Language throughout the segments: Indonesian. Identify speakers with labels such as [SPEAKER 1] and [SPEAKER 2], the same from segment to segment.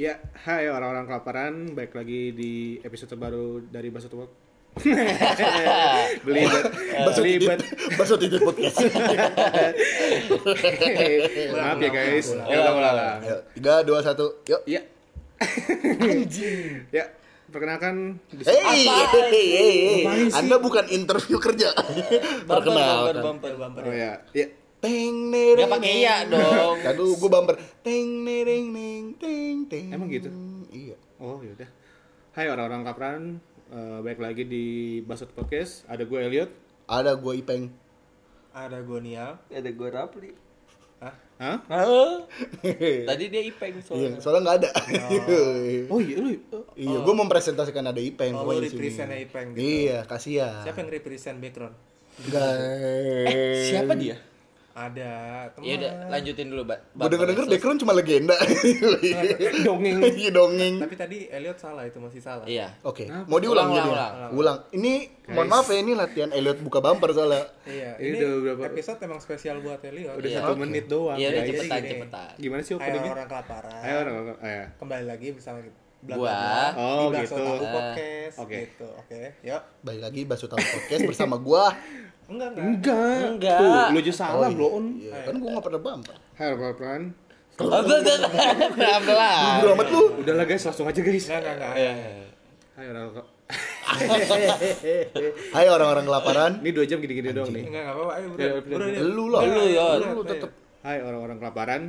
[SPEAKER 1] Ya, hai orang-orang kelaparan, baik lagi di episode terbaru dari Baso Tuwak. Belibet,
[SPEAKER 2] Baso
[SPEAKER 1] belibet.
[SPEAKER 2] tidit, baso tidit podcast.
[SPEAKER 1] Maaf ya guys.
[SPEAKER 3] ulang,
[SPEAKER 1] Ya ulang ulang. ulang.
[SPEAKER 2] Ayo, tiga, dua, satu, yuk.
[SPEAKER 1] Ya. Ya, perkenalkan di
[SPEAKER 2] Hey, hey, hey, hey.
[SPEAKER 3] Apaan sih?
[SPEAKER 2] Anda bukan interview kerja.
[SPEAKER 3] bumper,
[SPEAKER 4] kan?
[SPEAKER 2] Perkenalkan.
[SPEAKER 3] bumper, bumper.
[SPEAKER 1] Oh ya, ya.
[SPEAKER 2] Teng nereng.
[SPEAKER 3] Nggak pakai iya dong.
[SPEAKER 2] Aduh, gue bumper. Teng nereng neng teng teng.
[SPEAKER 1] Emang gitu?
[SPEAKER 2] Iya.
[SPEAKER 1] Oh, yaudah. Hai orang-orang kelaparan, eh, baik lagi di Baso Podcast. Ada gue Elliot.
[SPEAKER 2] Ada gue Ipeng.
[SPEAKER 3] Ada Gonial.
[SPEAKER 4] ada gue Rapli
[SPEAKER 3] Hah?
[SPEAKER 1] Hah?
[SPEAKER 3] Tadi dia ipeng
[SPEAKER 2] Iya,
[SPEAKER 3] soalnya.
[SPEAKER 2] soalnya nggak ada.
[SPEAKER 1] Oh iya, lu.
[SPEAKER 2] Iya, gue mempresentasikan ada Ipeng.
[SPEAKER 3] Oh,
[SPEAKER 2] gua
[SPEAKER 3] lu
[SPEAKER 2] di sini.
[SPEAKER 3] represent-nya Ipeng gitu.
[SPEAKER 2] Iya, kasihan.
[SPEAKER 3] Siapa yang represent background?
[SPEAKER 2] Nggak.
[SPEAKER 3] Siapa dia? Ada teman.
[SPEAKER 4] ya udah lanjutin dulu mbak
[SPEAKER 2] Gue denger-denger background cuma legenda.
[SPEAKER 1] Dongeng.
[SPEAKER 2] Iya, dongeng.
[SPEAKER 3] Tapi tadi Elliot salah itu masih salah.
[SPEAKER 4] iya
[SPEAKER 2] Oke,
[SPEAKER 1] Kenapa?
[SPEAKER 2] mau diulang
[SPEAKER 4] Ulang,
[SPEAKER 2] jadi
[SPEAKER 4] ulang,
[SPEAKER 2] ulang, Ini mohon maaf ya ini latihan Elliot buka bumper soalnya.
[SPEAKER 3] Iya,
[SPEAKER 1] Ini
[SPEAKER 3] ini,
[SPEAKER 1] udah berapa-
[SPEAKER 3] episode emang spesial buat Elliot.
[SPEAKER 1] Udah
[SPEAKER 4] Iya.
[SPEAKER 1] satu
[SPEAKER 2] Oke.
[SPEAKER 1] menit doang.
[SPEAKER 4] iya udah
[SPEAKER 1] guys.
[SPEAKER 4] cepetan
[SPEAKER 3] gini.
[SPEAKER 4] cepetan
[SPEAKER 1] Gimana sih
[SPEAKER 3] Ayo
[SPEAKER 1] openingnya?
[SPEAKER 3] orang kelaparan.
[SPEAKER 1] Ayo orang kelaparan. Ah, ya.
[SPEAKER 3] Kembali lagi bersama kita.
[SPEAKER 4] Gua.
[SPEAKER 1] Oh,
[SPEAKER 3] di Bakso
[SPEAKER 1] gitu.
[SPEAKER 3] Tahu
[SPEAKER 1] Ah,
[SPEAKER 3] podcast
[SPEAKER 1] oke.
[SPEAKER 3] gitu. Oke, yuk.
[SPEAKER 2] Balik lagi Basu Tahu Podcast bersama gua.
[SPEAKER 3] Enggak, enggak.
[SPEAKER 1] Enggak.
[SPEAKER 4] Enggak.
[SPEAKER 1] Tuh, lu aja salah,
[SPEAKER 2] Oh, iya.
[SPEAKER 1] bro. On.
[SPEAKER 2] Iya, kan gua enggak pernah bumper.
[SPEAKER 1] Hai, orang pelan.
[SPEAKER 4] Oh, pelan pelan
[SPEAKER 2] Bodoh amat lu.
[SPEAKER 1] Udahlah guys, langsung aja guys.
[SPEAKER 4] Eh,
[SPEAKER 3] Enggak, enggak, enggak.
[SPEAKER 1] eh. Hai, orang kok.
[SPEAKER 2] Hai orang-orang kelaparan.
[SPEAKER 1] Ini dua jam gini-gini doang nih.
[SPEAKER 3] Enggak, enggak apa-apa. Ayo, bro.
[SPEAKER 1] Ya, udah,
[SPEAKER 3] Bro,
[SPEAKER 2] udah. Lu lah.
[SPEAKER 4] Lu, ya.
[SPEAKER 3] Lu,
[SPEAKER 2] Lu
[SPEAKER 3] apa
[SPEAKER 2] tetep.
[SPEAKER 1] Hai orang-orang kelaparan.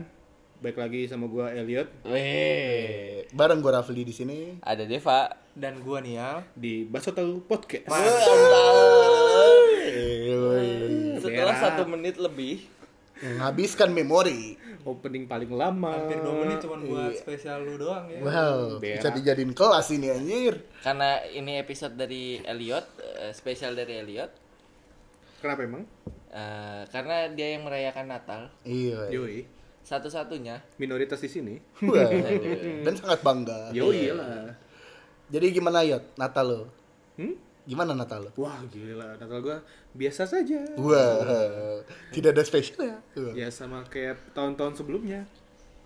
[SPEAKER 1] Baik lagi sama gua Elliot
[SPEAKER 4] weh
[SPEAKER 2] Eh, Bareng gua Rafli di sini.
[SPEAKER 4] ada Deva
[SPEAKER 3] Dan gua ya. Nial.
[SPEAKER 1] di Baso Tahu Podcast.
[SPEAKER 2] Eh, woi.
[SPEAKER 4] setelah
[SPEAKER 1] Berak.
[SPEAKER 4] satu menit lebih
[SPEAKER 2] Menghabiskan memori.
[SPEAKER 1] Opening paling lama.
[SPEAKER 3] Hampir 2 menit cuma
[SPEAKER 4] Iya.
[SPEAKER 3] buat spesial lu doang ya.
[SPEAKER 2] Wow,
[SPEAKER 1] Berak.
[SPEAKER 2] bisa dijadiin kelas ini anjir.
[SPEAKER 4] karena ini episode dari Elliot eh, spesial dari Elliot
[SPEAKER 1] Kenapa emang?
[SPEAKER 4] eh, karena dia yang merayakan Natal
[SPEAKER 2] Iya.
[SPEAKER 1] Yoi.
[SPEAKER 4] satu-satunya
[SPEAKER 1] Minoritas di sini.
[SPEAKER 2] Wah. Dan sangat bangga.
[SPEAKER 1] Yoi lah.
[SPEAKER 2] Jadi gimana Yot? Natal lo?
[SPEAKER 1] Hmm?
[SPEAKER 2] Gimana Natal lo?
[SPEAKER 1] Wah, gila. Natal gua biasa saja.
[SPEAKER 2] Wah, tidak ada spesialnya. Wah.
[SPEAKER 1] Ya sama kayak tahun-tahun sebelumnya.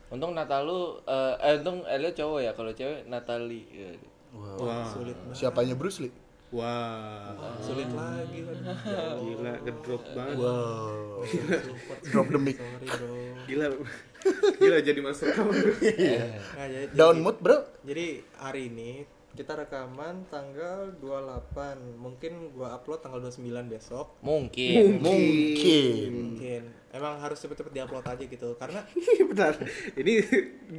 [SPEAKER 4] untung Natal lu eh, eh, untung Elliot cowok ya kalau cewek eh, Natali
[SPEAKER 1] Wah.
[SPEAKER 3] Sulit banget.
[SPEAKER 2] Siapanya Bruce Lee?
[SPEAKER 1] Wah.
[SPEAKER 3] Sulit lagi kan. Ya Allah.
[SPEAKER 1] Gila, ngedrop banget.
[SPEAKER 2] Wow.
[SPEAKER 3] Support.
[SPEAKER 2] Drop the mic.
[SPEAKER 3] Sorry, bro.
[SPEAKER 1] Gila. Gila jadi masuk kamar.
[SPEAKER 3] Nah, jadi,
[SPEAKER 2] Down mood bro?
[SPEAKER 3] jadi hari ini kita rekaman tanggal 28. Mungkin gua upload tanggal 29 besok.
[SPEAKER 4] mungkin
[SPEAKER 2] Mungkin.
[SPEAKER 3] Mungkin emang harus cepet-cepet diupload aja gitu karena
[SPEAKER 1] Bentar, ini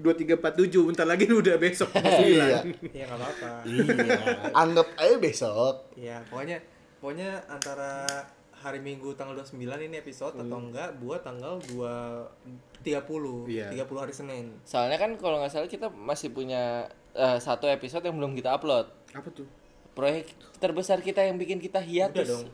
[SPEAKER 1] 2347, bentar lagi udah besok
[SPEAKER 2] Iya.
[SPEAKER 3] ya nggak apa-apa.
[SPEAKER 2] Iya. Anggap aja besok.
[SPEAKER 3] Ya, pokoknya pokoknya antara hari Minggu tanggal 29 ini episode atau enggak buat tanggal 2 30
[SPEAKER 1] Iya.
[SPEAKER 3] 30 hari Senin.
[SPEAKER 4] Soalnya kan kalau nggak salah kita masih punya eh, satu episode yang belum kita upload.
[SPEAKER 1] Apa tuh?
[SPEAKER 4] Proyek terbesar kita yang bikin kita hiatus.
[SPEAKER 3] Udah dong.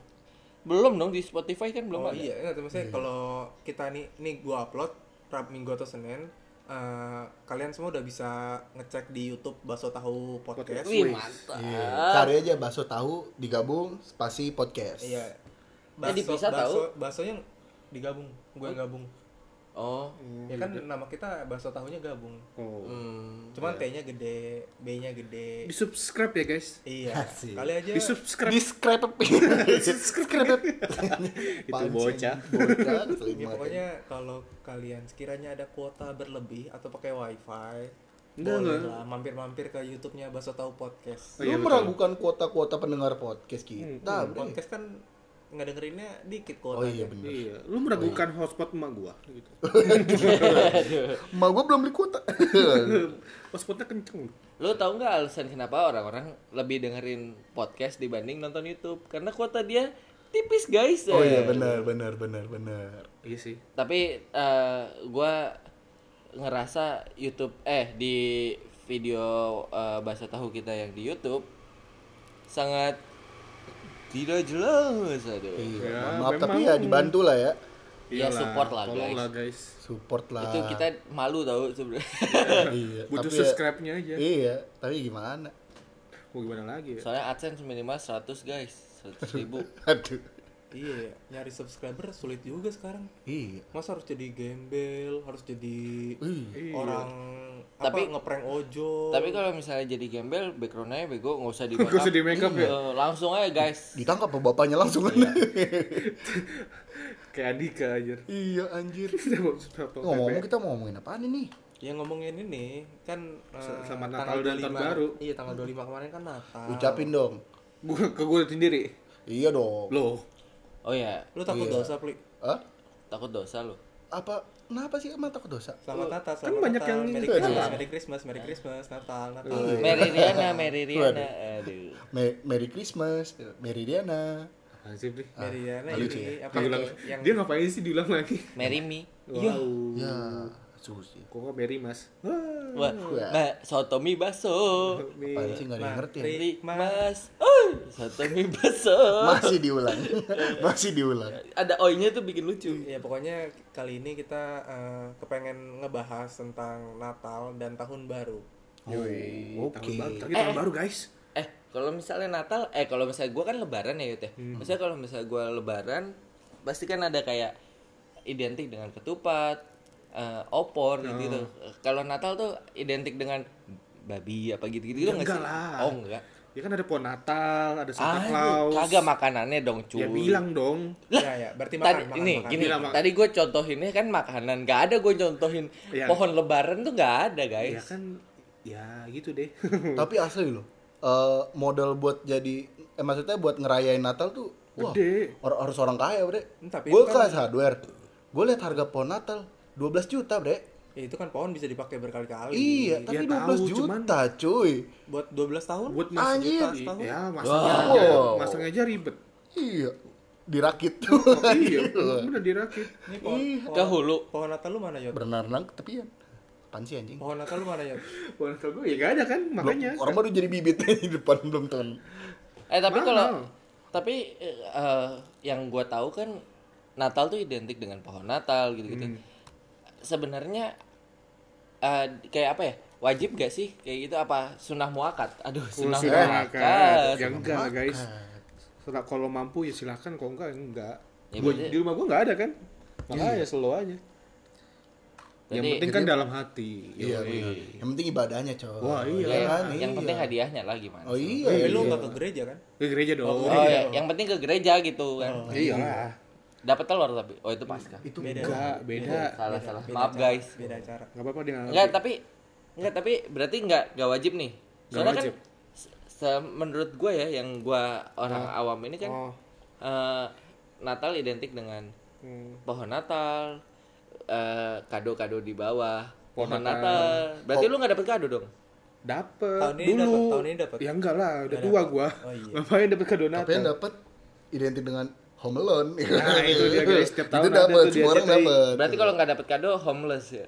[SPEAKER 4] Belum dong di Spotify kan belum
[SPEAKER 3] Oh
[SPEAKER 4] ada.
[SPEAKER 3] iya, enggak tuh, maksudnya kalau kita nih nih gua upload Rab Minggu atau Senin eh, kalian semua udah bisa ngecek di YouTube Baso Tahu Podcast.
[SPEAKER 4] Wih, mantap.
[SPEAKER 2] Cari aja bakso tahu digabung spasi podcast.
[SPEAKER 3] Iya.
[SPEAKER 4] Jadi bisa tahu.
[SPEAKER 3] Baso yang digabung, gue yang gabung.
[SPEAKER 4] Oh.
[SPEAKER 3] Ya kan nama kita Baso Tahunya gabung.
[SPEAKER 1] Oh.
[SPEAKER 4] Hmm.
[SPEAKER 3] Cuman T-nya gede, B-nya gede.
[SPEAKER 1] Di subscribe ya guys.
[SPEAKER 3] Iya.
[SPEAKER 2] Asik.
[SPEAKER 3] Kali aja
[SPEAKER 1] Di subscribe.
[SPEAKER 2] Describe Describe
[SPEAKER 1] Itu bocah.
[SPEAKER 2] Bocah. keselin
[SPEAKER 3] Ya,
[SPEAKER 2] banget.
[SPEAKER 3] pokoknya kalau kalian sekiranya ada kuota berlebih atau pakai wifi
[SPEAKER 1] Enggak,
[SPEAKER 3] boleh
[SPEAKER 1] enggak.
[SPEAKER 3] lah mampir-mampir ke YouTube-nya Baso Tahu Podcast.
[SPEAKER 1] Oh, iya, betul.
[SPEAKER 2] Lu meragukan kuota-kuota pendengar podcast kita, Bre.
[SPEAKER 3] Podcast kan nggak dengerinnya dikit
[SPEAKER 2] Oh
[SPEAKER 3] kuotanya.
[SPEAKER 2] iya bener.
[SPEAKER 1] Iya, lu meragukan hotspot emak gua gitu.
[SPEAKER 2] Emak gua belum beli kuota. Iya,
[SPEAKER 1] Hmm. Hotspotnya kenceng.
[SPEAKER 4] Lu tahu nggak alasan kenapa orang-orang lebih dengerin podcast dibanding nonton YouTube? Karena kuota dia tipis, guys.
[SPEAKER 2] Oh iya benar benar benar benar.
[SPEAKER 1] Iya sih.
[SPEAKER 4] Tapi eh, gua ngerasa YouTube eh di video eh, bahasa tahu kita yang di YouTube sangat tidak jelas aduh.
[SPEAKER 2] Iya,
[SPEAKER 1] Ya,
[SPEAKER 2] mohon maaf
[SPEAKER 1] memang.
[SPEAKER 2] tapi ya dibantu lah ya.
[SPEAKER 4] Ya,
[SPEAKER 1] Iyalah,
[SPEAKER 4] support lah,
[SPEAKER 1] tolong
[SPEAKER 4] guys.
[SPEAKER 1] lah, guys.
[SPEAKER 2] Support lah.
[SPEAKER 4] Itu kita malu tahu sebenarnya.
[SPEAKER 2] iya,
[SPEAKER 1] Butuh
[SPEAKER 2] tapi ya-
[SPEAKER 1] subscribe-nya aja.
[SPEAKER 2] Iya, tapi gimana?
[SPEAKER 1] Mau gimana lagi ya?
[SPEAKER 4] Soalnya AdSense minimal 100 guys, 100 ribu.
[SPEAKER 2] Aduh.
[SPEAKER 3] Iya, nyari subscriber sulit juga sekarang.
[SPEAKER 2] Iya.
[SPEAKER 3] Mas harus jadi gembel, harus jadi
[SPEAKER 2] Iya.
[SPEAKER 3] orang
[SPEAKER 4] Tapi-
[SPEAKER 3] apa ngeprank ojo.
[SPEAKER 4] Tapi kalau misalnya jadi gembel, backgroundnya bego, nggak usah di
[SPEAKER 1] Nggak usah di makeup ya?
[SPEAKER 4] Eh, Langsung aja guys.
[SPEAKER 2] Ditangkap sama bapaknya langsung. kan?
[SPEAKER 1] Iya. Kayak Andika anjir.
[SPEAKER 2] iya anjir. Ngomong-ngomong
[SPEAKER 1] Ngomong
[SPEAKER 2] kita mau ngomongin apaan ini?
[SPEAKER 3] Ya ngomongin ini kan eh,
[SPEAKER 1] Sel- selamat Natal dan tahun baru.
[SPEAKER 3] Iya, tanggal 25 kemarin kan Natal.
[SPEAKER 2] Ucapin dong.
[SPEAKER 1] Gua ke gue sendiri.
[SPEAKER 2] Iya dong.
[SPEAKER 1] Loh,
[SPEAKER 4] Oh ya,
[SPEAKER 3] Lu takut
[SPEAKER 2] Iya.
[SPEAKER 3] dosa, Pli.
[SPEAKER 2] Hah?
[SPEAKER 4] takut dosa lo.
[SPEAKER 2] Apa? Kenapa sih emang takut dosa?
[SPEAKER 3] Selamat Natal, selamat
[SPEAKER 1] kan banyak
[SPEAKER 3] Natal.
[SPEAKER 1] yang
[SPEAKER 3] Merry
[SPEAKER 2] gitu
[SPEAKER 3] Christmas,
[SPEAKER 4] ya.
[SPEAKER 3] Merry Christmas, Merry Christmas, Natal, Natal.
[SPEAKER 1] Iya.
[SPEAKER 2] Iya.
[SPEAKER 4] Mary Riana, Mary Riana. Aduh.
[SPEAKER 2] Me- Merry Christmas, Merry Diana.
[SPEAKER 1] apaan sih, Bli?
[SPEAKER 3] Dari Yana
[SPEAKER 2] Ah, lucu
[SPEAKER 3] ini
[SPEAKER 2] ya.
[SPEAKER 3] apa
[SPEAKER 1] Diulang.
[SPEAKER 3] yang- yang
[SPEAKER 1] Dia ngapain sih diulang lagi?
[SPEAKER 4] Mary me.
[SPEAKER 1] Iya.
[SPEAKER 2] Ya, susi.
[SPEAKER 1] Kok nggak Mary Mas? Ah, Wah.
[SPEAKER 4] Wah, ba- soto mie baso.
[SPEAKER 1] Mi.
[SPEAKER 2] Apaan sih nggak ada
[SPEAKER 3] Nah,
[SPEAKER 2] yang ngerti? ya?
[SPEAKER 4] Ri- Mas. Oh, soto mie baso.
[SPEAKER 2] Masih diulang. Masih diulang.
[SPEAKER 4] Ada oinya tuh bikin lucu.
[SPEAKER 3] Ya pokoknya kali ini kita eh, kepengen ngebahas tentang Natal dan Tahun Baru.
[SPEAKER 1] Tahun
[SPEAKER 2] Yoi. Oke.
[SPEAKER 1] baru, terakhir tahun baru guys.
[SPEAKER 4] Eh, kalau misalnya Natal, eh kalau misalnya gua kan lebaran ya Yud ya.
[SPEAKER 1] Hmm.
[SPEAKER 4] Maksudnya kalau misalnya gua lebaran, pasti kan ada kayak identik dengan ketupat, eh, opor gitu. gitu.
[SPEAKER 1] Hmm.
[SPEAKER 4] Kalau Natal tuh identik dengan babi apa gitu-gitu
[SPEAKER 1] Ya
[SPEAKER 4] nggak
[SPEAKER 1] enggak
[SPEAKER 4] sih?
[SPEAKER 1] lah.
[SPEAKER 4] Oh enggak.
[SPEAKER 1] Ya kan ada pohon Natal, ada Santa
[SPEAKER 4] Ah,
[SPEAKER 1] Claus.
[SPEAKER 4] kagak makanannya dong cuy.
[SPEAKER 1] Ya bilang dong.
[SPEAKER 3] ya ya, berarti makan,
[SPEAKER 4] Tadi
[SPEAKER 3] makan,
[SPEAKER 4] ini
[SPEAKER 3] makan.
[SPEAKER 4] gini,
[SPEAKER 1] Bilang, makan.
[SPEAKER 4] tadi gue contohinnya kan makanan, nggak ada gue contohin
[SPEAKER 1] Iya.
[SPEAKER 4] pohon lebaran tuh nggak ada guys.
[SPEAKER 1] Ya kan ya gitu deh.
[SPEAKER 2] Tapi asli loh. eh, modal buat jadi eh, maksudnya buat ngerayain Natal tuh wah
[SPEAKER 1] Gede.
[SPEAKER 2] or- harus orang kaya bre
[SPEAKER 1] Hmm,
[SPEAKER 3] Tapi
[SPEAKER 2] gue
[SPEAKER 3] itu kan-
[SPEAKER 2] kelas hardware gue lihat harga pohon Natal 12 juta bre
[SPEAKER 3] Ya itu kan pohon bisa dipakai berkali-kali.
[SPEAKER 2] iya tapi
[SPEAKER 1] Oh, tahu,
[SPEAKER 2] 12 juta cuy
[SPEAKER 3] Buat 12 tahun?
[SPEAKER 1] Buat mas
[SPEAKER 2] Anjir.
[SPEAKER 1] juta, ya masangnya
[SPEAKER 4] Wow.
[SPEAKER 1] aja, masangnya aja ribet.
[SPEAKER 2] iya dirakit
[SPEAKER 1] Oh, iya, bener dirakit.
[SPEAKER 3] Ini
[SPEAKER 2] Iya.
[SPEAKER 3] pohon,
[SPEAKER 1] Iya.
[SPEAKER 3] pohon,
[SPEAKER 4] Ke hulu.
[SPEAKER 3] pohon Natal lu mana, Yot?
[SPEAKER 2] berenang ke tepian ya, apaan sih anjing
[SPEAKER 3] Pohon Natal lu mana, Yot?
[SPEAKER 1] Pohon Natal gue ya gak ada kan, makanya.
[SPEAKER 2] orang baru jadi bibit di depan belum temen
[SPEAKER 4] Eh
[SPEAKER 2] Nah,
[SPEAKER 4] tapi
[SPEAKER 1] Mahal.
[SPEAKER 4] kalau tapi eh, eh, yang gue tahu kan Natal tuh identik dengan pohon
[SPEAKER 2] Hmm.
[SPEAKER 4] Natal gitu-gitu. Sebenarnya eh, kayak apa ya? Wajib gak sih kayak gitu apa sunah muakat? Aduh
[SPEAKER 2] Oh,
[SPEAKER 1] Kalau
[SPEAKER 4] sunah
[SPEAKER 1] sudah
[SPEAKER 4] muakat.
[SPEAKER 1] makan, Oh, ya enggak lah guys. Setelah kalau mampu ya silahkan, kalau enggak ya enggak.
[SPEAKER 4] Ya,
[SPEAKER 1] Gua-
[SPEAKER 4] berarti-
[SPEAKER 1] di rumah gue enggak ada kan, makanya ya slow aja. Yang
[SPEAKER 4] Berarti-
[SPEAKER 1] penting kan dalam hati.
[SPEAKER 2] iya bener. yang penting ibadahnya coy
[SPEAKER 1] Wah, iya.
[SPEAKER 2] Ya kan,
[SPEAKER 4] yang
[SPEAKER 2] iya.
[SPEAKER 4] penting hadiahnya lah gimana?
[SPEAKER 2] oh iya
[SPEAKER 3] Tapi
[SPEAKER 2] iya.
[SPEAKER 3] Eh, lu nggak ke gereja kan?
[SPEAKER 1] Ke gereja dong.
[SPEAKER 3] Oh,
[SPEAKER 4] Oh, ya, yang penting ke gereja gitu kan.
[SPEAKER 2] Oh.
[SPEAKER 1] Iya lah.
[SPEAKER 4] Dapat telur tapi oh itu pasca.
[SPEAKER 2] itu
[SPEAKER 1] Enggak, beda.
[SPEAKER 4] Salah salah. Maaf guys.
[SPEAKER 3] Beda acara.
[SPEAKER 1] Enggak apa-apa dia
[SPEAKER 4] Enggak, tapi enggak tapi berarti enggak enggak wajib nih.
[SPEAKER 1] Nggak
[SPEAKER 4] Soalnya
[SPEAKER 1] wajib.
[SPEAKER 4] kan se- se- menurut gue ya yang gua orang awam ini kan
[SPEAKER 1] Oh.
[SPEAKER 4] eh, Natal identik dengan
[SPEAKER 1] Hmm.
[SPEAKER 4] pohon Natal, eh, kado-kado di bawah,
[SPEAKER 1] Pohon
[SPEAKER 4] pohon
[SPEAKER 1] Natal. Oh.
[SPEAKER 4] Natal. Berarti lu nggak dapet kado dong?
[SPEAKER 1] Dapet
[SPEAKER 3] Tahun ini
[SPEAKER 1] dulu.
[SPEAKER 3] dapet, tahun ini dapet.
[SPEAKER 1] Ya enggak lah, udah
[SPEAKER 3] Nggak
[SPEAKER 1] tua
[SPEAKER 3] dapet.
[SPEAKER 1] gua.
[SPEAKER 3] Oh, iya.
[SPEAKER 1] Ngapain dapet kado
[SPEAKER 2] tapi
[SPEAKER 1] Natal?
[SPEAKER 2] yang dapat identik dengan home alone
[SPEAKER 1] Nah, itu dia, guys. Setiap tahun
[SPEAKER 2] itu
[SPEAKER 1] ada
[SPEAKER 2] dapat
[SPEAKER 1] tuh dia
[SPEAKER 2] semua orang
[SPEAKER 1] nyetri.
[SPEAKER 2] dapat
[SPEAKER 4] Berarti kalau nggak dapet kado homeless ya.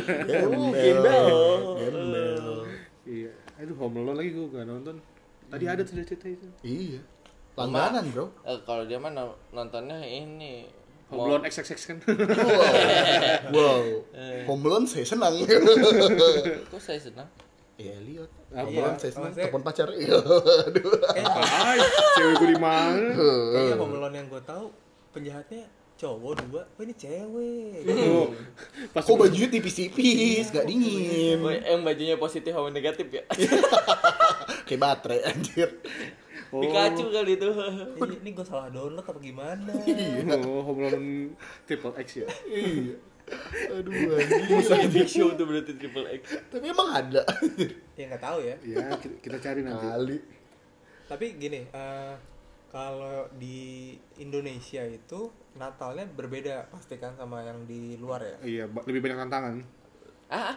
[SPEAKER 2] Gembel. Gembel.
[SPEAKER 1] Iya. Aduh, Home Alone lagi gua enggak nonton. Tadi ada tuh cerita itu.
[SPEAKER 2] Iya. Langganan, Bro.
[SPEAKER 4] Eh, kalau dia mah no- nontonnya ini
[SPEAKER 1] Home Alone XXX kan.
[SPEAKER 2] Wow. wow. Home Alone saya senang.
[SPEAKER 4] Kok saya senang?
[SPEAKER 2] Ya, lihat.
[SPEAKER 1] Apa?
[SPEAKER 2] Home Alone saya senang.
[SPEAKER 3] Maksudnya-
[SPEAKER 2] Telepon pacar. Aduh.
[SPEAKER 3] Eh.
[SPEAKER 1] Ay, cewek gua di mana?
[SPEAKER 2] Eh.
[SPEAKER 3] Kayaknya pemelon yang gue tahu penjahatnya cowok dua, oh ini cewek.
[SPEAKER 1] Tuh. Oh, Pas
[SPEAKER 2] Kok bajunya tipis-tipis, gak dingin.
[SPEAKER 4] Yang bajunya positif sama negatif ya.
[SPEAKER 2] Kayak baterai anjir.
[SPEAKER 1] Oh.
[SPEAKER 4] Pikachu kali itu.
[SPEAKER 3] Ini, ini gue salah download apa gimana?
[SPEAKER 1] Oh, Home Alone Triple X ya.
[SPEAKER 2] Aduh anjir.
[SPEAKER 4] Musa Big Show tuh berarti triple X.
[SPEAKER 2] Tapi emang ada.
[SPEAKER 3] ya nggak tahu ya.
[SPEAKER 1] Ya, kita, kita cari nanti.
[SPEAKER 2] Kali.
[SPEAKER 3] Tapi gini, eh, kalau di Indonesia itu Natalnya berbeda pastikan sama yang di luar ya.
[SPEAKER 1] Iya, ba- lebih banyak tantangan.
[SPEAKER 4] Ah, ah.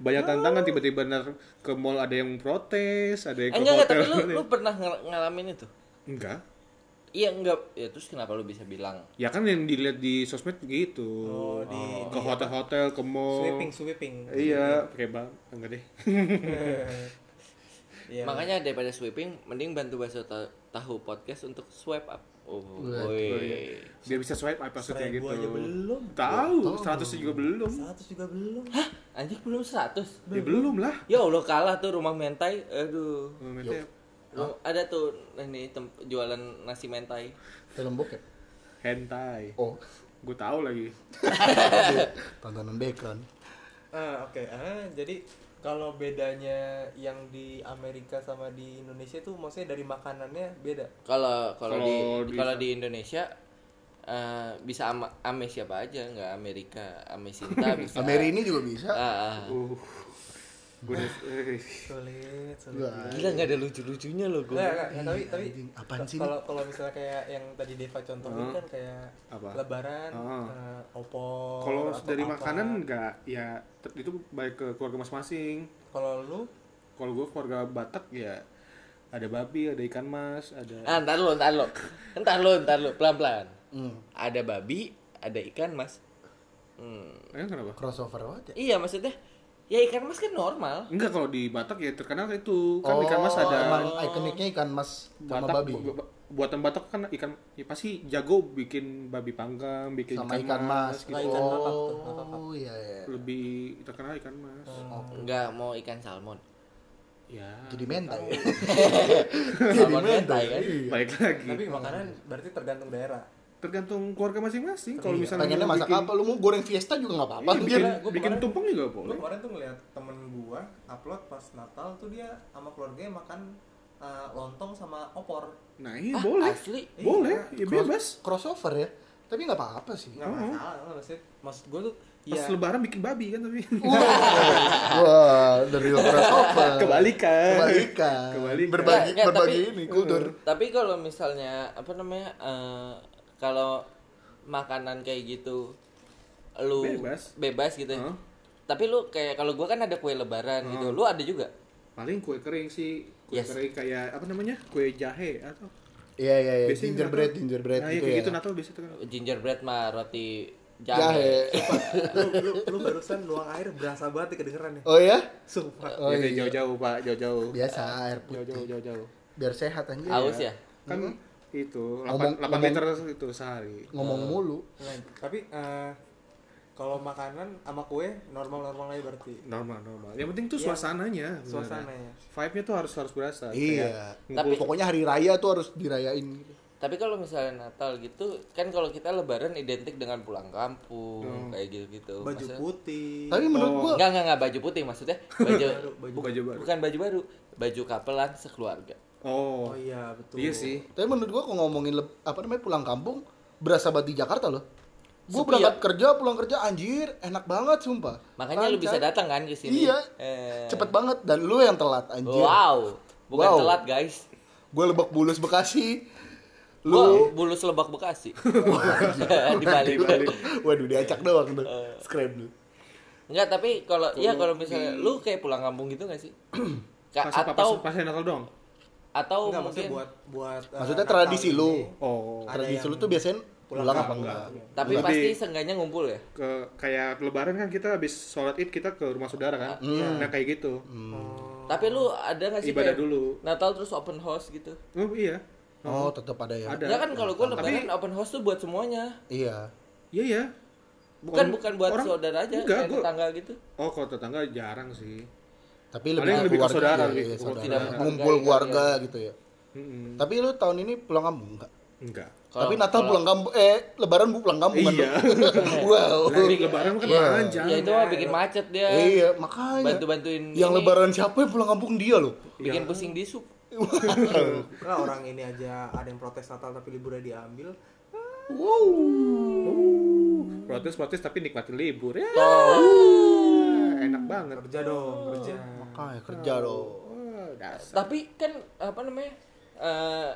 [SPEAKER 1] Banyak tantangan tiba-tiba ner- ke mall ada yang protes, ada yang ke
[SPEAKER 4] Eh, enggak enggak
[SPEAKER 1] hotel.
[SPEAKER 4] tapi lu lu pernah ngal- ngalamin itu?
[SPEAKER 1] Enggak.
[SPEAKER 4] Iya enggak. Ya terus kenapa lu bisa bilang?
[SPEAKER 1] Ya kan yang dilihat di sosmed gitu.
[SPEAKER 3] Oh, di-
[SPEAKER 1] ke hotel-hotel, ke mall.
[SPEAKER 3] Sweeping, sweeping.
[SPEAKER 1] Oh. Iya, pakai bang. Enggak deh.
[SPEAKER 3] Iya.
[SPEAKER 4] Makanya daripada sweeping mending bantu bakso Ta- tahu podcast untuk swipe up. Oh,
[SPEAKER 1] iya.
[SPEAKER 4] woi.
[SPEAKER 1] Biar bisa swipe apa maksudnya
[SPEAKER 3] Swipe
[SPEAKER 1] gitu.
[SPEAKER 3] gua aja belum.
[SPEAKER 1] Tahu, 100 juga belum.
[SPEAKER 3] 100 juga belum.
[SPEAKER 4] Anjing belum 100.
[SPEAKER 1] Ya belum lah.
[SPEAKER 4] Ya Allah kalah tuh rumah mentai. Aduh.
[SPEAKER 1] Momennya
[SPEAKER 4] Lu- ada tuh ini tem- jualan nasi mentai.
[SPEAKER 2] Film bokep.
[SPEAKER 1] Hentai.
[SPEAKER 2] Oh,
[SPEAKER 1] Gue tahu lagi.
[SPEAKER 2] tontonan Dekan.
[SPEAKER 3] Ah, oke. Ah, jadi kalau bedanya yang di Amerika sama di Indonesia itu maksudnya dari makanannya beda.
[SPEAKER 4] Kalau kalau di
[SPEAKER 1] Kalau di-
[SPEAKER 4] kalau di Indonesia eh, bisa ama, ame siapa aja, nggak Amerika, ame Sinta bisa.
[SPEAKER 2] Ameri ini juga bisa.
[SPEAKER 4] Ah, ah.
[SPEAKER 1] Uh. eh. Gue
[SPEAKER 3] Sulit, sulit.
[SPEAKER 2] Gua-
[SPEAKER 4] Gila nggak ada lucu-lucunya loh gue.
[SPEAKER 3] Nggak, nggak,
[SPEAKER 1] Iya,
[SPEAKER 3] nggak, tapi tapi
[SPEAKER 2] anjing, apaan sih
[SPEAKER 3] kalau kalau misalnya kayak yang tadi Deva contohin kan kayak
[SPEAKER 1] Apa?
[SPEAKER 3] lebaran,
[SPEAKER 1] Ah.
[SPEAKER 3] eh, opor.
[SPEAKER 1] Kalau
[SPEAKER 3] Oh, atau
[SPEAKER 1] dari
[SPEAKER 3] apa.
[SPEAKER 1] makanan nggak, ya ter- itu baik ke keluarga masing-masing.
[SPEAKER 3] kalau lu
[SPEAKER 1] Kalau gue keluarga Batak ya ada babi, ada ikan mas, ada
[SPEAKER 4] Ah, ntar lu, ntar lu. Ntar lu, ntar lu, pelan-pelan.
[SPEAKER 2] Hmm.
[SPEAKER 4] Ada babi, ada ikan, Mas. Hmm.
[SPEAKER 1] Eh, kenapa?
[SPEAKER 2] Crossover aja.
[SPEAKER 4] Iya, maksudnya ya ikan mas kan normal.
[SPEAKER 1] Enggak kalau di Batak ya terkenal itu kan ikan
[SPEAKER 3] Oh,
[SPEAKER 1] mas ada
[SPEAKER 2] Emang ikoniknya Oh, ikan mas sama
[SPEAKER 1] Batak,
[SPEAKER 2] babi.
[SPEAKER 1] bu- bu- buatan Batak kan ikan ya pasti jago bikin babi panggang, bikin
[SPEAKER 2] Sama ikan mas.
[SPEAKER 1] gitu.
[SPEAKER 3] ikan kakap tuh, kakap.
[SPEAKER 2] Oh, iya iya.
[SPEAKER 1] Lebih terkenal ikan mas.
[SPEAKER 2] Oh.
[SPEAKER 4] Nggak mau ikan salmon.
[SPEAKER 1] Ya.
[SPEAKER 2] Jadi mentai.
[SPEAKER 4] salmon mentai kan.
[SPEAKER 2] Iya.
[SPEAKER 1] Balik lagi.
[SPEAKER 3] tapi makanan berarti tergantung daerah.
[SPEAKER 1] Tergantung keluarga masing-masing. Kalau misalnya
[SPEAKER 2] Iya, Pengennya
[SPEAKER 1] lu
[SPEAKER 2] masak
[SPEAKER 1] bikin-
[SPEAKER 2] apa? Lu mau goreng fiesta juga nggak apa-apa.
[SPEAKER 1] Iya, bikin,
[SPEAKER 2] anjir.
[SPEAKER 3] gua
[SPEAKER 1] bikin
[SPEAKER 3] kemarin-
[SPEAKER 1] tumpeng juga
[SPEAKER 3] Gue
[SPEAKER 1] boleh.
[SPEAKER 3] kemarin tuh ngeliat temen gua upload pas Natal tuh dia sama keluarganya makan eh, lontong sama opor.
[SPEAKER 1] Nah, iya boleh.
[SPEAKER 4] asli?
[SPEAKER 1] Boleh, ya
[SPEAKER 2] Cross-
[SPEAKER 1] bebas.
[SPEAKER 2] Crossover ya. Tapi nggak apa-apa sih.
[SPEAKER 3] Nggak masalah, nggak maksud maksud gue tuh
[SPEAKER 1] Pas
[SPEAKER 3] ya
[SPEAKER 1] lebaran bikin babi kan tapi.
[SPEAKER 2] Iya. Wah, dari crossover.
[SPEAKER 1] Kebalikan.
[SPEAKER 2] Kebalikan.
[SPEAKER 1] Kebalikan.
[SPEAKER 2] Berbagi
[SPEAKER 4] Nggak, nggak,
[SPEAKER 2] berbagi
[SPEAKER 4] Eh, tapi- Hmm.
[SPEAKER 2] ini kultur.
[SPEAKER 4] Tapi kalau misalnya apa namanya eh, kalau makanan kayak gitu lu
[SPEAKER 1] Bebas.
[SPEAKER 4] bebas gitu. ya.
[SPEAKER 1] Heeh.
[SPEAKER 4] Tapi lu kayak kalau gua kan ada kue lebaran gitu. Lu ada juga?
[SPEAKER 1] Paling kue kering sih. Kue
[SPEAKER 4] Yes.
[SPEAKER 1] kering kayak apa namanya? Kue jahe atau
[SPEAKER 2] Iya iya iya.
[SPEAKER 1] Biasanya
[SPEAKER 2] Gingerbread
[SPEAKER 1] Natal-
[SPEAKER 2] gingerbread
[SPEAKER 1] Nah, iya,
[SPEAKER 2] gitu
[SPEAKER 1] kayak
[SPEAKER 2] ya.
[SPEAKER 1] gitu Natal biasanya terkenal.
[SPEAKER 4] Gingerbread mah roti
[SPEAKER 2] Jahe.
[SPEAKER 4] jahe.
[SPEAKER 3] lu, lu, lu barusan nuang air berasa banget ya kedengeran ya.
[SPEAKER 2] Oh ya?
[SPEAKER 3] Sumpah.
[SPEAKER 2] Oh,
[SPEAKER 1] Ya, kayak Iya,
[SPEAKER 2] iya.
[SPEAKER 1] jauh-jauh, Pak, jauh-jauh.
[SPEAKER 2] Biasa air putih.
[SPEAKER 1] Jauh-jauh, jauh-jauh.
[SPEAKER 2] Biar sehat anjir.
[SPEAKER 4] Haus ya?
[SPEAKER 2] Iya.
[SPEAKER 1] Kan itu 8,
[SPEAKER 2] Ngomong- ngomong-
[SPEAKER 1] liter itu sehari.
[SPEAKER 2] Ngomong mulu.
[SPEAKER 3] Nah, tapi eh, kalau makanan sama kue normal-normal aja berarti.
[SPEAKER 1] Normal, normal. Yang penting tuh Iya. suasananya. beneran.
[SPEAKER 3] Suasananya.
[SPEAKER 1] Vibe-nya tuh harus harus berasa.
[SPEAKER 2] Iya.
[SPEAKER 4] Tapi-
[SPEAKER 2] pokoknya hari raya tuh harus dirayain gitu.
[SPEAKER 4] Tapi kalau misalnya Natal gitu, kan kalau kita Lebaran identik dengan pulang kampung kayak gitu-gitu.
[SPEAKER 3] Baju
[SPEAKER 4] Maksudnya-
[SPEAKER 3] putih.
[SPEAKER 2] Tapi menurut gua
[SPEAKER 4] Enggak, enggak, enggak baju putih maksudnya. Baju,
[SPEAKER 1] Baju baju baru.
[SPEAKER 4] bukan baju baru, baju kapelan sekeluarga.
[SPEAKER 1] Oh.
[SPEAKER 3] Oh iya, betul.
[SPEAKER 1] Iya sih.
[SPEAKER 2] Tapi menurut gua kalau ngomongin leb- apa namanya pulang kampung berasa banget di Jakarta loh. Gua
[SPEAKER 4] Sepi ya?
[SPEAKER 2] berangkat kerja, pulang kerja anjir, enak banget sumpah.
[SPEAKER 4] Makanya lu bisa
[SPEAKER 2] Lancar.
[SPEAKER 4] datang kan ke sini.
[SPEAKER 2] Iya.
[SPEAKER 4] Eh,
[SPEAKER 2] Cepet banget dan lu yang telat anjir.
[SPEAKER 4] Wow. Bukan
[SPEAKER 2] Wow.
[SPEAKER 4] telat, guys.
[SPEAKER 2] Gua Lebak Bulus Bekasi. Lu
[SPEAKER 4] Wow, bulus Lebak Bekasi. di Eh. Bali.
[SPEAKER 2] Waduh, diacak doang tuh. Scram lu.
[SPEAKER 4] Enggak, tapi kalau ya kalau misalnya lu kayak pulang kampung gitu gak sih? Ka-
[SPEAKER 1] Pas apa pas,
[SPEAKER 4] atau
[SPEAKER 1] pas Natal dong.
[SPEAKER 4] atau
[SPEAKER 3] Enggak, maksudnya
[SPEAKER 4] Oh, mungkin
[SPEAKER 3] buat buat eh,
[SPEAKER 2] Maksudnya
[SPEAKER 3] Natal
[SPEAKER 2] tradisi
[SPEAKER 3] ini.
[SPEAKER 2] lu.
[SPEAKER 1] Oh.
[SPEAKER 3] Ada
[SPEAKER 2] Tradisi
[SPEAKER 3] yang
[SPEAKER 2] lu tuh biasanya pulang, apa enggak?
[SPEAKER 4] tapi
[SPEAKER 1] Lebih-
[SPEAKER 4] pasti seenggaknya ngumpul ya.
[SPEAKER 1] Ke kayak lebaran kan kita habis sholat Id kita ke rumah saudara kan.
[SPEAKER 4] Mm.
[SPEAKER 1] Nah, kayak gitu.
[SPEAKER 4] Tapi lu ada gak sih
[SPEAKER 1] Ibadah
[SPEAKER 4] kayak
[SPEAKER 1] dulu.
[SPEAKER 4] Natal terus open house gitu?
[SPEAKER 1] Oh, iya.
[SPEAKER 2] Oh, tetap ada ya.
[SPEAKER 1] Ada.
[SPEAKER 4] Enggak kan kalau gua
[SPEAKER 1] Tapi-
[SPEAKER 4] lebaran open house tuh buat semuanya.
[SPEAKER 2] Iya.
[SPEAKER 1] Iya ya.
[SPEAKER 4] Bukan bukan buat saudara aja,
[SPEAKER 1] enggak,
[SPEAKER 4] kayak
[SPEAKER 1] gua-
[SPEAKER 4] tetangga gitu.
[SPEAKER 1] Oh, kalau tetangga jarang sih.
[SPEAKER 2] Tapi lebih,
[SPEAKER 1] Paling
[SPEAKER 2] ke
[SPEAKER 1] lebih ke
[SPEAKER 2] keluarga,
[SPEAKER 1] saudara,
[SPEAKER 2] iya,
[SPEAKER 1] lebih ke
[SPEAKER 2] iya,
[SPEAKER 1] keluarga.
[SPEAKER 2] saudara.
[SPEAKER 4] gitu, Tidak
[SPEAKER 2] Ngumpul
[SPEAKER 4] keluarga,
[SPEAKER 2] keluarga gitu ya.
[SPEAKER 1] Mm-mm.
[SPEAKER 2] Tapi lu tahun ini pulang kampung enggak?
[SPEAKER 1] Enggak.
[SPEAKER 4] Kalau-
[SPEAKER 2] Tapi Natal pulang kampung eh lebaran gua pulang kampung kan.
[SPEAKER 1] Iya.
[SPEAKER 2] lu? wow.
[SPEAKER 4] Oh, Nah, iya.
[SPEAKER 1] Tapi lebaran kan panjang.
[SPEAKER 4] Ya itu mah bikin macet dia.
[SPEAKER 2] Iya, makanya.
[SPEAKER 4] Bantu-bantuin
[SPEAKER 2] Yang
[SPEAKER 4] ini.
[SPEAKER 2] lebaran siapa yang pulang kampung dia loh.
[SPEAKER 4] Bikin pusing di sup.
[SPEAKER 3] Nah, orang ini aja ada yang protes Natal tapi liburnya diambil.
[SPEAKER 1] Protes-protes tapi nikmatin libur ya.
[SPEAKER 4] Oh.
[SPEAKER 1] Enak banget.
[SPEAKER 3] Kerja dong, kerja.
[SPEAKER 2] Makanya kerja loh.
[SPEAKER 1] Oh, dasar.
[SPEAKER 4] Tapi kan apa namanya? eh,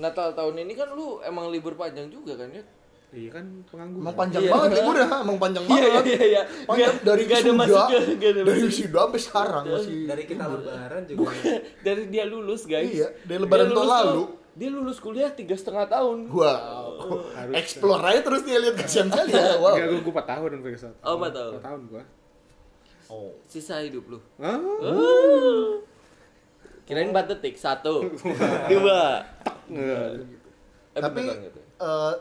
[SPEAKER 4] Natal tahun ini kan lu emang libur panjang juga kan ya?
[SPEAKER 1] Iya kan pengangguran.
[SPEAKER 2] Emang panjang banget libur ya, emang panjang
[SPEAKER 4] Iya
[SPEAKER 2] banget.
[SPEAKER 4] iya iya iya.
[SPEAKER 2] Panjang
[SPEAKER 4] Nggak-
[SPEAKER 2] dari
[SPEAKER 4] nggak ada
[SPEAKER 2] wisuda,
[SPEAKER 4] masuknya, nggak ada
[SPEAKER 2] dari
[SPEAKER 4] masuknya.
[SPEAKER 2] wisuda sampai sekarang masih.
[SPEAKER 3] Dari kita lebaran juga.
[SPEAKER 4] Dari dia lulus guys.
[SPEAKER 2] Iya, dari lebaran
[SPEAKER 4] Dia lulus
[SPEAKER 2] tahun
[SPEAKER 4] tuh-
[SPEAKER 2] lalu.
[SPEAKER 4] Dia lulus kuliah tiga setengah tahun.
[SPEAKER 2] Wow,
[SPEAKER 4] Oh,
[SPEAKER 2] explore
[SPEAKER 4] ya.
[SPEAKER 2] aja terus dia lihat kasihan kali ya. Wow.
[SPEAKER 1] Enggak, gue, gue 4 Iya, tahun sampai ke sana.
[SPEAKER 4] Oh, empat tahun.
[SPEAKER 1] 4 tahun gue.
[SPEAKER 2] Oh.
[SPEAKER 4] Sisa hidup lu.
[SPEAKER 1] Hah?
[SPEAKER 4] Kirain empat detik satu, dua. Iya,
[SPEAKER 1] Enggak.
[SPEAKER 4] Eh,
[SPEAKER 2] Tapi
[SPEAKER 4] beneran gitu.
[SPEAKER 2] eh,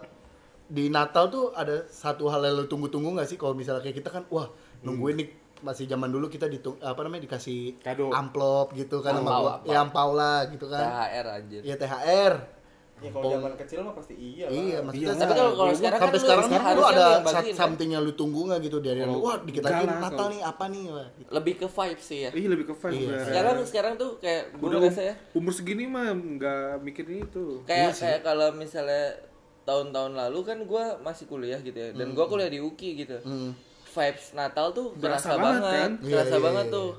[SPEAKER 2] di Natal tuh ada satu hal yang lo tunggu-tunggu nggak sih? Kalau misalnya kayak kita kan, wah nungguin nih masih zaman dulu kita ditung apa namanya dikasih
[SPEAKER 1] Kado.
[SPEAKER 2] amplop gitu kan sama
[SPEAKER 4] Ampau,
[SPEAKER 2] gua.
[SPEAKER 4] ampau.
[SPEAKER 2] Ya ampau lah gitu kan.
[SPEAKER 4] THR anjir.
[SPEAKER 2] Ya THR.
[SPEAKER 1] Iya,
[SPEAKER 3] Ya
[SPEAKER 1] gitu.
[SPEAKER 3] kalau zaman kecil mah pasti iya lah.
[SPEAKER 2] Iya, maksudnya
[SPEAKER 4] Tapi kalau kalau sekarang kan
[SPEAKER 2] sampai sekarang
[SPEAKER 4] lu
[SPEAKER 2] kan lu
[SPEAKER 4] harusnya
[SPEAKER 2] ada
[SPEAKER 4] yang bagiin,
[SPEAKER 2] sa-
[SPEAKER 4] kan?
[SPEAKER 2] something yang lu tunggu nggak gitu dari
[SPEAKER 1] Kalau-
[SPEAKER 2] lu, wah dikit
[SPEAKER 1] enggak
[SPEAKER 2] lagi
[SPEAKER 1] lah,
[SPEAKER 2] Natal
[SPEAKER 1] kalau-
[SPEAKER 2] nih apa nih lah. gitu.
[SPEAKER 4] lebih ke vibes sih ya.
[SPEAKER 1] Ih lebih ke vibe bener.
[SPEAKER 4] Sekarang sekarang tuh kayak gue
[SPEAKER 1] Iya. udah
[SPEAKER 4] ngerasa ya
[SPEAKER 1] um- umur segini mah nggak mikir itu.
[SPEAKER 4] kayak kayak kalau misalnya tahun-tahun lalu kan gue masih kuliah gitu ya dan gue kuliah di UKI gitu vibes Natal tuh
[SPEAKER 1] Berasa
[SPEAKER 4] berasa,
[SPEAKER 1] banget,
[SPEAKER 4] banget,
[SPEAKER 1] kan?
[SPEAKER 4] berasa
[SPEAKER 2] Iya, iya,
[SPEAKER 4] banget
[SPEAKER 2] iya.
[SPEAKER 4] tuh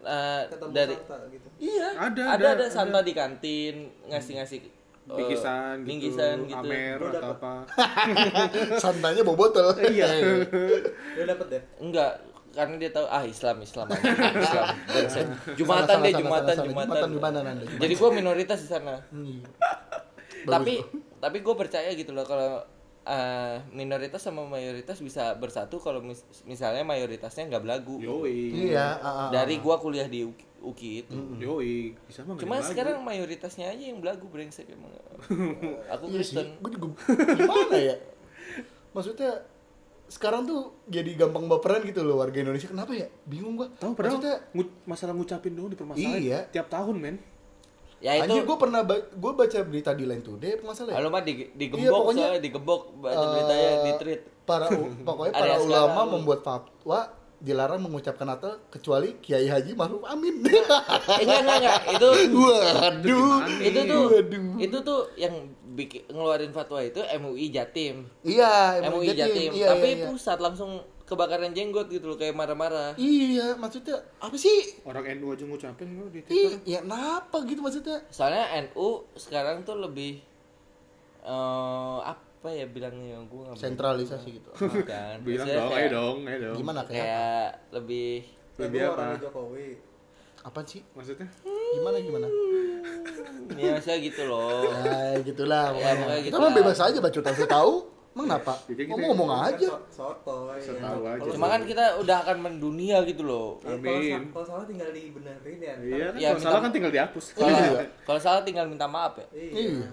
[SPEAKER 4] Eh,
[SPEAKER 3] Ketemu
[SPEAKER 4] dari
[SPEAKER 3] Santa gitu.
[SPEAKER 4] iya
[SPEAKER 1] Ada,
[SPEAKER 4] ada
[SPEAKER 1] ada,
[SPEAKER 4] ada, Santa di kantin ngasih-ngasih eh,
[SPEAKER 1] Bingkisan gitu,
[SPEAKER 4] bingkisan gitu.
[SPEAKER 1] Amer
[SPEAKER 3] Lu
[SPEAKER 1] atau
[SPEAKER 3] dapet.
[SPEAKER 1] apa.
[SPEAKER 2] Santanya bawa botol.
[SPEAKER 1] Iya.
[SPEAKER 3] Lu dapet deh.
[SPEAKER 4] enggak karena dia tahu ah Islam Islam aja, Islam Bangsa. jumatan
[SPEAKER 2] salah,
[SPEAKER 4] deh
[SPEAKER 2] salah, salah,
[SPEAKER 4] jumatan
[SPEAKER 2] salah.
[SPEAKER 4] jumatan Iya.
[SPEAKER 2] Jumatan di mana, Nanda? Jumatan.
[SPEAKER 4] jadi gue minoritas di sana
[SPEAKER 2] Hmm. Bagus,
[SPEAKER 4] tapi tapi gue percaya gitu loh kalau eh, minoritas sama mayoritas bisa bersatu kalau mis- misalnya mayoritasnya nggak belagu
[SPEAKER 1] Yoi.
[SPEAKER 2] Iya, ah, Hmm. ah, ah.
[SPEAKER 4] dari gue kuliah di Uki, UKI itu
[SPEAKER 1] Yoi. Bisa mah nggak
[SPEAKER 4] Hmm. cuma
[SPEAKER 1] ada lagu.
[SPEAKER 4] sekarang mayoritasnya aja yang belagu brengsek emang aku
[SPEAKER 2] Iya sih,
[SPEAKER 4] Kristen
[SPEAKER 2] gue juga gimana ya? Maksudnya sekarang tuh jadi gampang baperan gitu loh warga Indonesia. Kenapa ya? Bingung gua.
[SPEAKER 1] Tahu padahal
[SPEAKER 2] Maksudnya,
[SPEAKER 1] ngu- masalah ngucapin doang dipermasalahin
[SPEAKER 2] Iya.
[SPEAKER 1] tiap tahun men.
[SPEAKER 4] ya itu
[SPEAKER 2] anjir gue pernah ba- gua baca berita di Line Today apa masalah ya?
[SPEAKER 4] Halo mah di, digembok
[SPEAKER 2] Iya, pokoknya,
[SPEAKER 4] soalnya digembok baca beritanya
[SPEAKER 2] Eh,
[SPEAKER 4] di tweet
[SPEAKER 2] Para u- pokoknya para
[SPEAKER 4] Area sekarang
[SPEAKER 2] ulama
[SPEAKER 4] lu.
[SPEAKER 2] membuat fatwa dilarang mengucapkan Natal kecuali Kiai Haji Maruf Amin.
[SPEAKER 4] Eh, enggak enggak enggak itu
[SPEAKER 2] Waduh.
[SPEAKER 1] Itu
[SPEAKER 4] itu tuh
[SPEAKER 2] Waduh.
[SPEAKER 4] itu tuh yang bikin ngeluarin fatwa itu MUI Jatim
[SPEAKER 2] Iya, emang
[SPEAKER 4] MUI Jatim
[SPEAKER 2] Iya,
[SPEAKER 4] tapi
[SPEAKER 2] iya, iya.
[SPEAKER 4] pusat langsung kebakaran jenggot gitu loh kayak marah-marah
[SPEAKER 2] Iya, maksudnya apa sih?
[SPEAKER 1] Orang NU aja ngucapin lu di Twitter.
[SPEAKER 2] Iya, kenapa gitu maksudnya?
[SPEAKER 4] soalnya NU sekarang tuh lebih eh apa ya bilangnya gue nggak
[SPEAKER 2] Sentralisasi gitu.
[SPEAKER 4] bukan
[SPEAKER 1] Bilang
[SPEAKER 4] Maksudnya
[SPEAKER 1] dong, ayo
[SPEAKER 4] kayak,
[SPEAKER 1] dong, ayo dong.
[SPEAKER 2] Gimana kayak
[SPEAKER 4] kayak lebih
[SPEAKER 1] Lebih
[SPEAKER 3] Lu
[SPEAKER 1] apa?
[SPEAKER 3] orangnya Jokowi.
[SPEAKER 2] apa sih?
[SPEAKER 1] Maksudnya?
[SPEAKER 4] Hmm.
[SPEAKER 2] Gimana gimana?
[SPEAKER 4] ya maksudnya gitu loh
[SPEAKER 2] Ya gitulah
[SPEAKER 4] Ya,
[SPEAKER 2] pokoknya.
[SPEAKER 4] pokoknya
[SPEAKER 2] Kita
[SPEAKER 4] gitu
[SPEAKER 2] mah
[SPEAKER 4] lah.
[SPEAKER 2] bebas aja bacot tahu tahu. Emang kenapa?
[SPEAKER 1] Ya, kayak gitu
[SPEAKER 2] Ngomong ngomong
[SPEAKER 3] Kan
[SPEAKER 2] aja.
[SPEAKER 3] so- Sotoy.
[SPEAKER 1] Setahu aja.
[SPEAKER 4] cuma kan kita udah akan mendunia gitu loh
[SPEAKER 3] Ya, kalau
[SPEAKER 1] Amin.
[SPEAKER 3] sa- kalau salah tinggal dibenerin ya. ntar.
[SPEAKER 1] Iya kan
[SPEAKER 4] Ya,
[SPEAKER 1] kalau salah
[SPEAKER 4] minta-
[SPEAKER 1] kan tinggal dihapus.
[SPEAKER 4] kalau
[SPEAKER 2] Iya.
[SPEAKER 4] kalau salah tinggal minta maaf ya
[SPEAKER 2] Iya.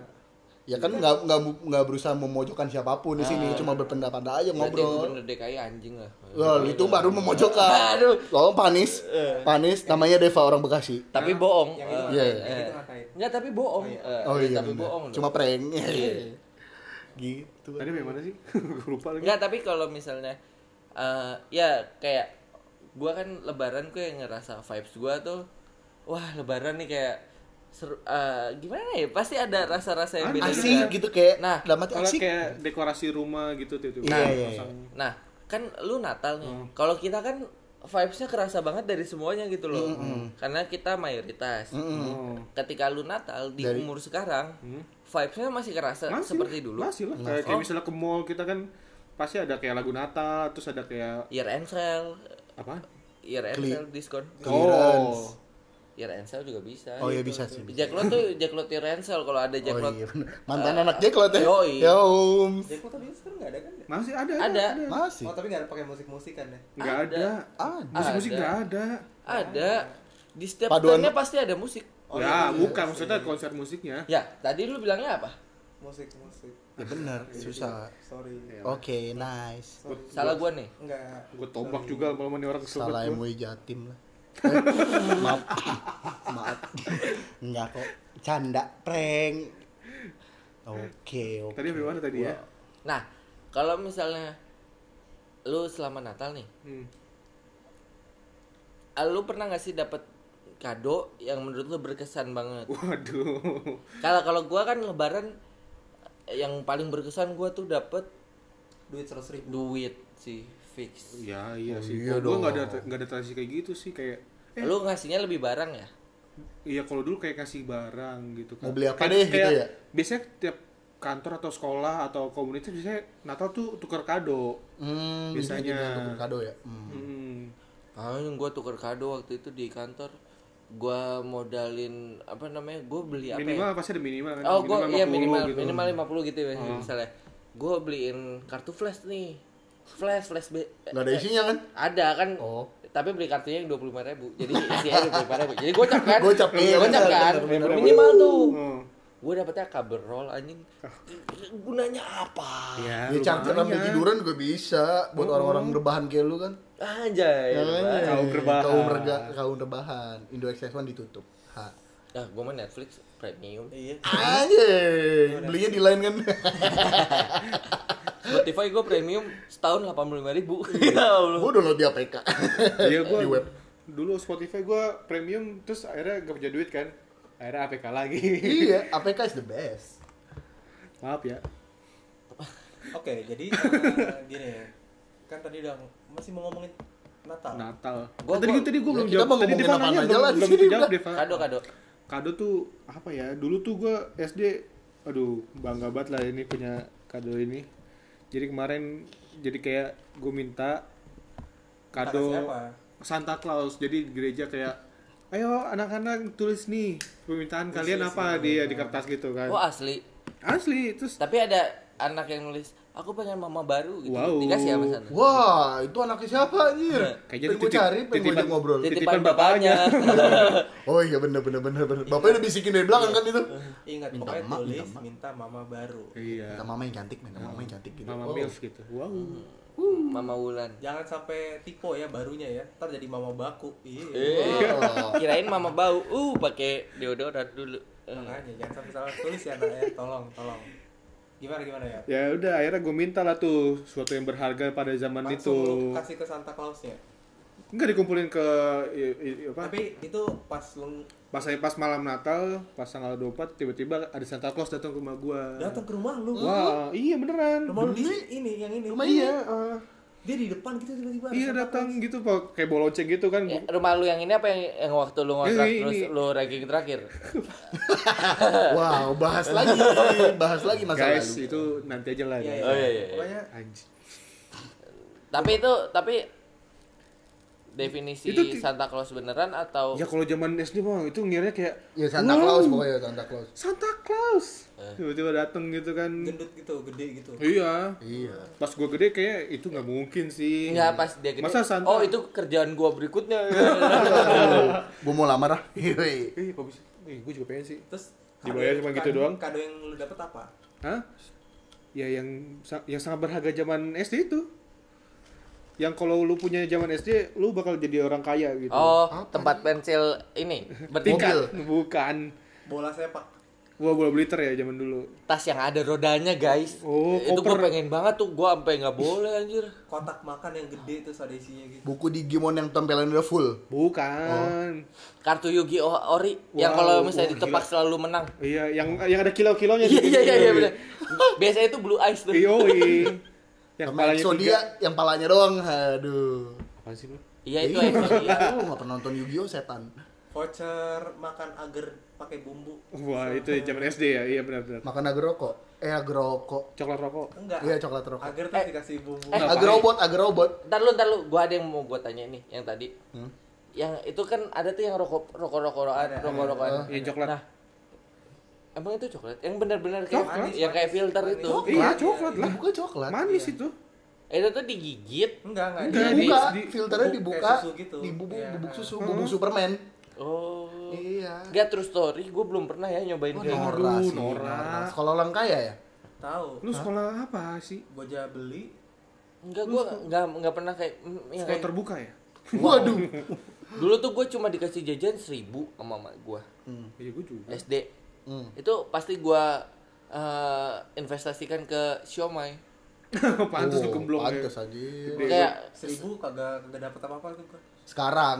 [SPEAKER 2] Ya kan nggak nggak mu- nggak berusaha memojokkan siapapun di sini, cuma berpendapat aja
[SPEAKER 4] Ah. berarti
[SPEAKER 2] ngobrol.
[SPEAKER 4] gubernur DKI anjing lah
[SPEAKER 2] Loh, itu baru memojokkan.
[SPEAKER 4] Aduh.
[SPEAKER 2] Loh, panis. Panis namanya Deva orang Bekasi.
[SPEAKER 4] tapi bohong
[SPEAKER 3] Yang
[SPEAKER 4] eh.
[SPEAKER 2] Iya,
[SPEAKER 3] itu ngatain,
[SPEAKER 2] iya.
[SPEAKER 3] yang itu ngatain.
[SPEAKER 4] Enggak tapi bohong. Eh,
[SPEAKER 2] Oh iya.
[SPEAKER 4] tapi
[SPEAKER 2] bener.
[SPEAKER 4] bohong. loh. Iya.
[SPEAKER 2] Cuma prank. gitu.
[SPEAKER 1] Tadi yang mana sih? Gua lupa lagi.
[SPEAKER 4] enggak tapi kalau misalnya eh, ya kayak gua kan lebaran gue yang ngerasa vibes gua tuh wah lebaran nih kayak seru eh, gimana ya? Pasti ada rasa-rasa yang beda
[SPEAKER 2] Asik
[SPEAKER 4] kan.
[SPEAKER 2] gitu kayak nah,
[SPEAKER 4] Nah,
[SPEAKER 2] dalam hati
[SPEAKER 1] Kalau
[SPEAKER 2] asik.
[SPEAKER 1] kayak dekorasi rumah gitu tiba-tiba.
[SPEAKER 2] Iya, iya,
[SPEAKER 1] pasang.
[SPEAKER 4] Nah, kan lu Natal nih. Kalau kita kan vibes-nya kerasa banget dari semuanya gitu loh. Karena kita mayoritas.
[SPEAKER 1] Oh.
[SPEAKER 4] Ketika lu Natal di umur sekarang, vibes-nya masih kerasa
[SPEAKER 1] Masih
[SPEAKER 4] seperti
[SPEAKER 1] lah,
[SPEAKER 4] dulu.
[SPEAKER 1] Masih lah. Kayak, kayak misalnya ke mall kita kan pasti ada kayak lagu Natal, terus ada kayak
[SPEAKER 4] Year end sale,
[SPEAKER 1] apa?
[SPEAKER 4] year end
[SPEAKER 2] Kli-
[SPEAKER 4] sale diskon.
[SPEAKER 1] Oh.
[SPEAKER 2] Clearance.
[SPEAKER 4] Ya Rensel juga bisa.
[SPEAKER 2] Oh, iya bisa sih.
[SPEAKER 4] Jack Lot tuh Jack Lot di Rensel kalau ada
[SPEAKER 2] Oh
[SPEAKER 4] Jack Lot.
[SPEAKER 2] iya. bener. Mantan anak Jeklot ya.
[SPEAKER 4] yoi.
[SPEAKER 2] Ya om.
[SPEAKER 3] Jadi kok tadi sekarang nggak ada kan? ya?
[SPEAKER 1] Masih ada.
[SPEAKER 4] Ada.
[SPEAKER 2] Masih.
[SPEAKER 3] Oh tapi nggak ada pakai musik-musik kan ya?
[SPEAKER 1] Enggak ada.
[SPEAKER 2] Ah,
[SPEAKER 1] Musik-musik
[SPEAKER 4] Ada.
[SPEAKER 1] enggak ada.
[SPEAKER 4] Ada. Di setiap
[SPEAKER 2] Paduan-
[SPEAKER 4] stand-nya pasti ada musik.
[SPEAKER 3] Oh,
[SPEAKER 1] ya,
[SPEAKER 3] iya, iya,
[SPEAKER 1] bukan
[SPEAKER 3] iya.
[SPEAKER 1] maksudnya konser musiknya.
[SPEAKER 4] Ya, tadi lu bilangnya apa?
[SPEAKER 3] Musik-musik.
[SPEAKER 2] ya benar, susah.
[SPEAKER 3] Sorry.
[SPEAKER 2] Iya. Oke, nice.
[SPEAKER 4] Salah gua nih.
[SPEAKER 3] Enggak.
[SPEAKER 1] Gue tombak juga kalau ini orang kesel.
[SPEAKER 2] Salah
[SPEAKER 1] banget gua.
[SPEAKER 2] MUI Jatim lah. maaf. maaf. Enggak kok. Canda prank. Oke, oke.
[SPEAKER 1] Tadi dari mana tadi ya?
[SPEAKER 4] Nah, kalau misalnya lu selama Natal nih,
[SPEAKER 1] Hmm.
[SPEAKER 4] ah, lu pernah gak sih dapat kado yang menurut lu berkesan banget?
[SPEAKER 1] Uh. Waduh.
[SPEAKER 4] Kalau kalau gua kan lebaran yang paling berkesan gua tuh dapet
[SPEAKER 3] Duit seratus ribu.
[SPEAKER 4] duit sih fix.
[SPEAKER 1] Ya iya sih.
[SPEAKER 2] iya
[SPEAKER 1] gue
[SPEAKER 2] dong.
[SPEAKER 1] nggak ada nggak ada tradisi kayak gitu sih kayak. Eh,
[SPEAKER 4] Lu ngasihnya lebih barang ya?
[SPEAKER 1] Iya kalau dulu kayak kasih barang gitu kan.
[SPEAKER 2] Mau beli apa
[SPEAKER 1] Kayak-
[SPEAKER 2] deh, gitu
[SPEAKER 1] kayak
[SPEAKER 2] ya?
[SPEAKER 1] Biasanya tiap kantor atau sekolah atau komunitas biasanya Natal tuh tukar kado.
[SPEAKER 2] Hmm,
[SPEAKER 1] Biasanya.
[SPEAKER 2] biasanya untuk kado ya. Hmm.
[SPEAKER 1] Hmm.
[SPEAKER 4] Ah, gue tuker kado waktu itu di kantor. Gua modalin apa namanya? Gue beli apa?
[SPEAKER 1] Minimal
[SPEAKER 4] ya?
[SPEAKER 1] pasti ada minimal kan.
[SPEAKER 4] Oh, gue ya
[SPEAKER 1] 50
[SPEAKER 4] minimal
[SPEAKER 1] gitu. Hmm.
[SPEAKER 4] minimal 50 gitu ya misalnya. Gue beliin kartu flash nih. Flash, flash B.
[SPEAKER 2] Gak ada isinya kan?
[SPEAKER 4] Ada kan?
[SPEAKER 2] Oh.
[SPEAKER 4] Tapi beli kartunya yang 25.000 ribu. Jadi isinya 25.000 ribu. Jadi gocap kan?
[SPEAKER 2] Gocap, iya,
[SPEAKER 4] Gocap
[SPEAKER 2] benar,
[SPEAKER 4] kan?
[SPEAKER 2] benar, benar.
[SPEAKER 4] Minimal tuh.
[SPEAKER 1] Oh.
[SPEAKER 4] Gue dapetnya cover roll anjing. Gunanya apa?
[SPEAKER 1] Ya,
[SPEAKER 2] Ya, ya
[SPEAKER 1] lumayan.
[SPEAKER 2] cangkir sambil tiduran juga bisa buat orang-orang rebahan kayak lu kan.
[SPEAKER 4] Anjay.
[SPEAKER 2] Namanya
[SPEAKER 4] Bang.
[SPEAKER 1] Kaum rebahan.
[SPEAKER 2] Kaum rega- kaum rebahan. Indo XF1 ditutup. Ha.
[SPEAKER 4] Ah, gue mah Netflix premium.
[SPEAKER 3] Iya.
[SPEAKER 2] Anjing, belinya di lain kan.
[SPEAKER 4] Spotify gue premium setahun 85.000 ribu. Ya Allah.
[SPEAKER 2] Gua download di APK.
[SPEAKER 1] Iya gue
[SPEAKER 2] Di web.
[SPEAKER 1] dulu Spotify gue premium terus akhirnya gak punya duit kan akhirnya APK lagi
[SPEAKER 2] iya, APK is the best.
[SPEAKER 1] maaf ya
[SPEAKER 3] Oke, jadi eh, gini ya. Kan tadi udah masih mau ngomongin Natal.
[SPEAKER 1] Natal
[SPEAKER 4] Gua-
[SPEAKER 1] tadi
[SPEAKER 4] gua-
[SPEAKER 1] tadi gue
[SPEAKER 2] ya,
[SPEAKER 1] belum
[SPEAKER 2] kita
[SPEAKER 1] jawab
[SPEAKER 2] mau
[SPEAKER 1] tadi
[SPEAKER 2] ngomongin
[SPEAKER 1] Deva
[SPEAKER 2] apaan
[SPEAKER 1] nanya
[SPEAKER 2] aja
[SPEAKER 1] belum
[SPEAKER 2] lah di
[SPEAKER 1] belum
[SPEAKER 2] sini
[SPEAKER 1] dijawab
[SPEAKER 2] udah.
[SPEAKER 1] Deva
[SPEAKER 4] Kado kado.
[SPEAKER 1] kado tuh apa ya dulu tuh gue SD aduh bangga banget lah ini punya kado ini jadi kemarin jadi kayak gue minta kado
[SPEAKER 3] Minta kasih apa?
[SPEAKER 1] Santa Claus jadi di gereja kayak ayo anak-anak tulis nih permintaan kalian apa di di kertas gitu kan
[SPEAKER 4] Oh asli.
[SPEAKER 1] asli terus
[SPEAKER 4] Tapi ada anak yang nulis, aku pengen mama baru gitu.
[SPEAKER 1] Wow.
[SPEAKER 4] Dikasih sama sana.
[SPEAKER 2] Wah, itu anaknya siapa anjir?
[SPEAKER 1] Kayaknya
[SPEAKER 2] Pengen gua
[SPEAKER 1] titip-
[SPEAKER 2] cari, pengen gua
[SPEAKER 1] titipan-
[SPEAKER 2] ajak ngobrol.
[SPEAKER 1] Titipan
[SPEAKER 4] Titipan
[SPEAKER 1] bapaknya.
[SPEAKER 4] bapaknya.
[SPEAKER 2] Oh iya bener bener bener bener. Bapaknya udah bisikin dari belakang kan itu.
[SPEAKER 3] Ingat
[SPEAKER 2] Minta
[SPEAKER 3] pokoknya
[SPEAKER 2] emak,
[SPEAKER 3] tulis
[SPEAKER 2] minta emak.
[SPEAKER 3] minta mama baru.
[SPEAKER 1] iya
[SPEAKER 2] Minta mama yang cantik, minta mama yang cantik gitu.
[SPEAKER 1] mama
[SPEAKER 2] Wow.
[SPEAKER 1] milf gitu wow
[SPEAKER 4] Uh, Mama Wulan.
[SPEAKER 3] Jangan sampai tipe ya barunya ya. Ntar jadi mama baku. Iya.
[SPEAKER 4] Eh,
[SPEAKER 2] Wow.
[SPEAKER 4] kirain mama bau. Uh, pakai deodoran dulu. Eh,
[SPEAKER 3] Makanya jangan sampai salah tulis ya anak ya. Tolong, tolong. Gimana gimana ya?
[SPEAKER 1] ya udah akhirnya gue minta lah tuh sesuatu yang berharga pada zaman itu
[SPEAKER 3] Langsung lu kasih ke Santa Clausnya.
[SPEAKER 1] nggak dikumpulin ke i- i- apa
[SPEAKER 3] Tapi itu pas lu
[SPEAKER 1] pas saya pas malam Natal pas tanggal 24 tiba-tiba ada Santa Claus datang ke rumah gua
[SPEAKER 3] datang ke rumah lu.
[SPEAKER 1] wah iya beneran
[SPEAKER 3] Rumah lu di ini yang ini.
[SPEAKER 2] Rumah iya.
[SPEAKER 1] Ah,
[SPEAKER 3] Dia di depan gitu tiba-tiba.
[SPEAKER 1] iya datang gitu Pak. kayak boloceng gitu kan
[SPEAKER 4] ya, rumah lu yang ini apa yang, yang waktu lu ngontrak
[SPEAKER 1] Ini,
[SPEAKER 4] terus
[SPEAKER 1] ini.
[SPEAKER 4] lu ranking terakhir?
[SPEAKER 2] wow, bahas lagi, bahas lagi masalah
[SPEAKER 1] guys itu nanti aja lah
[SPEAKER 3] Iya,
[SPEAKER 1] ya.
[SPEAKER 3] iya.
[SPEAKER 4] Oh, iya, iya.
[SPEAKER 3] Pokoknya
[SPEAKER 1] Anjir.
[SPEAKER 4] tapi itu tapi definisi
[SPEAKER 1] Itu ti-
[SPEAKER 4] Santa Claus beneran atau
[SPEAKER 1] ya kalau zaman SD bang itu ngirnya kayak
[SPEAKER 2] Ya Santa
[SPEAKER 1] "Wow,
[SPEAKER 2] Claus pokoknya Santa Claus.
[SPEAKER 1] Santa Claus tiba-tiba datang gitu kan
[SPEAKER 3] gendut gitu, gede gitu.
[SPEAKER 1] iya
[SPEAKER 2] Iya.
[SPEAKER 1] pas gua gede kayak itu nggak mungkin sih
[SPEAKER 4] Enggak pas dia gede.
[SPEAKER 1] masa Santa
[SPEAKER 4] Oh, itu kerjaan gua berikutnya.
[SPEAKER 2] Gua mau lamar ah. Yoi.
[SPEAKER 1] eh bagus eh gua juga pengen sih
[SPEAKER 3] Terus
[SPEAKER 1] Dibayar
[SPEAKER 3] kado-
[SPEAKER 1] cuma gitu
[SPEAKER 3] kado-
[SPEAKER 1] doang?
[SPEAKER 3] Kado yang lu dapet apa?
[SPEAKER 1] Hah? Ya yang sa- yang sangat berharga zaman SD itu. Yang kalau lu punya zaman SD, lu bakal jadi orang kaya gitu.
[SPEAKER 4] oh, tempat pensil ini bertingkat
[SPEAKER 2] Mobil.
[SPEAKER 1] Bukan.
[SPEAKER 3] Bola sepak.
[SPEAKER 1] Wah, bola liter ya zaman dulu.
[SPEAKER 4] tas yang ada rodanya, guys.
[SPEAKER 1] Oh,
[SPEAKER 4] itu
[SPEAKER 1] koper.
[SPEAKER 4] gua pengen banget tuh, gua sampai nggak boleh anjir.
[SPEAKER 3] Kotak makan yang gede terus ada isinya gitu.
[SPEAKER 2] Buku Digimon yang tempelannya udah full.
[SPEAKER 1] Bukan.
[SPEAKER 4] Kartu Yugi Oh Ori yang
[SPEAKER 1] Wow,
[SPEAKER 4] kalau
[SPEAKER 1] wah,
[SPEAKER 4] misalnya ditebak selalu menang.
[SPEAKER 1] Iya, yang yang ada kilau-kilaunya
[SPEAKER 4] Iya
[SPEAKER 1] gitu.
[SPEAKER 4] iya iya iya benar. Biasanya itu blue eyes tuh.
[SPEAKER 1] Iya. Yoi. Yang
[SPEAKER 2] Sama
[SPEAKER 1] palanya tiga.
[SPEAKER 2] Exodia yang palanya doang. Aduh.
[SPEAKER 1] Apaan sih lu?
[SPEAKER 4] Iya itu
[SPEAKER 2] Ih,
[SPEAKER 4] Exodia.
[SPEAKER 2] Lu nggak pernah nonton Yu-Gi-Oh setan.
[SPEAKER 3] Voucher makan agar pakai bumbu.
[SPEAKER 1] Wah, itu ya zaman SD ya. Iya benar benar.
[SPEAKER 2] Makan agroko. Eh agroko.
[SPEAKER 1] Coklat rokok.
[SPEAKER 3] Enggak.
[SPEAKER 2] Iya coklat rokok.
[SPEAKER 3] Agar terus dikasih bumbu.
[SPEAKER 4] eh,
[SPEAKER 2] Agrobot, agrobot.
[SPEAKER 4] Ntar lu, ntar lu, gua ada yang mau gua tanya nih, yang tadi. Yang itu kan ada tuh yang rokok rokok rokokan, rokok rokokan.
[SPEAKER 1] Yang coklat.
[SPEAKER 4] Nah, emang itu coklat? Yang benar-benar kayak
[SPEAKER 3] Coklat.
[SPEAKER 4] yang kayak filter itu.
[SPEAKER 1] iya, coklat lah.
[SPEAKER 2] Dibuka coklat. iya.
[SPEAKER 1] Manis itu.
[SPEAKER 4] Itu tuh digigit.
[SPEAKER 3] Enggak, enggak.
[SPEAKER 1] Enggak.
[SPEAKER 3] Jadi-
[SPEAKER 2] Dibuka,
[SPEAKER 1] di-
[SPEAKER 2] filternya
[SPEAKER 3] Iya, bubuk
[SPEAKER 2] dibuka.
[SPEAKER 3] kayak susu gitu.
[SPEAKER 2] Dibubuk
[SPEAKER 3] Iya.
[SPEAKER 2] bubuk susu,
[SPEAKER 1] Hmm.
[SPEAKER 2] bubuk Superman.
[SPEAKER 4] Oh.
[SPEAKER 2] Iya.
[SPEAKER 4] Gak true story, gue belum pernah ya nyobain
[SPEAKER 2] Oh,
[SPEAKER 4] kayak gitu.
[SPEAKER 2] Nora sih,
[SPEAKER 1] Nora.
[SPEAKER 2] Nora. Sekolah orang kaya ya?
[SPEAKER 3] Tahu.
[SPEAKER 1] Lu sekolah apa sih?
[SPEAKER 3] Goja beli
[SPEAKER 4] Enggak, gue enggak enggak pernah kayak mm, yang
[SPEAKER 1] Sekolah
[SPEAKER 4] kayak-
[SPEAKER 1] terbuka ya?
[SPEAKER 2] Waduh.
[SPEAKER 4] Dulu tuh gue cuma dikasih jajan seribu sama mama gue
[SPEAKER 1] Iya, gua juga.
[SPEAKER 4] SD.
[SPEAKER 2] Hmm.
[SPEAKER 4] Itu pasti gue eh, investasikan ke siomay.
[SPEAKER 1] Pantes lu
[SPEAKER 2] Oh,
[SPEAKER 1] gemblong ya.
[SPEAKER 2] Pantes aja.
[SPEAKER 1] Gede.
[SPEAKER 4] Kayak
[SPEAKER 3] seribu kagak kagak dapet apa apa tuh gua.
[SPEAKER 2] Sekarang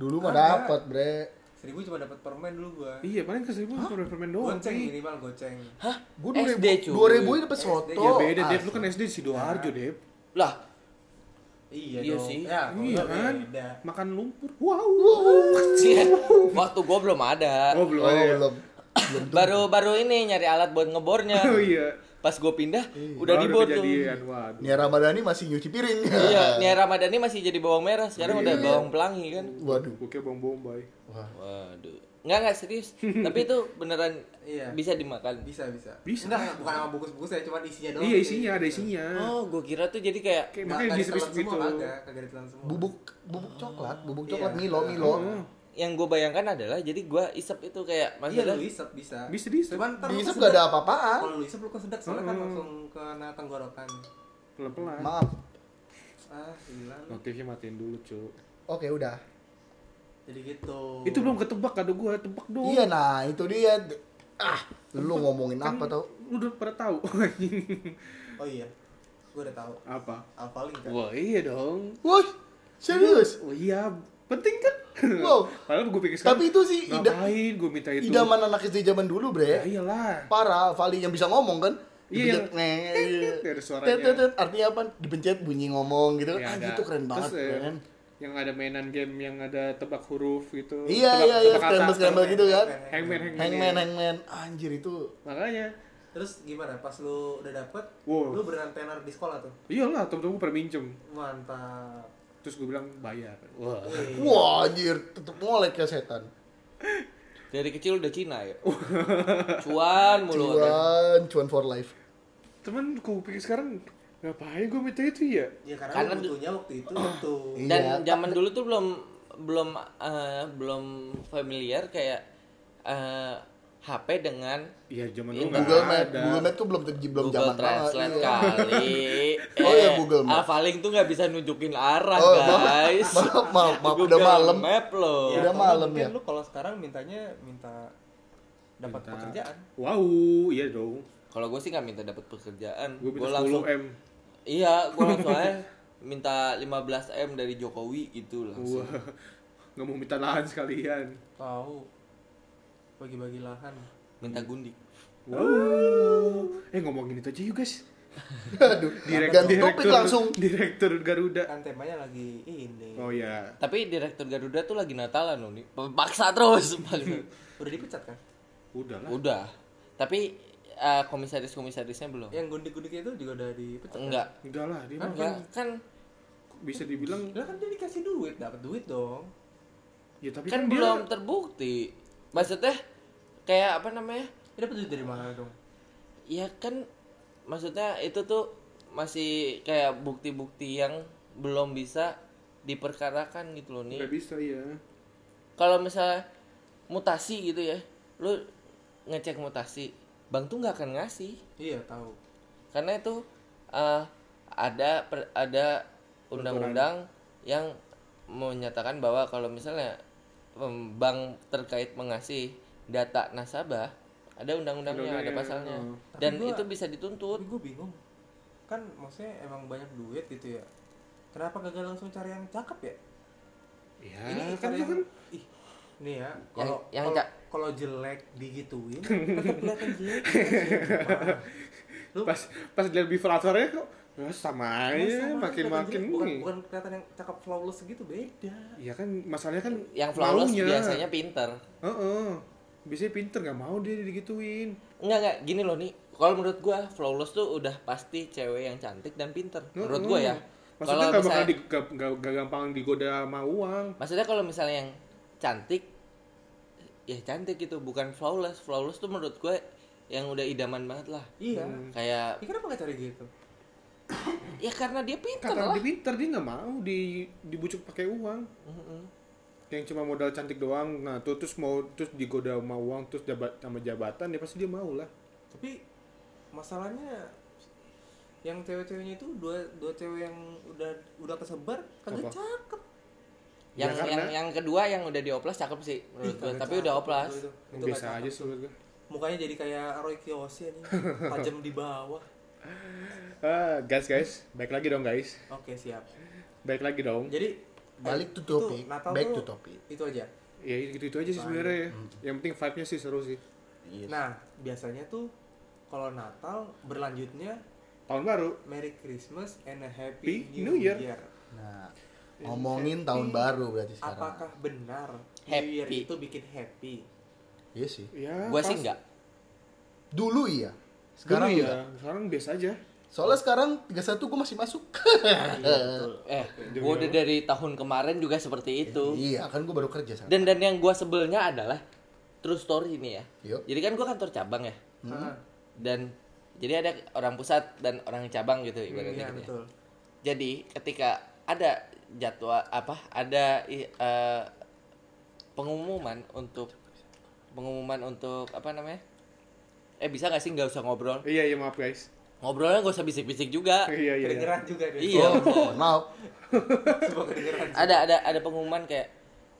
[SPEAKER 2] dulu mah
[SPEAKER 3] Kagak.
[SPEAKER 2] dapat, Bre.
[SPEAKER 3] Seribu cuma dapet permen dulu gua.
[SPEAKER 1] Iya, paling ke seribu permen permen doang.
[SPEAKER 3] Goceng
[SPEAKER 1] Pi.
[SPEAKER 3] minimal goceng.
[SPEAKER 4] hah?
[SPEAKER 2] Gua
[SPEAKER 4] SD
[SPEAKER 2] 2000,
[SPEAKER 4] cuy.
[SPEAKER 2] 2000 dapat soto.
[SPEAKER 3] Oh,
[SPEAKER 1] Ya beda, Dep. Lu
[SPEAKER 2] Ah,
[SPEAKER 1] kan SD di
[SPEAKER 3] Nah,
[SPEAKER 1] Sidoarjo, Dep.
[SPEAKER 4] Lah,
[SPEAKER 3] Iya,
[SPEAKER 4] Iya
[SPEAKER 3] dong.
[SPEAKER 4] sih.
[SPEAKER 3] Ya, kalau
[SPEAKER 1] Iya
[SPEAKER 3] enggak
[SPEAKER 1] kan?
[SPEAKER 3] beda.
[SPEAKER 1] Makan lumpur. Wow.
[SPEAKER 4] waktu gue belum ada.
[SPEAKER 1] Oh, belum
[SPEAKER 2] Oh,
[SPEAKER 1] ada ya?
[SPEAKER 2] belum. Belum tuh.
[SPEAKER 4] Baru baru ini nyari alat buat ngebornya.
[SPEAKER 1] Oh iya.
[SPEAKER 4] Pas gue pindah, udah
[SPEAKER 1] Baru
[SPEAKER 4] dibor tuh.
[SPEAKER 1] kejadian. Waduh.
[SPEAKER 2] Nia Ramadhani masih nyuci piring.
[SPEAKER 4] Iya, Nia Ramadhani masih jadi bawang merah, sekarang udah bawang pelangi kan.
[SPEAKER 2] Waduh.
[SPEAKER 1] Gue kayak bom bombay.
[SPEAKER 4] Waduh. Enggak enggak serius, tapi itu beneran
[SPEAKER 3] Iya.
[SPEAKER 4] bisa dimakan.
[SPEAKER 3] Bisa, bisa.
[SPEAKER 1] Bisa.
[SPEAKER 3] Enggak, bukan sama bungkus-bungkus ya, cuma isinya doang.
[SPEAKER 1] Iya, isinya ada isinya.
[SPEAKER 2] Hmm.
[SPEAKER 4] Oh, gue kira tuh jadi kayak
[SPEAKER 1] Kayak
[SPEAKER 3] Enggak,
[SPEAKER 1] makanya
[SPEAKER 3] kagak
[SPEAKER 1] di
[SPEAKER 3] ditelan
[SPEAKER 1] sepi
[SPEAKER 3] Nah, semua,
[SPEAKER 1] gitu.
[SPEAKER 3] kagak, kagak ditelan semua.
[SPEAKER 2] Bubuk bubuk coklat, bubuk
[SPEAKER 3] Iya.
[SPEAKER 2] coklat Milo, Milo.
[SPEAKER 1] Oh,
[SPEAKER 4] yang gue bayangkan adalah jadi gue isep itu kayak
[SPEAKER 3] Iya,
[SPEAKER 4] maksudnya
[SPEAKER 3] lu isep bisa.
[SPEAKER 1] Bisa Hmm. diisep.
[SPEAKER 3] Cuman ntar lu
[SPEAKER 2] Di isep
[SPEAKER 3] kesedak.
[SPEAKER 2] gak ada apa-apaan.
[SPEAKER 3] Kalau lu isep lu kesedak soalnya kan langsung kena tenggorokan.
[SPEAKER 1] Pelan-pelan.
[SPEAKER 2] Maaf.
[SPEAKER 3] ah hilang
[SPEAKER 1] Notifnya matiin dulu, cu.
[SPEAKER 2] Oke, udah.
[SPEAKER 3] jadi gitu
[SPEAKER 1] Itu belum ketebak kado gua, tebak dong.
[SPEAKER 2] Iya, nah itu dia. Ah, lu ngomongin
[SPEAKER 1] Kan
[SPEAKER 2] apa tau?
[SPEAKER 1] Lu udah pada tahu.
[SPEAKER 3] oh iya gue udah tahu
[SPEAKER 1] Apa?
[SPEAKER 3] Alphalink kan
[SPEAKER 1] Wah, iya dong.
[SPEAKER 2] Wah, serius?
[SPEAKER 1] Oh iya, penting kan?
[SPEAKER 2] Wow.
[SPEAKER 1] Padahal gue pikir
[SPEAKER 2] Tapi itu sih ida-
[SPEAKER 1] Kan ngapain gue minta itu.
[SPEAKER 2] Idaman anak SD zaman dulu,
[SPEAKER 1] Ya
[SPEAKER 2] bre.
[SPEAKER 1] iyalah.
[SPEAKER 2] Parah, Vali yang bisa ngomong kan?
[SPEAKER 1] Iya,
[SPEAKER 2] Dipencet, nge-
[SPEAKER 1] Dari suaranya.
[SPEAKER 2] tet, tet, tet. artinya apa? Dipencet bunyi ngomong gitu kan?
[SPEAKER 1] Ya,
[SPEAKER 2] Ah,
[SPEAKER 1] ada.
[SPEAKER 2] itu keren banget,
[SPEAKER 1] Terus, eh,
[SPEAKER 2] keren.
[SPEAKER 1] yang ada mainan game yang ada tebak huruf gitu.
[SPEAKER 2] Iya,
[SPEAKER 1] tebak-
[SPEAKER 2] iya, iya,
[SPEAKER 1] tebak kata.
[SPEAKER 2] scramble-scramble gitu kan?
[SPEAKER 1] Hangman, hangman.
[SPEAKER 2] Hangman,
[SPEAKER 1] iya.
[SPEAKER 2] hangman. Anjir itu
[SPEAKER 1] Makanya,
[SPEAKER 3] terus gimana pas lu udah dapet
[SPEAKER 1] Wow.
[SPEAKER 3] lu beneran tenor di sekolah tuh
[SPEAKER 1] iyalah temen-temen gue pernah minjem.
[SPEAKER 3] mantap
[SPEAKER 1] Terus gue bilang bayar. Wah.
[SPEAKER 3] Wih.
[SPEAKER 2] Wah anjir, tetep ngolek ya setan
[SPEAKER 4] Dari kecil udah Cina ya. Cuan mulu. kan.
[SPEAKER 2] Cuan, cuan for life
[SPEAKER 1] Temen gue pikir sekarang ngapain gue minta itu ya?
[SPEAKER 3] ya karena,
[SPEAKER 4] Karena
[SPEAKER 3] lu butuhnya waktu itu waktu
[SPEAKER 2] Iya,
[SPEAKER 4] Dan zaman dulu tuh belum belum eh, belum familiar kayak eh, HP dengan
[SPEAKER 1] Iya zaman dulu nggak
[SPEAKER 2] Google Map,
[SPEAKER 1] ada.
[SPEAKER 2] Google Map tuh belum terj- belum
[SPEAKER 4] Google
[SPEAKER 2] zaman banget
[SPEAKER 4] Translate
[SPEAKER 2] iya.
[SPEAKER 4] kali.
[SPEAKER 2] Oh iya, Google Map.
[SPEAKER 4] Alphalink tuh nggak bisa nunjukin arah
[SPEAKER 2] Oh, maaf,
[SPEAKER 4] guys.
[SPEAKER 2] maaf, maaf, maaf, udah
[SPEAKER 4] Google
[SPEAKER 2] malam
[SPEAKER 4] Map loh.
[SPEAKER 2] Udah
[SPEAKER 3] atau
[SPEAKER 2] malam
[SPEAKER 3] mungkin
[SPEAKER 2] ya?
[SPEAKER 3] lu kalau sekarang mintanya minta dapat
[SPEAKER 1] Minta-
[SPEAKER 3] pekerjaan
[SPEAKER 1] Wow, Nah, iya dong.
[SPEAKER 4] Kalau gue sih nggak minta dapat pekerjaan.
[SPEAKER 1] Gue
[SPEAKER 4] Gua
[SPEAKER 1] minta 10
[SPEAKER 4] langsung
[SPEAKER 1] m.
[SPEAKER 4] Iya, gue langsung aja minta 15 m dari Jokowi gitu langsung.
[SPEAKER 1] Wah, nggak mau minta lahan sekalian.
[SPEAKER 3] tahu bagi-bagi lahan
[SPEAKER 4] Minta gundik.
[SPEAKER 1] Wow. Eh ngomongin itu aja yuk guys.
[SPEAKER 2] Ah. Aduh, ganti topik langsung
[SPEAKER 1] Direktur Garuda.
[SPEAKER 3] kan temanya lagi ini
[SPEAKER 1] Oh ya.
[SPEAKER 4] Tapi direktur Garuda tuh lagi Natalan loh nih. Paksa terus. paksa.
[SPEAKER 3] udah dipecat kan
[SPEAKER 1] Udah lah.
[SPEAKER 4] Udah. Tapi eh, komisaris-komisarisnya belum.
[SPEAKER 1] Iya,
[SPEAKER 3] yang gundik-gundiknya itu juga udah dipecat
[SPEAKER 4] Oh.
[SPEAKER 3] kan?
[SPEAKER 4] Enggak.
[SPEAKER 1] Udah lah, dia mah
[SPEAKER 4] Enggak
[SPEAKER 1] kan
[SPEAKER 4] kan
[SPEAKER 1] bisa dibilang
[SPEAKER 3] Lah kan dia dikasih duit, dapat duit dong.
[SPEAKER 1] ya tapi
[SPEAKER 4] kan
[SPEAKER 1] kan, dia
[SPEAKER 4] belum terbukti. Maksudnya kayak apa namanya?
[SPEAKER 3] Dia dapat duit dari mana dong?
[SPEAKER 4] Ya kan maksudnya itu tuh masih kayak bukti-bukti yang belum bisa diperkarakan gitu loh nih.
[SPEAKER 1] nggak bisa ya.
[SPEAKER 4] kalau misalnya mutasi gitu ya lu ngecek mutasi bank tuh nggak akan ngasih
[SPEAKER 3] Iya, tahu.
[SPEAKER 4] karena itu eh, ada per- ada undang-undang yang menyatakan bahwa kalau misalnya em, bank terkait mengasih data nasabah ada undang-undangnya ada
[SPEAKER 1] Undang-undangnya,
[SPEAKER 4] pasalnya
[SPEAKER 1] oh.
[SPEAKER 3] Tapi
[SPEAKER 4] dan
[SPEAKER 3] gua-
[SPEAKER 4] itu bisa dituntut
[SPEAKER 3] Tapi gue bingung. Kan maksudnya emang banyak duit gitu ya. Kenapa kagak langsung cari yang cakep ya?
[SPEAKER 4] Iya,
[SPEAKER 1] Ya, kan
[SPEAKER 3] cari
[SPEAKER 1] itu kan
[SPEAKER 3] yang- Ih, nih ya, kalau
[SPEAKER 4] yang
[SPEAKER 3] kalau-
[SPEAKER 4] cak-
[SPEAKER 3] kalau jelek digituin, tetap kelihatan jelek. Sumpah. Lu
[SPEAKER 1] pas pas dilihat vibratornya kok ya sama
[SPEAKER 3] lu
[SPEAKER 1] aja
[SPEAKER 3] sama,
[SPEAKER 1] makin
[SPEAKER 3] kelihatan
[SPEAKER 1] makin
[SPEAKER 3] jelek. bukan, bukan kelihatan yang cakep flawless gitu, beda.
[SPEAKER 1] Iya kan masalahnya kan
[SPEAKER 4] yang flawless
[SPEAKER 1] maunya.
[SPEAKER 4] biasanya pinter
[SPEAKER 1] Heeh. Biasanya pinter nggak mau dia digituin.
[SPEAKER 4] Enggak enggak gini loh nih. Kalau menurut gua flawless tuh udah pasti cewek yang cantik dan pinter. Menurut gua ya.
[SPEAKER 1] Maksudnya
[SPEAKER 4] Kalau
[SPEAKER 1] nggak bakal
[SPEAKER 4] misalnya
[SPEAKER 1] di, gak, gampang digoda sama uang.
[SPEAKER 4] maksudnya kalau misalnya yang cantik ya cantik gitu, bukan flawless. Flawless tuh menurut gua yang udah idaman banget lah.
[SPEAKER 3] Iya.
[SPEAKER 4] Kayak
[SPEAKER 3] Ya, kenapa nggak cari gitu?
[SPEAKER 4] ya karena dia pinter
[SPEAKER 1] Karena
[SPEAKER 4] lah.
[SPEAKER 1] dia pinter dia nggak mau di dibujuk pakai uang.
[SPEAKER 4] Mm-mm.
[SPEAKER 1] Yang cuma modal cantik doang. Nah, tuh terus mau terus digoda sama uang, terus jabat sama jabatan, ya pasti dia mau lah.
[SPEAKER 3] tapi masalahnya yang cewek-ceweknya itu dua dua cewek yang udah udah kesebar kagak
[SPEAKER 1] Apa?
[SPEAKER 3] cakep
[SPEAKER 1] Ya,
[SPEAKER 4] Yang
[SPEAKER 1] karena-
[SPEAKER 4] yang yang kedua yang udah dioplas cakep sih menurut gua,
[SPEAKER 3] Kagak
[SPEAKER 4] Iya, tapi
[SPEAKER 3] cakep
[SPEAKER 4] udah oplas.
[SPEAKER 3] itu,
[SPEAKER 1] Yang
[SPEAKER 3] itu
[SPEAKER 1] biasa
[SPEAKER 3] nggak
[SPEAKER 1] aja
[SPEAKER 3] cakep.
[SPEAKER 1] sih menurut gue.
[SPEAKER 3] mukanya jadi kayak Roy Kiyoshi aja tajam di bawah
[SPEAKER 1] Ah, guys guys, baik lagi dong guys.
[SPEAKER 3] oke siap
[SPEAKER 1] Baik lagi dong.
[SPEAKER 4] Ya.
[SPEAKER 3] jadi
[SPEAKER 2] Balik
[SPEAKER 3] eh,
[SPEAKER 2] to topic,
[SPEAKER 3] tuh, Natal
[SPEAKER 2] back
[SPEAKER 3] tuh
[SPEAKER 2] to topic.
[SPEAKER 3] itu aja
[SPEAKER 1] Ya gitu-gitu aja sih sebenarnya. ya. Yang penting vibe-nya sih seru sih.
[SPEAKER 2] Iya.
[SPEAKER 3] nah biasanya tuh kalau Natal berlanjutnya
[SPEAKER 1] Tahun baru.
[SPEAKER 3] Merry Christmas and a
[SPEAKER 1] Happy
[SPEAKER 3] Happy
[SPEAKER 1] New
[SPEAKER 3] New,
[SPEAKER 1] Year.
[SPEAKER 3] Year.
[SPEAKER 2] Nah, ngomongin tahun baru berarti sekarang
[SPEAKER 3] Apakah benar New Year
[SPEAKER 4] Happy.
[SPEAKER 3] itu bikin happy?
[SPEAKER 2] Iya sih
[SPEAKER 1] Ya.
[SPEAKER 4] Gua sih
[SPEAKER 1] pas.
[SPEAKER 4] enggak.
[SPEAKER 2] Dulu iya
[SPEAKER 1] Sekarang
[SPEAKER 2] Sekarang
[SPEAKER 1] ya,
[SPEAKER 2] iya
[SPEAKER 1] sekarang biasa aja.
[SPEAKER 2] Soalnya sekarang 31 gue masih masuk
[SPEAKER 3] Iya, betul.
[SPEAKER 4] Eh, gua udah dari tahun kemarin juga seperti itu.
[SPEAKER 2] Iya, kan gue baru kerja sekarang
[SPEAKER 4] Dan dan yang gua sebelnya adalah true story ini ya.
[SPEAKER 1] Iya.
[SPEAKER 2] Yuk.
[SPEAKER 4] Jadi kan gua kantor cabang ya.
[SPEAKER 2] Hmm?
[SPEAKER 3] Ah,
[SPEAKER 4] dan jadi ada orang pusat dan orang cabang gitu
[SPEAKER 3] iya
[SPEAKER 4] ibaratnya gitu ya.
[SPEAKER 3] betul.
[SPEAKER 4] Jadi ketika ada jadwal apa ada i- eh, pengumuman untuk pengumuman untuk apa namanya? Eh bisa nggak sih nggak usah ngobrol?
[SPEAKER 1] Iya, iya maaf guys.
[SPEAKER 4] Ngobrolnya gak usah bisik-bisik juga.
[SPEAKER 1] iya iya iya.
[SPEAKER 3] kedengeran juga deh
[SPEAKER 4] Iya.
[SPEAKER 2] Oh, maaf.
[SPEAKER 3] semua kedengeran
[SPEAKER 4] ada ada ada pengumuman kayak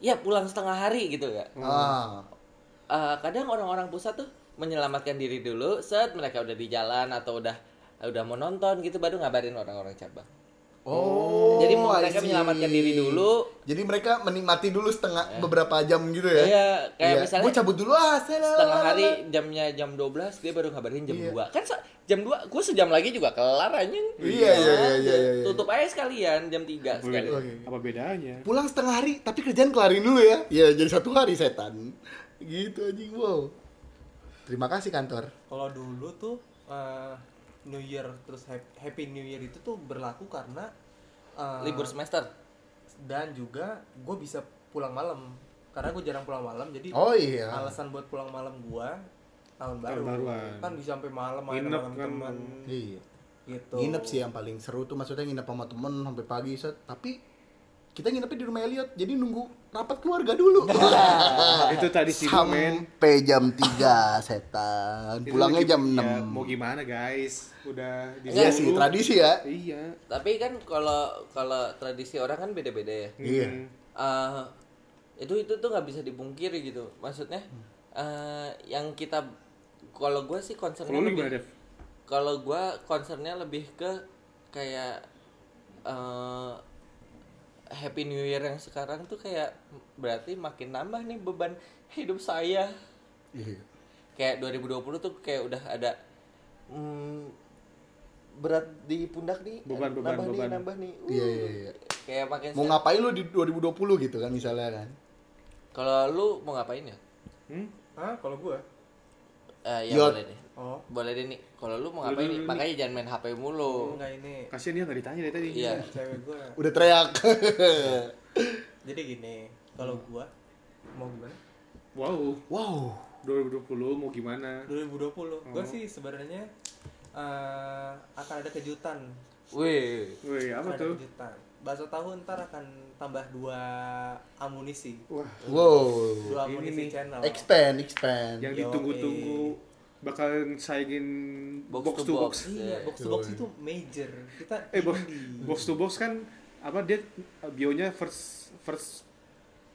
[SPEAKER 4] ya pulang setengah hari gitu gak?
[SPEAKER 2] Ah.
[SPEAKER 4] Eh, kadang orang-orang pusat tuh menyelamatkan diri dulu, set mereka udah di jalan atau udah udah mau nonton gitu baru ngabarin orang-orang cabang.
[SPEAKER 2] Oh.
[SPEAKER 4] Jadi
[SPEAKER 2] I
[SPEAKER 4] mereka
[SPEAKER 2] see.
[SPEAKER 4] menyelamatkan diri dulu.
[SPEAKER 2] Iya. Jadi mereka menikmati dulu setengah beberapa jam gitu ya.
[SPEAKER 4] Iya, kayak
[SPEAKER 2] Iya.
[SPEAKER 4] misalnya-
[SPEAKER 2] Gua cabut dulu ah, saya
[SPEAKER 4] Setengah hari jamnya jam 12 dia baru ngabarin jam
[SPEAKER 2] Iya.
[SPEAKER 4] 2. Kan se- jam 2 gue sejam lagi juga kelar anjing.
[SPEAKER 2] Iya, iya, iya, iya, iya, iya.
[SPEAKER 4] Tutup aja sekalian jam
[SPEAKER 1] Boleh.
[SPEAKER 4] 3 sekalian.
[SPEAKER 2] Oke.
[SPEAKER 1] Apa bedanya?
[SPEAKER 2] Pulang setengah hari tapi kerjaan kelarin dulu ya. Iya, jadi satu hari setan. Gitu anjing wow. Terima kasih kantor.
[SPEAKER 3] kalau dulu tuh eh, New Year terus hap- Happy New Year itu tuh berlaku karena
[SPEAKER 2] Ah.
[SPEAKER 3] eh,
[SPEAKER 4] Libur semester.
[SPEAKER 3] dan juga gue bisa pulang malam karena gue jarang pulang malam jadi
[SPEAKER 2] Oh iya.
[SPEAKER 3] alasan buat pulang malam gue tahun baru
[SPEAKER 1] baruan.
[SPEAKER 3] kan bisa sampai malam main
[SPEAKER 1] Nginep
[SPEAKER 3] malam
[SPEAKER 1] kan.
[SPEAKER 3] teman
[SPEAKER 2] Iya.
[SPEAKER 3] gitu
[SPEAKER 2] Nginep sih ya. yang paling seru tuh maksudnya nginep sama temen sampai pagi set. Tapi kita nginepnya di rumah Elliot, jadi nunggu rapat keluarga dulu.
[SPEAKER 1] itu tadi sih Nah, men.
[SPEAKER 2] Sampai jam 3 setan.
[SPEAKER 1] Itu
[SPEAKER 2] Pulangnya
[SPEAKER 1] lagi-
[SPEAKER 2] jam
[SPEAKER 1] ya,
[SPEAKER 2] 6.
[SPEAKER 1] mau gimana guys? Udah disuruh.
[SPEAKER 2] Iya sih, tradisi ya.
[SPEAKER 1] Iya.
[SPEAKER 4] Tapi kan kalau kalau tradisi orang kan beda-beda ya.
[SPEAKER 2] Iya.
[SPEAKER 1] Hmm.
[SPEAKER 4] eh itu itu tuh nggak bisa dipungkiri gitu maksudnya
[SPEAKER 1] Hmm.
[SPEAKER 4] eh yang kita kalau gue sih concernnya
[SPEAKER 1] Kalau lu gimana,
[SPEAKER 4] lebih
[SPEAKER 1] Dev?
[SPEAKER 4] kalau gue concernnya lebih ke kayak eh Happy New Year yang sekarang tuh kayak berarti makin nambah nih beban hidup saya
[SPEAKER 2] Iya.
[SPEAKER 4] kayak 2020 tuh kayak udah ada mm, berat di pundak nih
[SPEAKER 1] Beban, beban,
[SPEAKER 4] nambah
[SPEAKER 1] beban.
[SPEAKER 4] nih nambah nih Uh,
[SPEAKER 2] Iya, iya, iya.
[SPEAKER 4] kayak makin
[SPEAKER 2] Mau ngapain lu di 2020 gitu kan misalnya kan?
[SPEAKER 4] kalau lu mau ngapain ya
[SPEAKER 1] Hmm?
[SPEAKER 3] ah kalau gue
[SPEAKER 4] Eh, ya
[SPEAKER 2] Yot.
[SPEAKER 4] boleh deh.
[SPEAKER 3] oh
[SPEAKER 4] Boleh deh nih. Kalau lu mau ngapain nih? Makanya jangan main HP
[SPEAKER 2] Oh.
[SPEAKER 4] mulu.
[SPEAKER 3] enggak ini
[SPEAKER 1] Kasihan dia nggak ditanya dari tadi.
[SPEAKER 4] Iya.
[SPEAKER 3] cewek gue
[SPEAKER 2] Udah teriak.
[SPEAKER 3] jadi gini kalau gue mau gimana
[SPEAKER 1] Wow.
[SPEAKER 2] wow.
[SPEAKER 1] 2020 mau gimana?
[SPEAKER 3] 2020
[SPEAKER 1] Oh.
[SPEAKER 3] gue sih sebenarnya eh, akan ada kejutan
[SPEAKER 4] Wih.
[SPEAKER 1] Woi, apa
[SPEAKER 3] akan ada
[SPEAKER 1] tuh?
[SPEAKER 3] kejutan bakso tahu ntar akan tambah dua amunisi
[SPEAKER 1] Wah,
[SPEAKER 2] Wow.
[SPEAKER 3] dua
[SPEAKER 1] Ini
[SPEAKER 3] amunisi
[SPEAKER 1] nih.
[SPEAKER 3] channel
[SPEAKER 2] Expand, expand.
[SPEAKER 1] yang
[SPEAKER 3] Yoi.
[SPEAKER 1] ditunggu-tunggu bakalan saingin box,
[SPEAKER 4] Box to
[SPEAKER 1] to box.
[SPEAKER 4] box.
[SPEAKER 3] Iya, box to box itu major. Kita
[SPEAKER 1] Eh, box,
[SPEAKER 3] indie.
[SPEAKER 1] box to box kan apa dia uh, bionya first first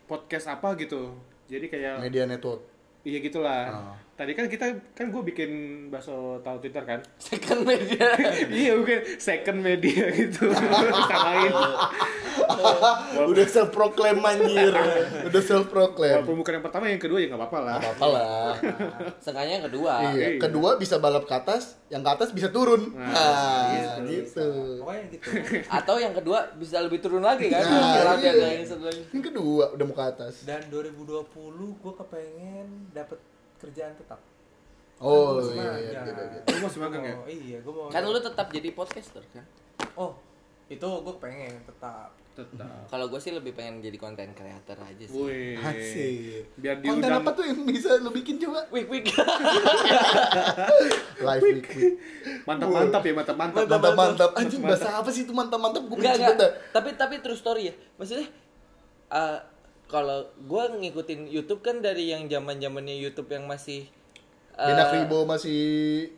[SPEAKER 1] podcast apa gitu. Jadi kayak
[SPEAKER 2] Media network.
[SPEAKER 1] iya gitulah.
[SPEAKER 2] Ah.
[SPEAKER 1] Tadi kan kita kan gue bikin bakso tahu Twitter kan.
[SPEAKER 4] Second media.
[SPEAKER 1] iya mungkin second media gitu. Salahin.
[SPEAKER 2] Udah self proclaim anjir. Udah self proclaim.
[SPEAKER 1] Walaupun bukan yang pertama yang kedua ya nggak apa-apa lah.
[SPEAKER 2] Apa lah.
[SPEAKER 4] Seenggaknya yang kedua.
[SPEAKER 2] Iya. Kedua bisa balap ke atas, yang ke atas bisa turun. Nah, gitu.
[SPEAKER 3] Pokoknya gitu.
[SPEAKER 4] Atau yang kedua bisa lebih turun lagi kan?
[SPEAKER 2] Nah,
[SPEAKER 4] Kalau
[SPEAKER 2] iya.
[SPEAKER 4] ada yang satu lagi.
[SPEAKER 2] Yang kedua udah mau ke atas.
[SPEAKER 3] Dan 2020 gue kepengen dapet kerjaan tetap.
[SPEAKER 2] Oh
[SPEAKER 3] Terus
[SPEAKER 2] iya, iya,
[SPEAKER 3] magang.
[SPEAKER 2] iya, iya.
[SPEAKER 1] Lu masih magang ya?
[SPEAKER 3] Nah, Oh, Iya, gue mau.
[SPEAKER 4] Kan lu tetap jadi podcaster kan?
[SPEAKER 3] Oh, itu gue pengen tetap.
[SPEAKER 1] Tetap.
[SPEAKER 4] Kalau gue sih lebih pengen jadi konten creator aja sih.
[SPEAKER 1] Woi.
[SPEAKER 2] Iya. Asik.
[SPEAKER 1] Biar
[SPEAKER 2] Konten
[SPEAKER 1] diundang.
[SPEAKER 2] apa tuh yang bisa lu bikin coba?
[SPEAKER 4] Wik wik.
[SPEAKER 2] Live week. week.
[SPEAKER 1] Mantap-mantap ya, mantap-mantap.
[SPEAKER 2] Mantap mantap. Anjing bahasa apa sih itu mantap mantap? Gue
[SPEAKER 4] Enggak
[SPEAKER 2] benci
[SPEAKER 4] enggak.
[SPEAKER 2] banget. dah.
[SPEAKER 4] Tapi tapi true story ya. Maksudnya eh kalau gue ngikutin YouTube kan dari yang zaman zamannya YouTube yang masih eh,
[SPEAKER 2] Benak Ribo masih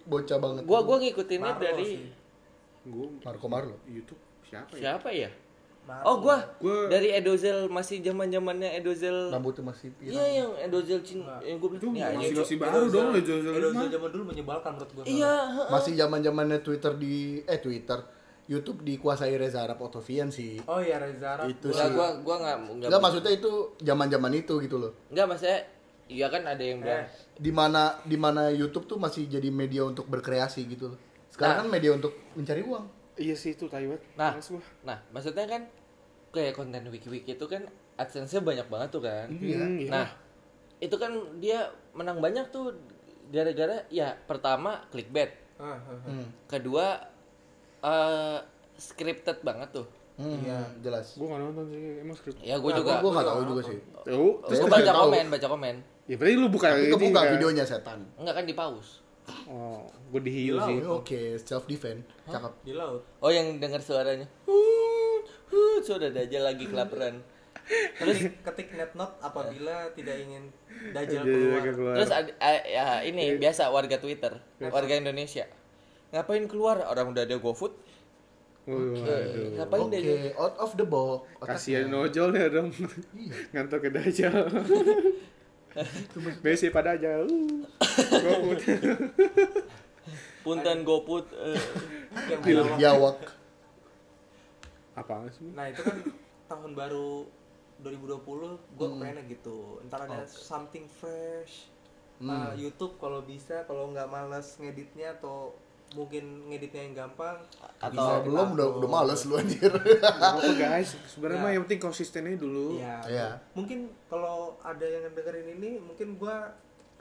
[SPEAKER 2] bocah banget.
[SPEAKER 4] gua gua ngikutinnya
[SPEAKER 3] Marlo
[SPEAKER 4] dari
[SPEAKER 3] sih.
[SPEAKER 1] Gue
[SPEAKER 2] Marco Marlo.
[SPEAKER 1] YouTube siapa ya?
[SPEAKER 4] siapa ya?
[SPEAKER 3] Marlo.
[SPEAKER 4] Oh gua,
[SPEAKER 1] Gua-
[SPEAKER 4] dari Edozel masih zaman zamannya Edozel.
[SPEAKER 2] Rambutnya masih
[SPEAKER 4] Iya
[SPEAKER 2] pirang.
[SPEAKER 4] yang Edozel Cina yang gua
[SPEAKER 1] Itu
[SPEAKER 4] bilang. Ya,
[SPEAKER 1] masih
[SPEAKER 4] ya,
[SPEAKER 1] masih
[SPEAKER 3] Edozel-
[SPEAKER 1] baru dong, Edozel
[SPEAKER 3] Edozel
[SPEAKER 1] lima.
[SPEAKER 3] zaman dulu menyebalkan menurut gue.
[SPEAKER 4] Iya, heeh.
[SPEAKER 2] Masih zaman-zamannya Twitter di eh Twitter, YouTube dikuasai Reza Arab Otovian sih.
[SPEAKER 3] Oh iya Reza Arab.
[SPEAKER 2] Itu
[SPEAKER 4] Enggak
[SPEAKER 2] sih.
[SPEAKER 4] gua gua enggak
[SPEAKER 2] Enggak maksudnya itu zaman-zaman itu gitu loh.
[SPEAKER 4] Enggak maksudnya iya kan ada yang bilang.
[SPEAKER 3] Eh.
[SPEAKER 2] Dimana dimana YouTube tuh masih jadi media untuk berkreasi gitu loh. Sekarang kan
[SPEAKER 4] Nah.
[SPEAKER 2] media untuk mencari uang.
[SPEAKER 1] Iya sih itu Taiwan.
[SPEAKER 4] Nah, nah maksudnya kan kayak konten wiki-wiki itu kan AdSense-nya banyak banget tuh kan.
[SPEAKER 1] Iya.
[SPEAKER 4] Nah, itu kan dia menang banyak tuh gara-gara ya pertama clickbait,
[SPEAKER 3] Ah, ah, ah.
[SPEAKER 4] Hmm. kedua eh scripted banget tuh.
[SPEAKER 2] Hmm, jelas.
[SPEAKER 1] gue gak nonton sih, emang script.
[SPEAKER 4] Ya gue
[SPEAKER 3] Nah,
[SPEAKER 4] Iya. juga.
[SPEAKER 2] Gua nggak tahu juga sih.
[SPEAKER 1] Oh,
[SPEAKER 4] Terus
[SPEAKER 1] terus
[SPEAKER 4] gue
[SPEAKER 2] Terus
[SPEAKER 4] baca
[SPEAKER 2] dia tahu.
[SPEAKER 4] komen, baca komen.
[SPEAKER 1] ya berarti lu buka
[SPEAKER 2] Tapi
[SPEAKER 1] ini
[SPEAKER 2] kebuka
[SPEAKER 1] kan?
[SPEAKER 2] videonya setan.
[SPEAKER 4] Enggak kan di pause.
[SPEAKER 1] Oh, gue
[SPEAKER 4] Iya,
[SPEAKER 1] dihiu
[SPEAKER 2] Oh,
[SPEAKER 1] sih.
[SPEAKER 2] Oke, self defense. Cakep.
[SPEAKER 3] Di laut.
[SPEAKER 4] Oh yang dengar suaranya. Hut, hut, sudah ada aja lagi kelaparan.
[SPEAKER 3] Terus ketik net note apabila tidak ingin
[SPEAKER 1] Iya,
[SPEAKER 3] dajal
[SPEAKER 1] iya,
[SPEAKER 3] keluar.
[SPEAKER 1] keluar. Iya.
[SPEAKER 4] Terus ada- a- ya, ini biasa warga Twitter, warga Indonesia. ngapain keluar orang udah ada GoFood
[SPEAKER 1] Waduh.
[SPEAKER 4] Eh, ngapain
[SPEAKER 2] Oke,
[SPEAKER 4] deh
[SPEAKER 2] out of the box. Otaknya.
[SPEAKER 1] Kasihan nojol ya dong.
[SPEAKER 2] Iya.
[SPEAKER 1] Ngantor ke Dajjal. Messi pada aja. Uh. Gua-
[SPEAKER 4] punten GoFood eh.
[SPEAKER 3] Yang
[SPEAKER 2] Film
[SPEAKER 3] dilawak.
[SPEAKER 2] Biawak.
[SPEAKER 1] Apaan sih?
[SPEAKER 3] Nah itu kan tahun baru 2020
[SPEAKER 2] Hmm.
[SPEAKER 3] gue kepengennya gitu Ntar ada something fresh Uh,
[SPEAKER 2] Hmm.
[SPEAKER 3] Youtube kalau bisa, kalau nggak males ngeditnya atau mungkin ngeditnya yang gampang
[SPEAKER 2] Atau belum udah udah males lu anjir.
[SPEAKER 1] Apa guys? Sebenarnya
[SPEAKER 3] Ya.
[SPEAKER 1] mah yang penting konsistennya dulu.
[SPEAKER 3] Iya.
[SPEAKER 2] Iya.
[SPEAKER 3] Mungkin kalau ada yang dengerin ini, mungkin gua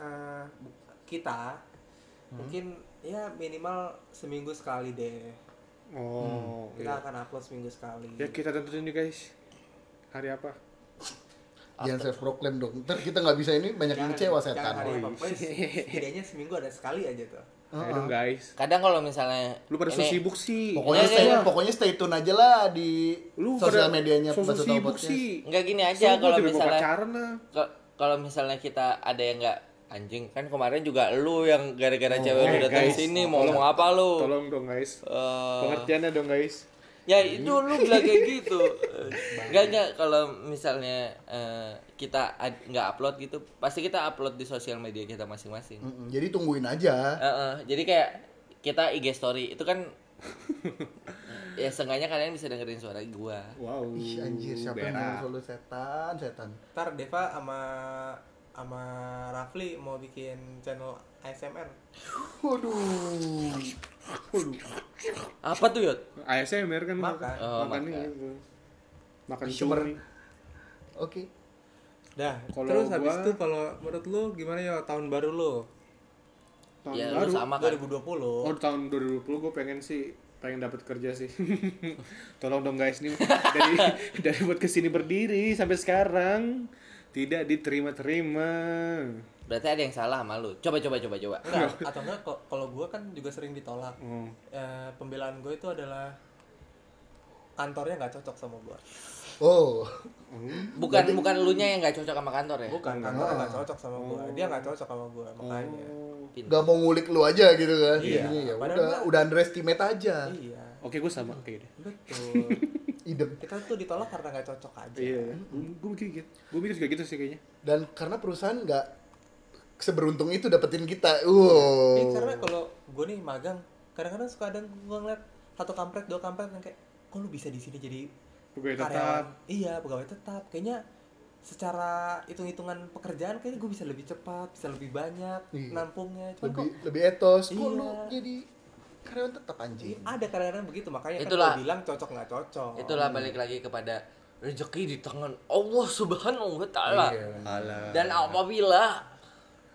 [SPEAKER 3] eh, bu- kita
[SPEAKER 2] Hmm.
[SPEAKER 3] mungkin ya minimal seminggu sekali deh.
[SPEAKER 1] Oh,
[SPEAKER 2] Hmm.
[SPEAKER 3] Kita akan upload seminggu sekali.
[SPEAKER 1] ya kita tentuin nih guys. Hari apa?
[SPEAKER 2] Jangan self proclaim dong. Ntar kita nggak bisa ini banyak yang kecewa
[SPEAKER 3] Jangan- Jangan hari
[SPEAKER 2] setan.
[SPEAKER 3] apa pokoknya setidaknya seminggu ada sekali aja tuh.
[SPEAKER 1] Ayo dong guys.
[SPEAKER 4] kadang kalau misalnya
[SPEAKER 1] Lu pada so
[SPEAKER 4] ini-
[SPEAKER 1] sibuk sih.
[SPEAKER 2] Pokoknya
[SPEAKER 4] Iya,
[SPEAKER 2] stay,
[SPEAKER 4] iya.
[SPEAKER 2] pokoknya stay tune aja lah di
[SPEAKER 1] Lu
[SPEAKER 2] sosial
[SPEAKER 1] pada
[SPEAKER 2] medianya
[SPEAKER 1] so
[SPEAKER 2] Baso Tahu
[SPEAKER 1] sibuk
[SPEAKER 2] Podcast.
[SPEAKER 1] sih.
[SPEAKER 4] nggak gini
[SPEAKER 1] Sibuk
[SPEAKER 4] aja kalau
[SPEAKER 1] juga mau
[SPEAKER 4] misalnya
[SPEAKER 1] pacaran lah.
[SPEAKER 4] Ke- kalau misalnya kita ada yang nggak anjing kan kemarin juga lu yang gara-gara cewek lu
[SPEAKER 1] eh,
[SPEAKER 4] datang
[SPEAKER 1] guys.
[SPEAKER 4] sini mau ngomong apa lu
[SPEAKER 1] Tolong dong guys.
[SPEAKER 4] Eh,
[SPEAKER 1] Pengertiannya dong guys.
[SPEAKER 4] ya itu lu bilang kayak gitu Eh, nggak nggak kalau misalnya eh, kita ad- nggak upload gitu pasti kita upload di sosial media kita masing-masing
[SPEAKER 2] Mm-mm, Jadi tungguin aja.
[SPEAKER 4] Eh, eh, jadi kayak kita IG story itu kan ya seenggaknya kalian bisa dengerin suara gua
[SPEAKER 1] Wow.
[SPEAKER 2] Ih anjir, siapa yang
[SPEAKER 1] berak.
[SPEAKER 2] mau lu setan, setan.
[SPEAKER 3] Ntar Deva sama sama Rafli mau bikin channel ASMR.
[SPEAKER 2] Waduh. Waduh.
[SPEAKER 4] apa tuh yot
[SPEAKER 1] ASMR kan
[SPEAKER 3] Makan.
[SPEAKER 4] Oh,
[SPEAKER 1] makan nih
[SPEAKER 4] makan.
[SPEAKER 1] gitu. makan
[SPEAKER 2] Cuman-
[SPEAKER 1] cumi
[SPEAKER 2] Oke.
[SPEAKER 3] Dah,
[SPEAKER 1] Kalau
[SPEAKER 3] terus
[SPEAKER 1] gua-
[SPEAKER 3] habis itu kalau menurut lu gimana ya tahun baru lu?
[SPEAKER 1] tahun
[SPEAKER 4] ya
[SPEAKER 1] baru
[SPEAKER 4] lu sama kan
[SPEAKER 3] 2020.
[SPEAKER 1] oh tahun 2020 gue pengen sih pengen dapat kerja sih tolong dong guys nih dari dari buat kesini berdiri sampai sekarang tidak diterima-terima
[SPEAKER 4] berarti ada yang salah sama lu coba coba coba coba
[SPEAKER 3] Enggak, atau enggak ko- kalau gue kan juga sering ditolak
[SPEAKER 1] oh.
[SPEAKER 3] Eh, pembelaan gue itu adalah kantornya nggak cocok sama gue
[SPEAKER 2] Oh.
[SPEAKER 4] bukan bukan lu nya yang nggak cocok sama kantor
[SPEAKER 1] Eh, Oh.
[SPEAKER 4] ya
[SPEAKER 3] bukan kantornya nggak cocok sama gue dia nggak cocok sama gue makanya
[SPEAKER 2] Gak mau ngulik lu aja gitu kan.
[SPEAKER 3] Iya.
[SPEAKER 2] Jadinya ya
[SPEAKER 3] Padahal
[SPEAKER 2] udah,
[SPEAKER 3] nggak-
[SPEAKER 2] udah underestimate
[SPEAKER 1] Oh.
[SPEAKER 2] aja.
[SPEAKER 3] iya
[SPEAKER 1] oke gue sama kayak deh
[SPEAKER 3] betul
[SPEAKER 2] Idem.
[SPEAKER 3] kita tuh ditolak karena nggak cocok aja
[SPEAKER 1] iya gue mikir gitu gue mikir juga gitu sih kayaknya
[SPEAKER 2] Dan karena perusahaan nggak seberuntung itu dapetin kita. Wow.
[SPEAKER 3] Eh, karena kalau gue nih magang kadang-kadang suka ada gue ngeliat satu kampret dua kampret yang kayak kok lu bisa di sini jadi
[SPEAKER 1] Pegawai
[SPEAKER 3] karyawan?"
[SPEAKER 1] tetap.
[SPEAKER 3] iya pegawai tetap kayaknya secara hitung-hitungan pekerjaan kayaknya gue bisa lebih cepat bisa lebih banyak
[SPEAKER 2] Iya.
[SPEAKER 3] nampungnya cuman
[SPEAKER 2] lebih
[SPEAKER 3] kok
[SPEAKER 2] lebih etos. Kok
[SPEAKER 3] Iya.
[SPEAKER 2] lu jadi karyawan tetap anjing.
[SPEAKER 3] ada kadang-kadang begitu makanya kan
[SPEAKER 4] Itulah.
[SPEAKER 3] gue bilang cocok nggak cocok
[SPEAKER 4] itulah balik lagi kepada rezeki di tangan Allah subhanahu wa taala
[SPEAKER 1] Iya,
[SPEAKER 2] Iya.
[SPEAKER 4] dan apabila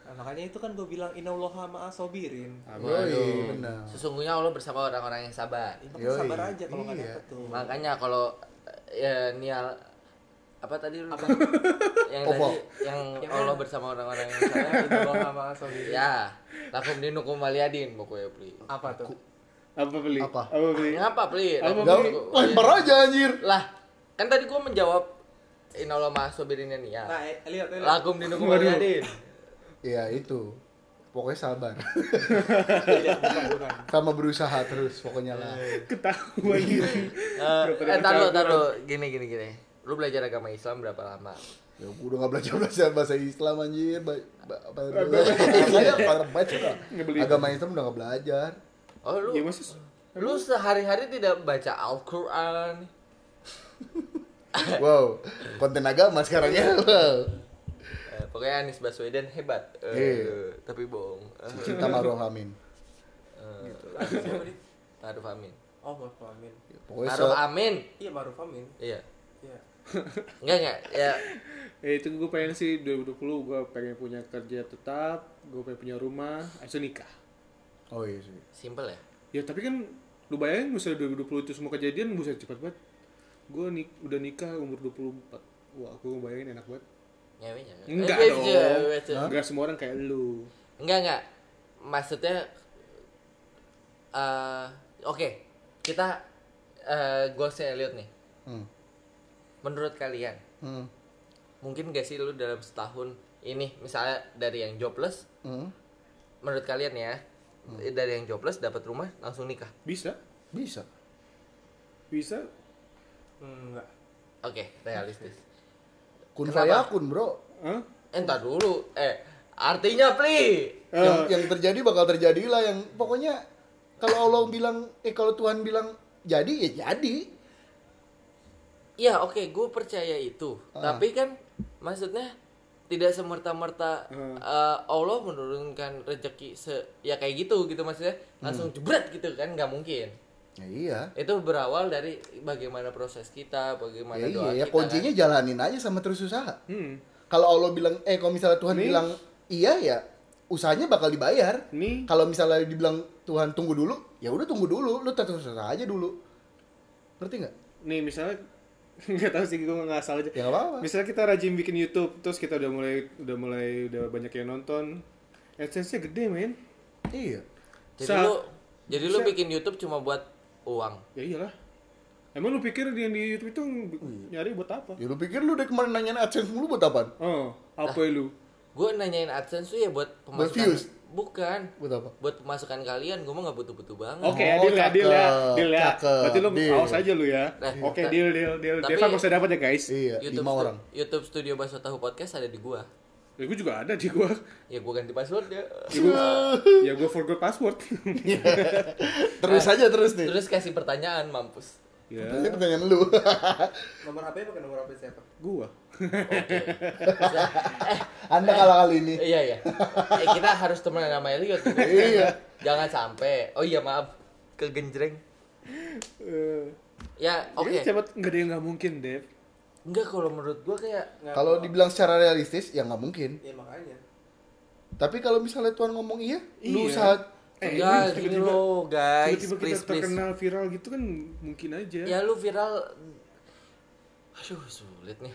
[SPEAKER 3] Nah, makanya itu kan gue bilang inalloha ma'asobirin
[SPEAKER 2] Ah.
[SPEAKER 1] Iya,
[SPEAKER 2] Yoi, benar.
[SPEAKER 4] sesungguhnya Allah bersama orang-orang yang sabar
[SPEAKER 3] ya, makanya
[SPEAKER 2] Yoi.
[SPEAKER 3] sabar aja kalau nggak
[SPEAKER 2] Iya.
[SPEAKER 3] dapet tuh
[SPEAKER 4] makanya kalau eh, nial apa tadi lu yang
[SPEAKER 2] Opo.
[SPEAKER 4] tadi yang
[SPEAKER 3] Yang
[SPEAKER 4] Allah
[SPEAKER 3] mana?
[SPEAKER 4] bersama orang-orang yang sabar
[SPEAKER 3] inalloha ma'asobirin
[SPEAKER 4] ya lakum dinukum waliyadin pokoknya ya, pri
[SPEAKER 3] apa tuh
[SPEAKER 1] apa beli
[SPEAKER 2] Apa?
[SPEAKER 1] beli
[SPEAKER 4] ngapa pri
[SPEAKER 1] Apa,
[SPEAKER 4] Lakum
[SPEAKER 2] Gak,
[SPEAKER 1] Pri?
[SPEAKER 4] dinukum-
[SPEAKER 2] lempar aja anjir.
[SPEAKER 4] lah kan tadi gua menjawab inallah ma'asobirinnya nial
[SPEAKER 3] nah eh, lihat lihat
[SPEAKER 4] lakum dinukum waliyadin
[SPEAKER 2] Iya, itu. Pokoknya sabar.
[SPEAKER 3] Tidak, bukan bukan
[SPEAKER 2] Sama berusaha terus pokoknya lah.
[SPEAKER 1] ketahuan gitu
[SPEAKER 4] Eh, eh taruh taruh gini gini gini lu belajar agama Islam berapa lama
[SPEAKER 2] Ya gua udah gak belajar bahasa bahasa Islam anjir. Ba ba apa Iya, bahasa
[SPEAKER 1] Ngebelin.
[SPEAKER 2] Agama Islam udah gak belajar.
[SPEAKER 4] oh lu
[SPEAKER 1] ya maksud
[SPEAKER 4] lu sehari-hari tidak baca Al-Quran
[SPEAKER 2] Wow, konten agama sekarang ya. Wow.
[SPEAKER 4] Eh, pokoknya Anies Baswedan hebat Eh,
[SPEAKER 2] Iya.
[SPEAKER 4] tapi bohong Eh,
[SPEAKER 2] Kita maruf amin.
[SPEAKER 4] eh,
[SPEAKER 3] Lanjut, siapa nih?
[SPEAKER 4] Maruf Amin
[SPEAKER 3] oh Maruf Amin
[SPEAKER 2] Pokoknya
[SPEAKER 4] Maruf
[SPEAKER 2] so-
[SPEAKER 4] Amin
[SPEAKER 3] iya Maruf Amin
[SPEAKER 4] iya
[SPEAKER 3] iya
[SPEAKER 4] enggak enggak ya
[SPEAKER 1] Eh, itu gue pengen sih 2020 gue pengen punya kerja tetap, gue pengen punya rumah, habis itu nikah.
[SPEAKER 2] Oh iya sih.
[SPEAKER 4] simple ya
[SPEAKER 1] Ya tapi kan lu bayangin misalnya 2020 itu semua kejadian buset cepat banget. Gue nik udah nikah umur 24. Wah, aku ngebayangin enak banget.
[SPEAKER 4] nyewenya
[SPEAKER 1] Enggak
[SPEAKER 4] Eh,
[SPEAKER 1] dong.
[SPEAKER 4] cewek, cewek.
[SPEAKER 1] Enggak semua orang kayak lu.
[SPEAKER 4] Enggak enggak. Maksudnya eh oke, kita eh goalsnya Elliot nih.
[SPEAKER 2] Hmm.
[SPEAKER 4] Menurut kalian,
[SPEAKER 2] Hmm.
[SPEAKER 4] mungkin gak sih lu dalam setahun ini misalnya dari yang jobless,
[SPEAKER 2] Hmm.
[SPEAKER 4] menurut kalian ya,
[SPEAKER 1] Hmm.
[SPEAKER 4] dari yang jobless dapat rumah langsung nikah.
[SPEAKER 1] Bisa,
[SPEAKER 2] Bisa.
[SPEAKER 1] bisa.
[SPEAKER 3] Hmm, Enggak.
[SPEAKER 4] Oke, realistis.
[SPEAKER 2] Kun
[SPEAKER 4] Kenapa?
[SPEAKER 2] fayakun, Bro.
[SPEAKER 1] Hah?
[SPEAKER 4] Entar dulu. Eh, artinya pli.
[SPEAKER 2] yang yang terjadi bakal terjadi lah yang pokoknya kalau Allah bilang eh kalau Tuhan bilang jadi ya jadi
[SPEAKER 4] Ya, oke, gue percaya itu.
[SPEAKER 2] Ah.
[SPEAKER 4] Tapi kan maksudnya tidak semerta-merta
[SPEAKER 2] Hmm.
[SPEAKER 4] eh, Allah menurunkan rezeki se ya kayak gitu gitu maksudnya
[SPEAKER 2] Hmm.
[SPEAKER 4] langsung jebret gitu kan nggak mungkin.
[SPEAKER 2] ya iya
[SPEAKER 4] Itu berawal dari bagaimana proses kita, bagaimana
[SPEAKER 2] ya
[SPEAKER 4] doa
[SPEAKER 2] iya ya
[SPEAKER 4] kita. kan.
[SPEAKER 2] kuncinya jalanin aja sama terus usaha
[SPEAKER 1] Hmm.
[SPEAKER 2] kalau Allah bilang eh kalau misalnya Tuhan bilang iya ya usahanya bakal dibayar
[SPEAKER 1] Nih.
[SPEAKER 2] kalau misalnya dibilang Tuhan tunggu dulu ya udah tunggu dulu lu terus usaha aja dulu ngerti nggak
[SPEAKER 1] nih misalnya nggak tahu sih gue nggak salah aja
[SPEAKER 2] ya nggak apa-apa
[SPEAKER 1] misalnya kita rajin bikin YouTube terus kita udah mulai udah mulai udah banyak yang nonton AdSense nya gede men
[SPEAKER 2] iya
[SPEAKER 4] Jadi
[SPEAKER 1] Sa-
[SPEAKER 4] lu jadi lu bikin YouTube cuma buat uang.
[SPEAKER 1] ya iyalah emang lu pikir yang di YouTube itu
[SPEAKER 2] Oh,
[SPEAKER 1] nyari buat apa
[SPEAKER 2] ya lu pikir lu dari kemarin nanyain adsense mulu buat apaan
[SPEAKER 1] oh apa lu
[SPEAKER 4] Gue nanyain AdSense tuh ya buat
[SPEAKER 2] Buat
[SPEAKER 4] pemasukan.
[SPEAKER 2] views?
[SPEAKER 4] Bukan.
[SPEAKER 2] buat apa
[SPEAKER 4] Buat pemasukan kalian, gue mah nggak butuh-butuh banget.
[SPEAKER 1] Oke,
[SPEAKER 2] Oh,
[SPEAKER 1] deal ya, deal ya,
[SPEAKER 2] cakep,
[SPEAKER 1] deal ya.
[SPEAKER 2] cakep,
[SPEAKER 1] Berarti lu
[SPEAKER 2] deal.
[SPEAKER 1] awas aja lu ya.
[SPEAKER 4] Nah,
[SPEAKER 1] Oke,
[SPEAKER 4] ta-
[SPEAKER 1] deal, deal, deal.
[SPEAKER 4] tapi-
[SPEAKER 1] Deva nggak usah dapat ya guys.
[SPEAKER 2] iya lima
[SPEAKER 4] stu-
[SPEAKER 2] orang
[SPEAKER 4] YouTube Studio Baso Tahu Podcast ada di gua.
[SPEAKER 1] Ya, gue juga ada di gua.
[SPEAKER 4] Ya gua ganti password ya.
[SPEAKER 1] Ya, gua, ya gua forgot password.
[SPEAKER 2] Iya. terus aja terus nih
[SPEAKER 4] Terus kasih pertanyaan mampus.
[SPEAKER 1] ya,
[SPEAKER 2] Ini pertanyaan lu.
[SPEAKER 3] Nomor HP pakai nomor HP siapa?
[SPEAKER 1] gua.
[SPEAKER 4] Oke.
[SPEAKER 2] Anda kalah kali ini.
[SPEAKER 4] Iya iya. Eh, kita harus temenan sama Elliot.
[SPEAKER 2] Iya.
[SPEAKER 4] Jangan sampai. Oh iya maaf kegenjreng.
[SPEAKER 1] Eh,
[SPEAKER 4] Ya oke.
[SPEAKER 1] ya, siapa nggak ada yang nggak mungkin, Dev.
[SPEAKER 4] Enggak kalau menurut gua kayak
[SPEAKER 1] Iya.
[SPEAKER 3] Nggak,
[SPEAKER 2] Kalau dibilang secara realistis ya nggak mungkin.
[SPEAKER 3] Ya makanya.
[SPEAKER 2] Tapi kalau misalnya Tuhan ngomong iya, lu
[SPEAKER 1] Iya.
[SPEAKER 2] usaha
[SPEAKER 1] Eh,
[SPEAKER 4] ya
[SPEAKER 1] ini
[SPEAKER 4] gitu
[SPEAKER 1] tiba-tiba-
[SPEAKER 4] loh guys.
[SPEAKER 1] Tiba-tiba
[SPEAKER 4] Please
[SPEAKER 1] kita
[SPEAKER 4] please.
[SPEAKER 1] terkenal viral gitu kan mungkin aja.
[SPEAKER 4] Ya lu viral Aduh sulit nih.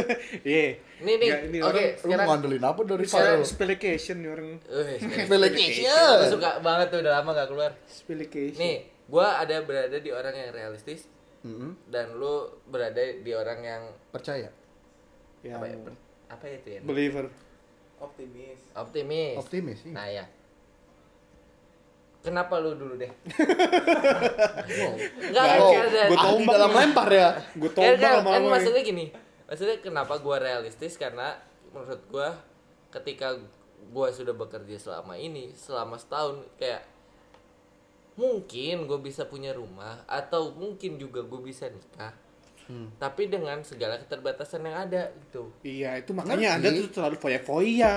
[SPEAKER 1] Iya.
[SPEAKER 4] Nih nih.
[SPEAKER 1] Nggak, ini
[SPEAKER 4] Oke,
[SPEAKER 1] orang-
[SPEAKER 2] lu
[SPEAKER 4] sekarang
[SPEAKER 2] ngandelin apa dari
[SPEAKER 1] Sekarang
[SPEAKER 2] viral?
[SPEAKER 1] speculation nih orang.
[SPEAKER 4] Eh,
[SPEAKER 2] Speculation.
[SPEAKER 4] Gua suka banget tuh udah lama gak keluar.
[SPEAKER 1] Speculation.
[SPEAKER 4] Nih, gua ada berada di orang yang realistis
[SPEAKER 2] Mm-mm.
[SPEAKER 4] dan lu berada di orang yang
[SPEAKER 2] Percaya.
[SPEAKER 1] Ya,
[SPEAKER 4] apa ya? per- Apa itu ya?
[SPEAKER 1] believer.
[SPEAKER 3] Optimis.
[SPEAKER 4] Optimis.
[SPEAKER 2] Optimis iya. sih.
[SPEAKER 4] Nah ya. Kenapa lu dulu deh? Enggak,
[SPEAKER 1] Baik,
[SPEAKER 2] Oh,
[SPEAKER 1] Kayak ada-
[SPEAKER 2] gua tombak dalam lempar ya.
[SPEAKER 1] Gue
[SPEAKER 4] Kan,
[SPEAKER 1] tombak eh.
[SPEAKER 4] kan, kan
[SPEAKER 1] lama-lama.
[SPEAKER 4] maksudnya gini maksudnya kenapa gua realistis karena menurut gua ketika gua sudah bekerja selama ini selama setahun kayak mungkin gue bisa punya rumah atau mungkin juga gue bisa nikah
[SPEAKER 1] Hmm.
[SPEAKER 4] tapi dengan segala keterbatasan yang ada gitu
[SPEAKER 1] Iya, itu makanya
[SPEAKER 2] Ngerti.
[SPEAKER 1] Anda tuh terlalu foya-foya.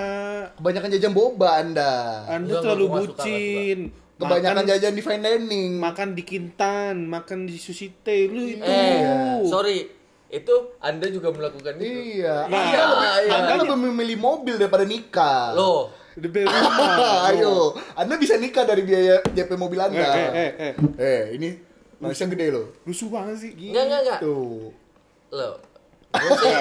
[SPEAKER 2] Kebanyakan jajan boba Anda.
[SPEAKER 1] Anda
[SPEAKER 4] Enggak,
[SPEAKER 1] terlalu
[SPEAKER 4] enggak, gua suka,
[SPEAKER 1] bucin.
[SPEAKER 2] Kebanyakan
[SPEAKER 1] makan,
[SPEAKER 2] jajan di fine dining.
[SPEAKER 1] makan di Kintan, makan di Sushi Tei lu itu.
[SPEAKER 4] eh sorry itu anda juga melakukan itu
[SPEAKER 2] Iya.
[SPEAKER 1] Nah,
[SPEAKER 2] anda lebih,
[SPEAKER 1] iya.
[SPEAKER 2] anda lebih memilih mobil daripada nikah.
[SPEAKER 4] loh
[SPEAKER 1] The bell rumah.
[SPEAKER 2] Ayo, Anda bisa nikah dari biaya JP mobil Anda.
[SPEAKER 1] Eh, eh, eh, eh.
[SPEAKER 2] Eh, ini manusia gede loh.
[SPEAKER 1] Lusuh banget sih. Gini.
[SPEAKER 4] enggak enggak enggak
[SPEAKER 1] Iya.
[SPEAKER 2] Tuh.
[SPEAKER 4] loh Gua sih,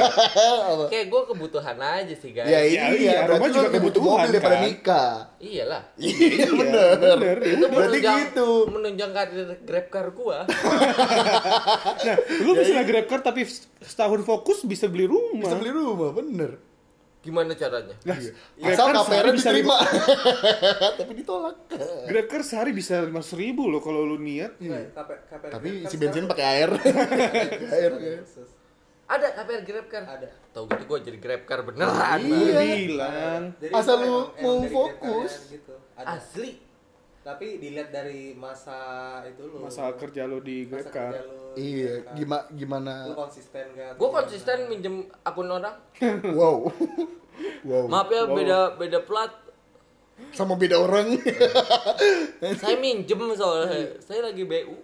[SPEAKER 4] kayak gue kebutuhan aja sih guys
[SPEAKER 2] Ya,
[SPEAKER 1] iya,
[SPEAKER 2] iya, iya,
[SPEAKER 1] rumah
[SPEAKER 2] berarti
[SPEAKER 1] juga
[SPEAKER 2] lu lebih butuh
[SPEAKER 1] kebutuhan,
[SPEAKER 2] mobil daripada
[SPEAKER 1] kan?
[SPEAKER 2] nikah.
[SPEAKER 4] iyalah
[SPEAKER 2] Iya, bener.
[SPEAKER 1] bener. Ya
[SPEAKER 4] itu
[SPEAKER 2] Berarti
[SPEAKER 4] menunjang,
[SPEAKER 2] gitu.
[SPEAKER 4] menunjang karir grab car gua
[SPEAKER 1] Nah, lu bisa grab car tapi setahun fokus bisa beli rumah.
[SPEAKER 2] Bisa beli rumah, bener.
[SPEAKER 4] gimana caranya
[SPEAKER 1] Lah, grab
[SPEAKER 2] Asal
[SPEAKER 1] car sehari
[SPEAKER 2] KPR
[SPEAKER 1] Iya, kan, bisa
[SPEAKER 2] diterima. Tapi ditolak.
[SPEAKER 1] Grab car sehari bisa lima ribu loh kalau lu niat.
[SPEAKER 3] Nah, KP- KPR
[SPEAKER 2] Tapi
[SPEAKER 3] kan
[SPEAKER 2] isi
[SPEAKER 3] sekarang
[SPEAKER 2] bensin pakai air.
[SPEAKER 1] Iya,
[SPEAKER 2] Iya, air.
[SPEAKER 3] ada khusus.
[SPEAKER 4] ada KPR grab car
[SPEAKER 3] Ada.
[SPEAKER 4] tau gitu gua jadi grab car beneran
[SPEAKER 1] Gue
[SPEAKER 2] Iya.
[SPEAKER 1] bilang.
[SPEAKER 3] Jadi
[SPEAKER 2] Asal
[SPEAKER 3] itu
[SPEAKER 2] lu
[SPEAKER 3] emang- emang
[SPEAKER 2] mau
[SPEAKER 3] dari
[SPEAKER 2] fokus.
[SPEAKER 3] kriteria gitu. Ada.
[SPEAKER 4] asli
[SPEAKER 3] Tapi dilihat dari masa itu lu.
[SPEAKER 1] Masalah kerja lu di grab
[SPEAKER 3] masa kerja
[SPEAKER 1] car.
[SPEAKER 3] lu,
[SPEAKER 2] Iya,
[SPEAKER 3] gitu kan.
[SPEAKER 2] gimana gimana?
[SPEAKER 3] Lu konsisten gak?
[SPEAKER 4] gua konsisten minjem akun orang
[SPEAKER 2] Wow. Oh. Wow.
[SPEAKER 4] maaf ya beda beda plat
[SPEAKER 2] Sama beda orang.
[SPEAKER 4] saya minjem soalnya saya lagi BU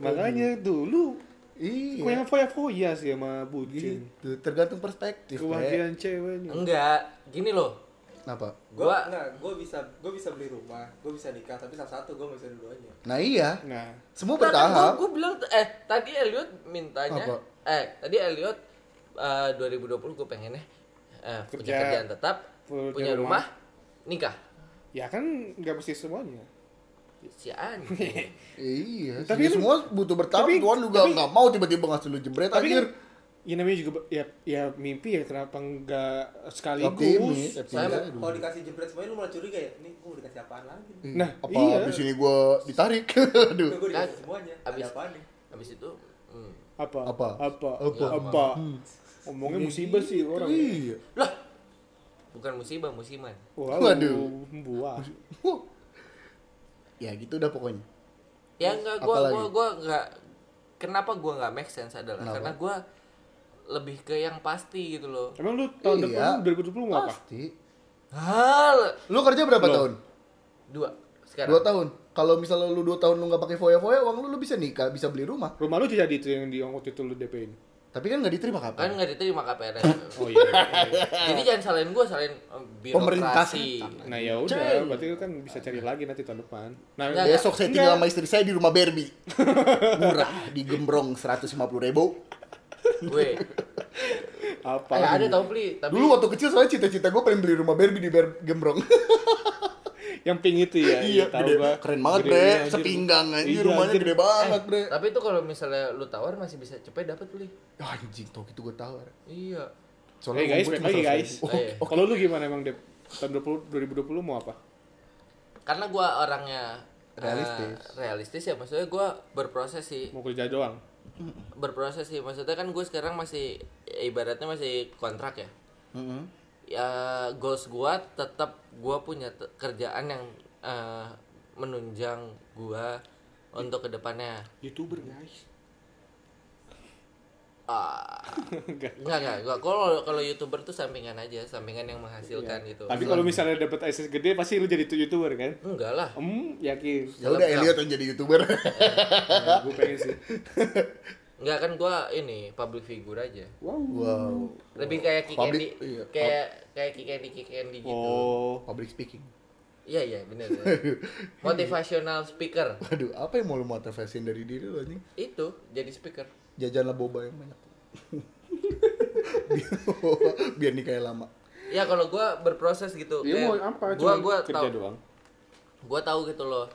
[SPEAKER 1] Makanya dulu Kok
[SPEAKER 2] Iya.
[SPEAKER 1] yang foya-foya sih sama bucin.
[SPEAKER 2] Itu tergantung perspektif. Pe.
[SPEAKER 1] Kebahagiaan ceweknya.
[SPEAKER 4] enggak gini loh
[SPEAKER 2] Kenapa?
[SPEAKER 3] Gua
[SPEAKER 4] gua
[SPEAKER 3] enggak, gua bisa gua bisa beli rumah, gua bisa nikah, tapi salah satu gua gak bisa dua-duanya.
[SPEAKER 2] Nah, iya.
[SPEAKER 1] Nah,
[SPEAKER 2] Semua
[SPEAKER 4] Nah, kan gua,
[SPEAKER 2] bertahap.
[SPEAKER 4] gua bilang eh tadi Elliot mintanya
[SPEAKER 2] Apa?
[SPEAKER 4] eh tadi Elliot eh, 2020 gua pengennya eh, punya
[SPEAKER 1] Kerja.
[SPEAKER 4] kerjaan tetap
[SPEAKER 1] Punya
[SPEAKER 4] punya rumah, nikah
[SPEAKER 1] ya kan nggak mesti semuanya.
[SPEAKER 4] si anjing
[SPEAKER 2] Iya,
[SPEAKER 1] Tapi
[SPEAKER 2] tapi
[SPEAKER 1] lu-
[SPEAKER 2] semua butuh bertahap.
[SPEAKER 1] tapi-
[SPEAKER 2] Tuhan juga
[SPEAKER 1] tapi-
[SPEAKER 2] nggak mau tiba-tiba ngasih lu jebret
[SPEAKER 1] Tapi
[SPEAKER 2] anjir.
[SPEAKER 1] kan ya namanya juga ba- ya ya mimpi ya kenapa nggak
[SPEAKER 2] Optimis,
[SPEAKER 1] sekaligus
[SPEAKER 2] optimis
[SPEAKER 3] Saya
[SPEAKER 2] aja dulu.
[SPEAKER 3] kalau dikasih jebret semuanya lu malah curiga ya. Ini gue dikasih apaan lagi? Nih
[SPEAKER 1] nah
[SPEAKER 2] apa
[SPEAKER 1] iya
[SPEAKER 2] abis ini gue ditarik aduh
[SPEAKER 3] gue dikasih
[SPEAKER 4] Nah,
[SPEAKER 3] semuanya.
[SPEAKER 4] abis-
[SPEAKER 3] Ada apaan nih?
[SPEAKER 4] Habis itu hmm.
[SPEAKER 1] apa
[SPEAKER 2] Apa?
[SPEAKER 1] apa
[SPEAKER 2] Apa? Hmm.
[SPEAKER 1] apa, apa? omongnya musibah sih orang
[SPEAKER 2] iya
[SPEAKER 4] Lah. Bukan musibah, musiman.
[SPEAKER 1] wow
[SPEAKER 2] Waduh.
[SPEAKER 1] buah
[SPEAKER 2] Huh. ya gitu dah pokoknya
[SPEAKER 4] Ya enggak gua
[SPEAKER 2] apalagi?
[SPEAKER 4] gua gua enggak kenapa gua enggak make sense adalah
[SPEAKER 2] Kenapa?
[SPEAKER 4] karena gua lebih ke yang pasti gitu loh.
[SPEAKER 1] emang lu tahun
[SPEAKER 2] Iya.
[SPEAKER 1] depan lu 2020 mau apa
[SPEAKER 2] pasti
[SPEAKER 4] Hal
[SPEAKER 2] lu kerja berapa
[SPEAKER 1] Loh.
[SPEAKER 2] tahun
[SPEAKER 4] dua sekarang.
[SPEAKER 2] dua tahun kalau misalnya lu dua tahun lu nggak pakai foya foya uang lu lu bisa nikah bisa beli rumah
[SPEAKER 1] rumah lu jadi itu yang di yang waktu itu lu DP-in
[SPEAKER 2] tapi kan nggak diterima
[SPEAKER 4] Kan
[SPEAKER 2] kapan
[SPEAKER 4] enggak diterima KPR.
[SPEAKER 1] oh iya
[SPEAKER 4] Jadi jangan salahin gua, salahin eh,
[SPEAKER 2] Pemerintah.
[SPEAKER 4] birokrasi.
[SPEAKER 1] nah ya udah berarti lu kan bisa cari lagi nanti tahun depan nah
[SPEAKER 4] Nggak,
[SPEAKER 2] besok saya tinggal sama istri saya di rumah Barbie murah di Gembrong 150 ribu
[SPEAKER 4] Gue.
[SPEAKER 1] apa
[SPEAKER 4] Eh, ada tau beli, tapi
[SPEAKER 2] dulu waktu kecil soalnya cita-cita gue pengen beli rumah Barbie di Ber- Gembrong
[SPEAKER 1] yang pink itu ya
[SPEAKER 2] iya
[SPEAKER 1] tahu
[SPEAKER 2] gede.
[SPEAKER 1] gua.
[SPEAKER 2] keren banget
[SPEAKER 1] Gede,
[SPEAKER 2] bre
[SPEAKER 1] anjir.
[SPEAKER 2] sepinggang
[SPEAKER 1] Iya,
[SPEAKER 2] anjir rumahnya
[SPEAKER 1] anjir. Eh.
[SPEAKER 2] gede banget bre
[SPEAKER 4] tapi itu kalau misalnya lu tawar masih bisa cepet dapat beli.
[SPEAKER 2] anjing tau gitu gue tawar
[SPEAKER 4] Iya.
[SPEAKER 1] Eh, guys,
[SPEAKER 2] uang gua
[SPEAKER 1] baik lagi,
[SPEAKER 2] cuma
[SPEAKER 1] guys.
[SPEAKER 2] 100.000.
[SPEAKER 4] Oh, iya.
[SPEAKER 1] Kalau lu gimana emang Dep? Tahun 20, 2020 mau apa?
[SPEAKER 4] Karena gua orangnya eh,
[SPEAKER 2] Realistis.
[SPEAKER 4] realistis ya maksudnya gua berproses sih.
[SPEAKER 1] Mau kerja doang?
[SPEAKER 4] berproses sih maksudnya kan gue sekarang masih ya ibaratnya masih kontrak ya
[SPEAKER 2] Mm-mm.
[SPEAKER 4] ya goals gue tetap gue punya te- kerjaan yang eh, menunjang gue untuk kedepannya
[SPEAKER 1] Youtuber guys.
[SPEAKER 4] Ah, enggak enggak gua kalau kalau youtuber tuh sampingan aja sampingan yang menghasilkan
[SPEAKER 2] Iya.
[SPEAKER 4] gitu
[SPEAKER 1] Tapi kalau misalnya dapat akses gede pasti lu jadi tuh youtuber kan?
[SPEAKER 4] enggak lah
[SPEAKER 1] Hmm, yakin.
[SPEAKER 2] ya udah Elliot yang jadi youtuber
[SPEAKER 1] Nah, gue pengen sih.
[SPEAKER 4] enggak kan gue ini public figure aja
[SPEAKER 1] Wow.
[SPEAKER 2] wow
[SPEAKER 4] lebih kayak Kick
[SPEAKER 2] Public-
[SPEAKER 4] Andy
[SPEAKER 2] iya,
[SPEAKER 4] kayak kayak Kick Andy Kick Andy gitu
[SPEAKER 1] Oh.
[SPEAKER 2] public speaking
[SPEAKER 4] iya iya bener, bener. motivational speaker
[SPEAKER 2] waduh apa yang mau lu motivasiin dari diri lu anjing
[SPEAKER 4] itu jadi speaker
[SPEAKER 2] jajanlah boba yang banyak biar, biar nikahnya lama
[SPEAKER 4] ya kalau gua berproses gitu
[SPEAKER 1] Dia
[SPEAKER 4] kayak
[SPEAKER 1] Iya, mau apa?
[SPEAKER 4] gua
[SPEAKER 1] Cuma
[SPEAKER 4] gua
[SPEAKER 1] kerja
[SPEAKER 4] tahu
[SPEAKER 1] doang.
[SPEAKER 4] gua tahu gitu loh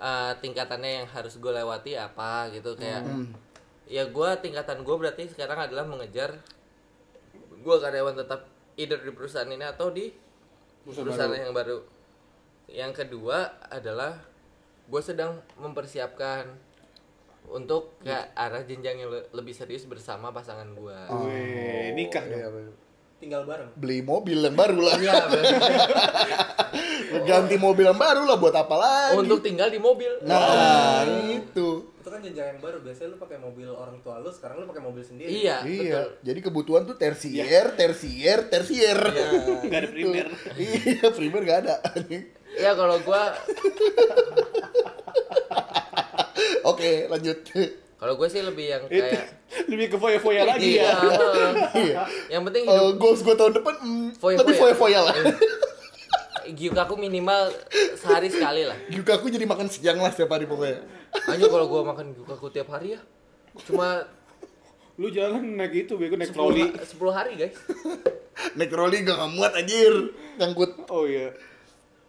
[SPEAKER 4] eh, tingkatannya yang harus gue lewati apa gitu kayak
[SPEAKER 1] Hmm.
[SPEAKER 4] ya gua tingkatan gue berarti sekarang adalah mengejar gua karyawan tetap either di perusahaan ini atau di
[SPEAKER 1] Perusahaan
[SPEAKER 4] perusahaan yang baru yang kedua adalah gue sedang mempersiapkan untuk ke
[SPEAKER 1] Iya.
[SPEAKER 4] arah jenjang yang le- lebih serius bersama pasangan gua
[SPEAKER 1] Oh. Weh, nikah dong.
[SPEAKER 2] Iya,
[SPEAKER 3] Tinggal bareng.
[SPEAKER 2] beli mobil yang baru lah
[SPEAKER 4] Iya, bener.
[SPEAKER 2] Lu ganti mobil yang baru lah buat apa lagi
[SPEAKER 4] untuk tinggal di mobil
[SPEAKER 2] nah itu
[SPEAKER 3] Itu kan jenjang yang baru. Biasanya lu pakai mobil orang tua lu, sekarang lu pakai mobil sendiri.
[SPEAKER 4] Iya,
[SPEAKER 2] iya,
[SPEAKER 4] betul.
[SPEAKER 2] jadi kebutuhan tuh tersier, tersier, tersier.
[SPEAKER 1] Nggak ada primer.
[SPEAKER 2] iya, primer gak ada.
[SPEAKER 4] Ya kalau gua
[SPEAKER 2] Oke, lanjut.
[SPEAKER 4] kalau gua sih lebih yang
[SPEAKER 1] Itu
[SPEAKER 4] kayak
[SPEAKER 1] lebih ke foya-foya lagi
[SPEAKER 4] Iya.
[SPEAKER 1] ya. Oh.
[SPEAKER 2] Iya.
[SPEAKER 4] yang penting hidup
[SPEAKER 2] Eh, goals gue tahun depan mm,
[SPEAKER 4] Foya-foya. Iya.
[SPEAKER 2] lebih foya-foya lah.
[SPEAKER 4] giuk aku minimal sehari sekali lah.
[SPEAKER 2] Juga aku jadi makan siang lah setiap hari pokoknya.
[SPEAKER 4] Hanya kalau gua makan giuk aku tiap hari ya. Cuma
[SPEAKER 1] Lu jangan naik itu, bego naik
[SPEAKER 4] 10,
[SPEAKER 1] troli.
[SPEAKER 4] ha- 10 hari, guys.
[SPEAKER 2] Naik troli gak muat anjir. Nyangkut.
[SPEAKER 1] Oh iya.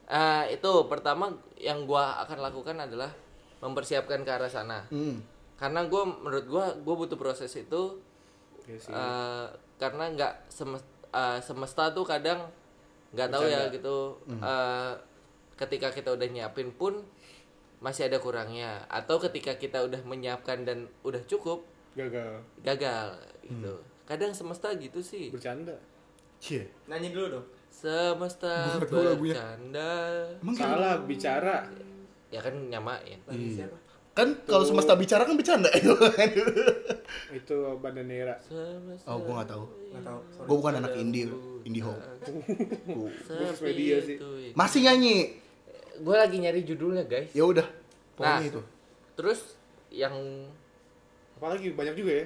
[SPEAKER 4] Ah, itu pertama yang gua akan lakukan adalah mempersiapkan ke arah sana.
[SPEAKER 2] Hmm.
[SPEAKER 4] Karena gua menurut gua gua butuh proses itu eh, karena nggak semes- eh, semesta tuh kadang nggak tahu ya gitu
[SPEAKER 2] Hmm.
[SPEAKER 4] Eh, ketika kita udah nyiapin pun masih ada kurangnya atau ketika kita udah menyiapkan dan udah cukup
[SPEAKER 1] Gagal.
[SPEAKER 4] gagal gitu
[SPEAKER 2] Hmm.
[SPEAKER 4] kadang semesta gitu sih
[SPEAKER 1] Bercanda.
[SPEAKER 2] Cie.
[SPEAKER 3] Nyanyi dulu dong.
[SPEAKER 2] Gua
[SPEAKER 4] semesta
[SPEAKER 2] nggak tahu lagunya.
[SPEAKER 4] bercanda
[SPEAKER 2] Emang kayak-
[SPEAKER 1] Salah bicara.
[SPEAKER 4] ya kan nyamain
[SPEAKER 3] Lagi siapa?
[SPEAKER 2] Kan kalau semesta bicara kan bercanda.
[SPEAKER 1] Itu bandanera.
[SPEAKER 4] semesta
[SPEAKER 2] oh, gue gak tahu.
[SPEAKER 3] Nggak tahu. Sorry.
[SPEAKER 2] Gue bukan anak indie, indie home.
[SPEAKER 1] harus media sih.
[SPEAKER 4] itu
[SPEAKER 2] Masih nyanyi.
[SPEAKER 4] gue lagi nyari judulnya guys
[SPEAKER 2] Ya udah. Pokoknya
[SPEAKER 4] Nah.
[SPEAKER 2] itu.
[SPEAKER 4] terus yang
[SPEAKER 1] Apalagi banyak juga ya.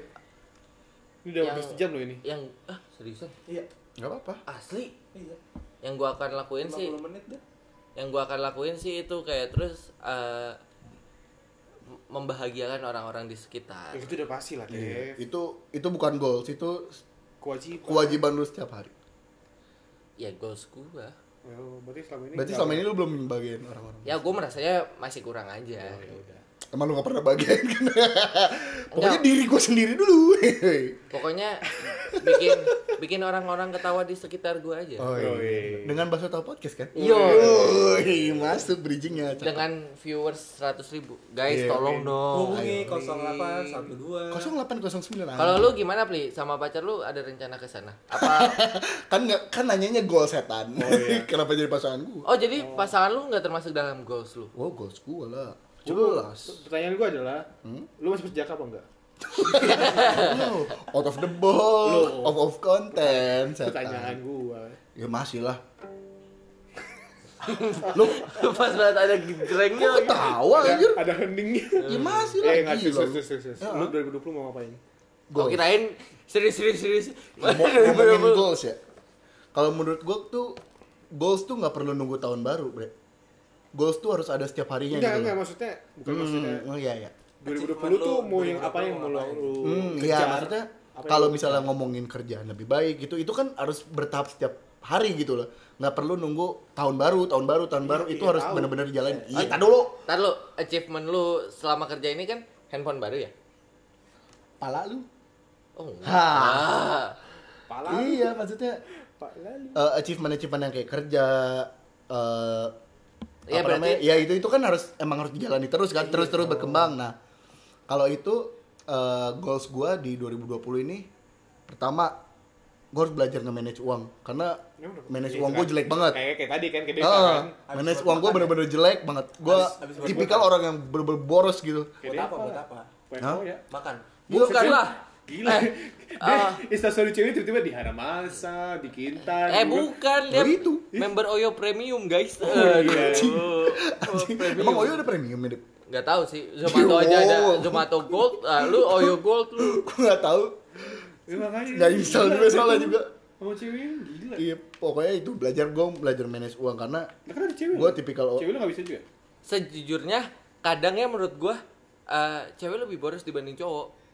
[SPEAKER 1] Ini udah
[SPEAKER 4] Yang-
[SPEAKER 1] habis jam loh ini.
[SPEAKER 4] yang ah seriusan
[SPEAKER 3] Iya.
[SPEAKER 2] Gak apa-apa.
[SPEAKER 4] asli
[SPEAKER 3] Iya.
[SPEAKER 4] yang gua akan lakuin sih
[SPEAKER 3] 50 menit deh.
[SPEAKER 4] yang gua akan lakuin sih itu kayak terus eh, m- membahagiakan orang-orang di sekitar
[SPEAKER 1] Ya, itu udah pasti lah, Dev.
[SPEAKER 2] Iya. Itu itu bukan goals, itu
[SPEAKER 1] Kewajiban.
[SPEAKER 2] kewajiban lu setiap hari.
[SPEAKER 4] ya goals gua
[SPEAKER 1] Ya, berarti selama ini.
[SPEAKER 2] Berarti
[SPEAKER 1] nggak-
[SPEAKER 2] selama ini lu belum bagian orang-orang.
[SPEAKER 4] ya gua merasanya masih kurang aja
[SPEAKER 1] Ya udah.
[SPEAKER 2] Emang lu gak pernah bagian kan?
[SPEAKER 4] Ya.
[SPEAKER 2] Pokoknya diri gue sendiri dulu.
[SPEAKER 4] Pokoknya bikin bikin orang-orang ketawa di sekitar gua aja.
[SPEAKER 2] Oh, iya. Dengan bahasa tahu podcast kan?
[SPEAKER 4] Yo.
[SPEAKER 2] Yoi, masuk bridgingnya.
[SPEAKER 4] Iya. Dengan viewers 100.000 ribu. Guys,
[SPEAKER 2] Iya.
[SPEAKER 4] tolong dong.
[SPEAKER 3] Hubungi 08 12.
[SPEAKER 2] 0809.
[SPEAKER 4] Kalau lu gimana, Pli? Sama pacar lu ada rencana ke sana? Apa
[SPEAKER 2] kan nggak kan nanyanya gol setan. Kenapa jadi pasangan gue?
[SPEAKER 4] Oh, jadi pasangan lu nggak termasuk dalam goals lu?
[SPEAKER 2] Wow, goals gue lah.
[SPEAKER 1] Coba pertanyaan gue adalah,
[SPEAKER 2] Hmm?
[SPEAKER 1] lu masih perjaka apa enggak?
[SPEAKER 2] Wow, Oh, out of the box, out of content,
[SPEAKER 1] Pertanyaan
[SPEAKER 2] setan.
[SPEAKER 1] gue.
[SPEAKER 2] Ya masih lah. Lu
[SPEAKER 4] Pas banget ada gitu. gerengnya lagi.
[SPEAKER 2] ketawa Ah, anjir.
[SPEAKER 1] Ada hening.
[SPEAKER 2] Ya masih lah.
[SPEAKER 1] Eh, nggak
[SPEAKER 2] gila
[SPEAKER 1] serius,
[SPEAKER 2] lu.
[SPEAKER 1] serius, serius.
[SPEAKER 2] Ah.
[SPEAKER 1] Lu 2020 mau ngapain?
[SPEAKER 4] Gua
[SPEAKER 2] Goals.
[SPEAKER 4] kirain serius serius serius.
[SPEAKER 2] Ngomong- ngomongin goals ya kalau menurut gue tuh goals tuh nggak perlu nunggu tahun baru bre goals tuh harus ada setiap harinya
[SPEAKER 1] Enggak,
[SPEAKER 2] gitu
[SPEAKER 1] enggak
[SPEAKER 2] loh.
[SPEAKER 1] maksudnya bukan maksudnya
[SPEAKER 2] hmm, oh iya iya
[SPEAKER 1] 2020 tuh mau yang apa yang mau lu lu
[SPEAKER 2] hmm, iya
[SPEAKER 1] kejar?
[SPEAKER 2] maksudnya
[SPEAKER 1] Apa yang
[SPEAKER 2] kalau
[SPEAKER 1] lu-
[SPEAKER 2] misalnya ngomongin kerjaan lebih baik gitu itu kan harus bertahap setiap hari gitu loh nggak perlu nunggu tahun baru tahun baru tahun baru itu harus bener-bener jalan iya tar dulu
[SPEAKER 4] Ntar lu achievement lu selama kerja ini kan handphone baru ya?
[SPEAKER 2] pala lu
[SPEAKER 4] Oh. enggak.
[SPEAKER 2] Ha.
[SPEAKER 4] Ah.
[SPEAKER 1] pala
[SPEAKER 2] iya maksudnya
[SPEAKER 1] pak lalu
[SPEAKER 2] eh, achievement-achievement yang kayak kerja eh
[SPEAKER 4] Iya,
[SPEAKER 2] apa namanya?
[SPEAKER 4] berarti-
[SPEAKER 2] Ya itu itu kan harus emang harus dijalani terus kan, terus-terus berkembang. Nah, kalau itu eh, goals gua di 2020 ini pertama gua harus belajar nge-manage uang karena manage uang gua jelek banget.
[SPEAKER 1] Iya,
[SPEAKER 2] Ah.
[SPEAKER 1] kayak kayak tadi kan ke desa
[SPEAKER 2] Heeh,
[SPEAKER 1] kan
[SPEAKER 3] Habis
[SPEAKER 2] manage
[SPEAKER 3] buat
[SPEAKER 2] uang gua
[SPEAKER 3] makan ya?
[SPEAKER 2] bener-bener jelek banget. Gua
[SPEAKER 3] Habis- habis buat Oh,
[SPEAKER 2] tipikal orang yang bener-bener boros gitu.
[SPEAKER 1] Kayak
[SPEAKER 3] Buat
[SPEAKER 1] desa
[SPEAKER 3] apa,
[SPEAKER 1] lah.
[SPEAKER 3] buat apa?
[SPEAKER 1] PMO ya
[SPEAKER 3] Makan.
[SPEAKER 4] Bukan lah.
[SPEAKER 1] gila
[SPEAKER 4] Eh,
[SPEAKER 1] eh, instastory cewek tiba-tiba di Hanamasa di Kintan
[SPEAKER 4] Eh
[SPEAKER 1] Gua-
[SPEAKER 4] bukan
[SPEAKER 2] Oh,
[SPEAKER 4] dia
[SPEAKER 2] itu. Oh,
[SPEAKER 4] member Oyo Premium guys.
[SPEAKER 1] iya.
[SPEAKER 4] Aduh.
[SPEAKER 2] Anjing, Emang Oyo ada premium ya? Dip?
[SPEAKER 4] Nggak tahu sih. Zomato aja ada Zomato Gold, ah, lu Oyo Gold lu.
[SPEAKER 2] Gua nggak tahu.
[SPEAKER 1] Ya, makanya
[SPEAKER 2] Nggak install
[SPEAKER 1] Gila,
[SPEAKER 2] juga soalnya
[SPEAKER 1] itu.
[SPEAKER 2] juga.
[SPEAKER 1] sama cewek gila
[SPEAKER 2] Iya, pokoknya itu belajar gua belajar manage uang karena
[SPEAKER 1] Nah, kan ada cewek
[SPEAKER 2] Gua
[SPEAKER 1] lu.
[SPEAKER 2] tipikal o-
[SPEAKER 1] cewek lu nggak bisa juga
[SPEAKER 4] Sejujurnya kadangnya menurut gua eh, cewek lebih boros dibanding cowok.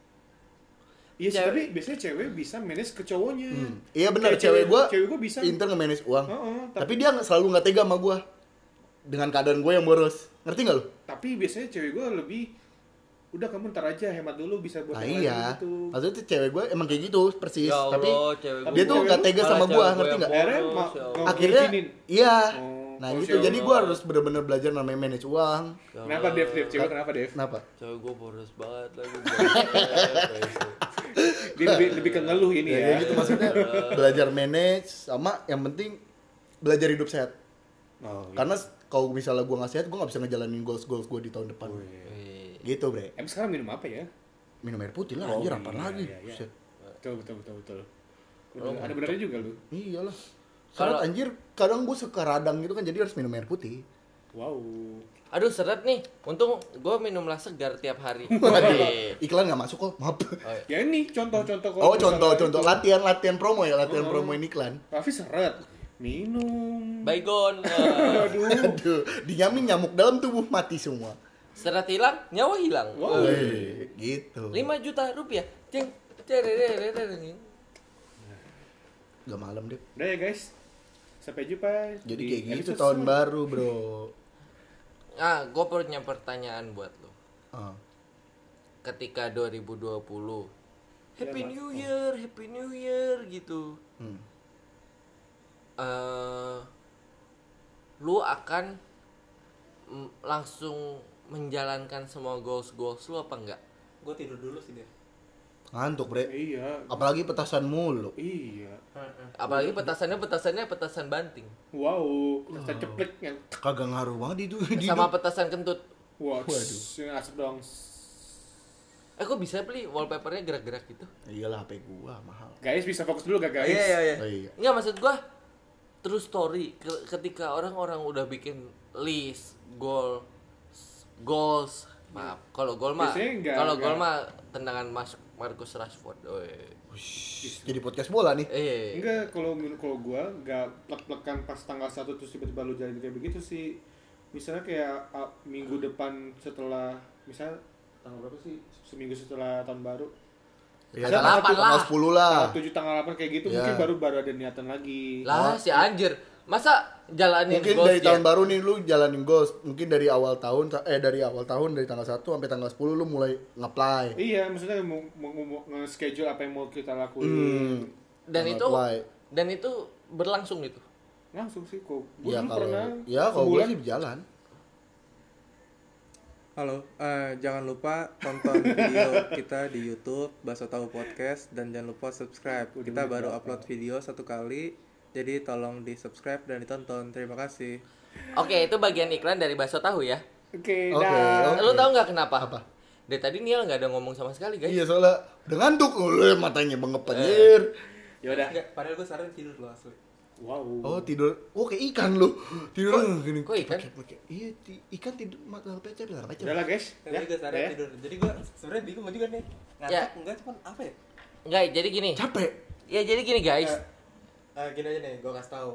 [SPEAKER 1] Iya sih,
[SPEAKER 4] Cewek-
[SPEAKER 1] tapi biasanya cewek bisa manage ke cowoknya.
[SPEAKER 2] Iya benar
[SPEAKER 1] Kayak
[SPEAKER 2] cewek, gua
[SPEAKER 1] cewek gua bisa.
[SPEAKER 2] pinter nge-manage uang.
[SPEAKER 1] Heeh,
[SPEAKER 2] tapi, dia nggak- selalu nggak tega sama gua. Dengan keadaan gua yang boros. Ngerti nggak lo?
[SPEAKER 1] Tapi biasanya cewek gua lebih udah kamu ntar aja hemat dulu bisa buat
[SPEAKER 2] Nah
[SPEAKER 1] yang lain
[SPEAKER 2] iya.
[SPEAKER 1] gitu.
[SPEAKER 2] Maksudnya tuh cewek gua emang kayak gitu persis,
[SPEAKER 4] Ya Allah,
[SPEAKER 2] tapi
[SPEAKER 4] cewek
[SPEAKER 2] dia
[SPEAKER 1] gua.
[SPEAKER 2] tuh nggak tega
[SPEAKER 4] Malah
[SPEAKER 2] sama
[SPEAKER 4] cewek
[SPEAKER 2] gua,
[SPEAKER 4] gua
[SPEAKER 2] ngerti
[SPEAKER 4] yang
[SPEAKER 2] nggak?
[SPEAKER 4] boros,
[SPEAKER 1] Akhirnya
[SPEAKER 4] ya
[SPEAKER 1] ma-
[SPEAKER 4] Allah.
[SPEAKER 1] nggak
[SPEAKER 2] Akhirnya
[SPEAKER 1] ngizinin.
[SPEAKER 2] iya.
[SPEAKER 1] Oh,
[SPEAKER 2] Nah
[SPEAKER 1] oh,
[SPEAKER 2] gitu.
[SPEAKER 1] cewek
[SPEAKER 2] Jadi
[SPEAKER 1] gua.
[SPEAKER 2] gua harus bener-bener belajar namanya manage uang.
[SPEAKER 1] Kenapa Dev, Dev? Cewek
[SPEAKER 2] Nah.
[SPEAKER 1] kenapa Dev?
[SPEAKER 2] Kenapa?
[SPEAKER 4] Cewek gua boros banget lagi.
[SPEAKER 1] Dia lebih, lebih ke ngeluh ini
[SPEAKER 2] Ya,
[SPEAKER 1] ya.
[SPEAKER 2] kayak gitu maksudnya belajar manage sama yang penting belajar hidup sehat.
[SPEAKER 1] Oh, iya.
[SPEAKER 2] Karena kalau misalnya gua nggak sehat, gua nggak bisa ngejalanin goals-goals gua di tahun depan.
[SPEAKER 4] Wih.
[SPEAKER 2] Gitu, Bre.
[SPEAKER 1] Emang sekarang minum apa ya?
[SPEAKER 2] Minum air putih lah,
[SPEAKER 1] Oh,
[SPEAKER 2] Nah, anjir
[SPEAKER 1] iya,
[SPEAKER 2] apa
[SPEAKER 1] iya,
[SPEAKER 2] lagi?
[SPEAKER 1] iya, iya.
[SPEAKER 2] Buset.
[SPEAKER 1] Betul, betul, betul, betul.
[SPEAKER 2] Oh.
[SPEAKER 1] Bener- ada benernya juga lu.
[SPEAKER 2] Iyalah.
[SPEAKER 4] Kalau-
[SPEAKER 2] Karena anjir, kadang gue suka radang gitu kan, jadi harus minum air putih.
[SPEAKER 1] Wow.
[SPEAKER 4] Aduh seret nih. Untung gua minumlah segar tiap hari.
[SPEAKER 2] Waduh, Iklan nggak masuk kok, maaf.
[SPEAKER 1] Ya ini contoh-contoh kalau
[SPEAKER 2] Oh,
[SPEAKER 1] misalnya
[SPEAKER 2] contoh-contoh
[SPEAKER 1] itu.
[SPEAKER 2] latihan latihan promo
[SPEAKER 1] Oh.
[SPEAKER 2] ya, latihan promo ini iklan.
[SPEAKER 1] Raffi seret. Minum.
[SPEAKER 4] Baygon.
[SPEAKER 1] Aduh.
[SPEAKER 2] Aduh, dinyamin nyamuk dalam tubuh mati semua.
[SPEAKER 4] Seret hilang, nyawa hilang.
[SPEAKER 1] Wow.
[SPEAKER 2] Wih, gitu.
[SPEAKER 4] 5 juta rupiah. Ceng. cererererereng.
[SPEAKER 2] Gak malam deh.
[SPEAKER 1] Udah ya guys. Sampai jumpa.
[SPEAKER 2] Jadi
[SPEAKER 1] di
[SPEAKER 2] kayak gitu
[SPEAKER 1] episode
[SPEAKER 2] tahun
[SPEAKER 1] selanjutnya.
[SPEAKER 2] baru, Bro.
[SPEAKER 4] Ah, gue punya pertanyaan buat lo.
[SPEAKER 2] Ah.
[SPEAKER 4] Ketika 2020
[SPEAKER 2] Iya,
[SPEAKER 4] Happy New Year, Happy New Year gitu.
[SPEAKER 2] Hmm.
[SPEAKER 4] eh lu akan mm, langsung menjalankan semua goals goals lu apa enggak?
[SPEAKER 3] Gue tidur dulu sih deh.
[SPEAKER 2] Ngantuk, Bre.
[SPEAKER 1] Iya.
[SPEAKER 2] Apalagi petasan mulu.
[SPEAKER 1] Iya.
[SPEAKER 4] Apalagi petasannya petasannya petasan banting
[SPEAKER 1] Wow. Kita ceplek yang
[SPEAKER 2] Kagak ngaruh banget itu. di
[SPEAKER 4] sama
[SPEAKER 2] hidup.
[SPEAKER 4] petasan kentut.
[SPEAKER 1] Wah,
[SPEAKER 2] Waduh.
[SPEAKER 1] yang asap dong.
[SPEAKER 4] Eh kok bisa beli wallpapernya gerak-gerak gitu?
[SPEAKER 2] Iyalah HP gua mahal.
[SPEAKER 1] Guys bisa fokus dulu gak guys?
[SPEAKER 4] Eh.
[SPEAKER 2] Oh, iya.
[SPEAKER 4] Enggak maksud gua true story Ke- ketika orang-orang udah bikin list goal s- goals maaf kalau gol mah
[SPEAKER 1] Biasanya enggak,
[SPEAKER 4] kalau gol
[SPEAKER 1] enggak.
[SPEAKER 4] mah tendangan Mas Marcus Rashford oi.
[SPEAKER 2] Ush, Jadi podcast bola nih.
[SPEAKER 4] eh
[SPEAKER 1] Enggak, kalau menurut kalau gua nggak plek-plekan pas tanggal 1 terus tiba-tiba lu jalan kayak begitu sih. Misalnya kayak ah, minggu depan setelah misalnya tanggal berapa sih? Seminggu setelah tahun baru.
[SPEAKER 2] Ya, tanggal
[SPEAKER 4] Ada Iya, delapan
[SPEAKER 2] tanggal
[SPEAKER 4] lah.
[SPEAKER 2] 10 lah.
[SPEAKER 1] Tanggal 7 tanggal 8 kayak gitu
[SPEAKER 2] Ah. Ya.
[SPEAKER 1] mungkin baru baru ada niatan lagi.
[SPEAKER 4] lah si anjir Masa jalanin
[SPEAKER 2] mungkin
[SPEAKER 4] goals
[SPEAKER 2] dari
[SPEAKER 4] ya?
[SPEAKER 2] tahun baru nih lu jalanin goals mungkin dari awal tahun eh dari awal tahun dari tanggal 1 sampai tanggal 10 lu mulai nge-apply
[SPEAKER 1] Iya, maksudnya mau, mau, mau nge-schedule apa yang mau kita lakuin.
[SPEAKER 2] Hmm.
[SPEAKER 4] dan
[SPEAKER 2] Sangat
[SPEAKER 4] itu
[SPEAKER 2] wide.
[SPEAKER 4] dan itu berlangsung gitu
[SPEAKER 1] Langsung sih kok. Gue
[SPEAKER 2] ya
[SPEAKER 1] dulu
[SPEAKER 2] kalau
[SPEAKER 1] pernah
[SPEAKER 2] ya kalau gue
[SPEAKER 1] sebulan
[SPEAKER 2] sih berjalan
[SPEAKER 3] Halo, eh, jangan lupa tonton video kita di YouTube Baso Tahu Podcast dan jangan lupa subscribe. Kita baru upload video satu kali, jadi tolong di subscribe dan ditonton. Terima kasih.
[SPEAKER 4] oke itu bagian iklan dari bakso tahu ya
[SPEAKER 1] Oke,
[SPEAKER 2] oke
[SPEAKER 1] dah.
[SPEAKER 2] oke.
[SPEAKER 4] lu tahu nggak kenapa
[SPEAKER 2] Apa?
[SPEAKER 4] dari tadi Niel nggak ada ngomong sama sekali guys
[SPEAKER 2] iya soalnya udah ngantuk lu matanya
[SPEAKER 4] Eh.
[SPEAKER 2] mengepenyir
[SPEAKER 1] Yaudah.
[SPEAKER 3] Enggak, padahal gue saranin tidur lo asli.
[SPEAKER 1] Ya Wow.
[SPEAKER 2] oh tidur oh kayak ikan lu tidur gini
[SPEAKER 4] kok ikan?
[SPEAKER 2] iya ti- ikan tidur mata pecah belar pecah
[SPEAKER 1] Udah lah guys. Ya.
[SPEAKER 3] Tadi gue
[SPEAKER 1] udah
[SPEAKER 3] saranin tidur. Jadi gue sebenarnya bingung juga nih. Ngantuk
[SPEAKER 4] Ya.
[SPEAKER 3] enggak cuman apa ya?
[SPEAKER 4] nggak jadi gini
[SPEAKER 2] capek
[SPEAKER 4] ya jadi gini guys
[SPEAKER 3] Eh, gini aja nih, gue kasih tahu.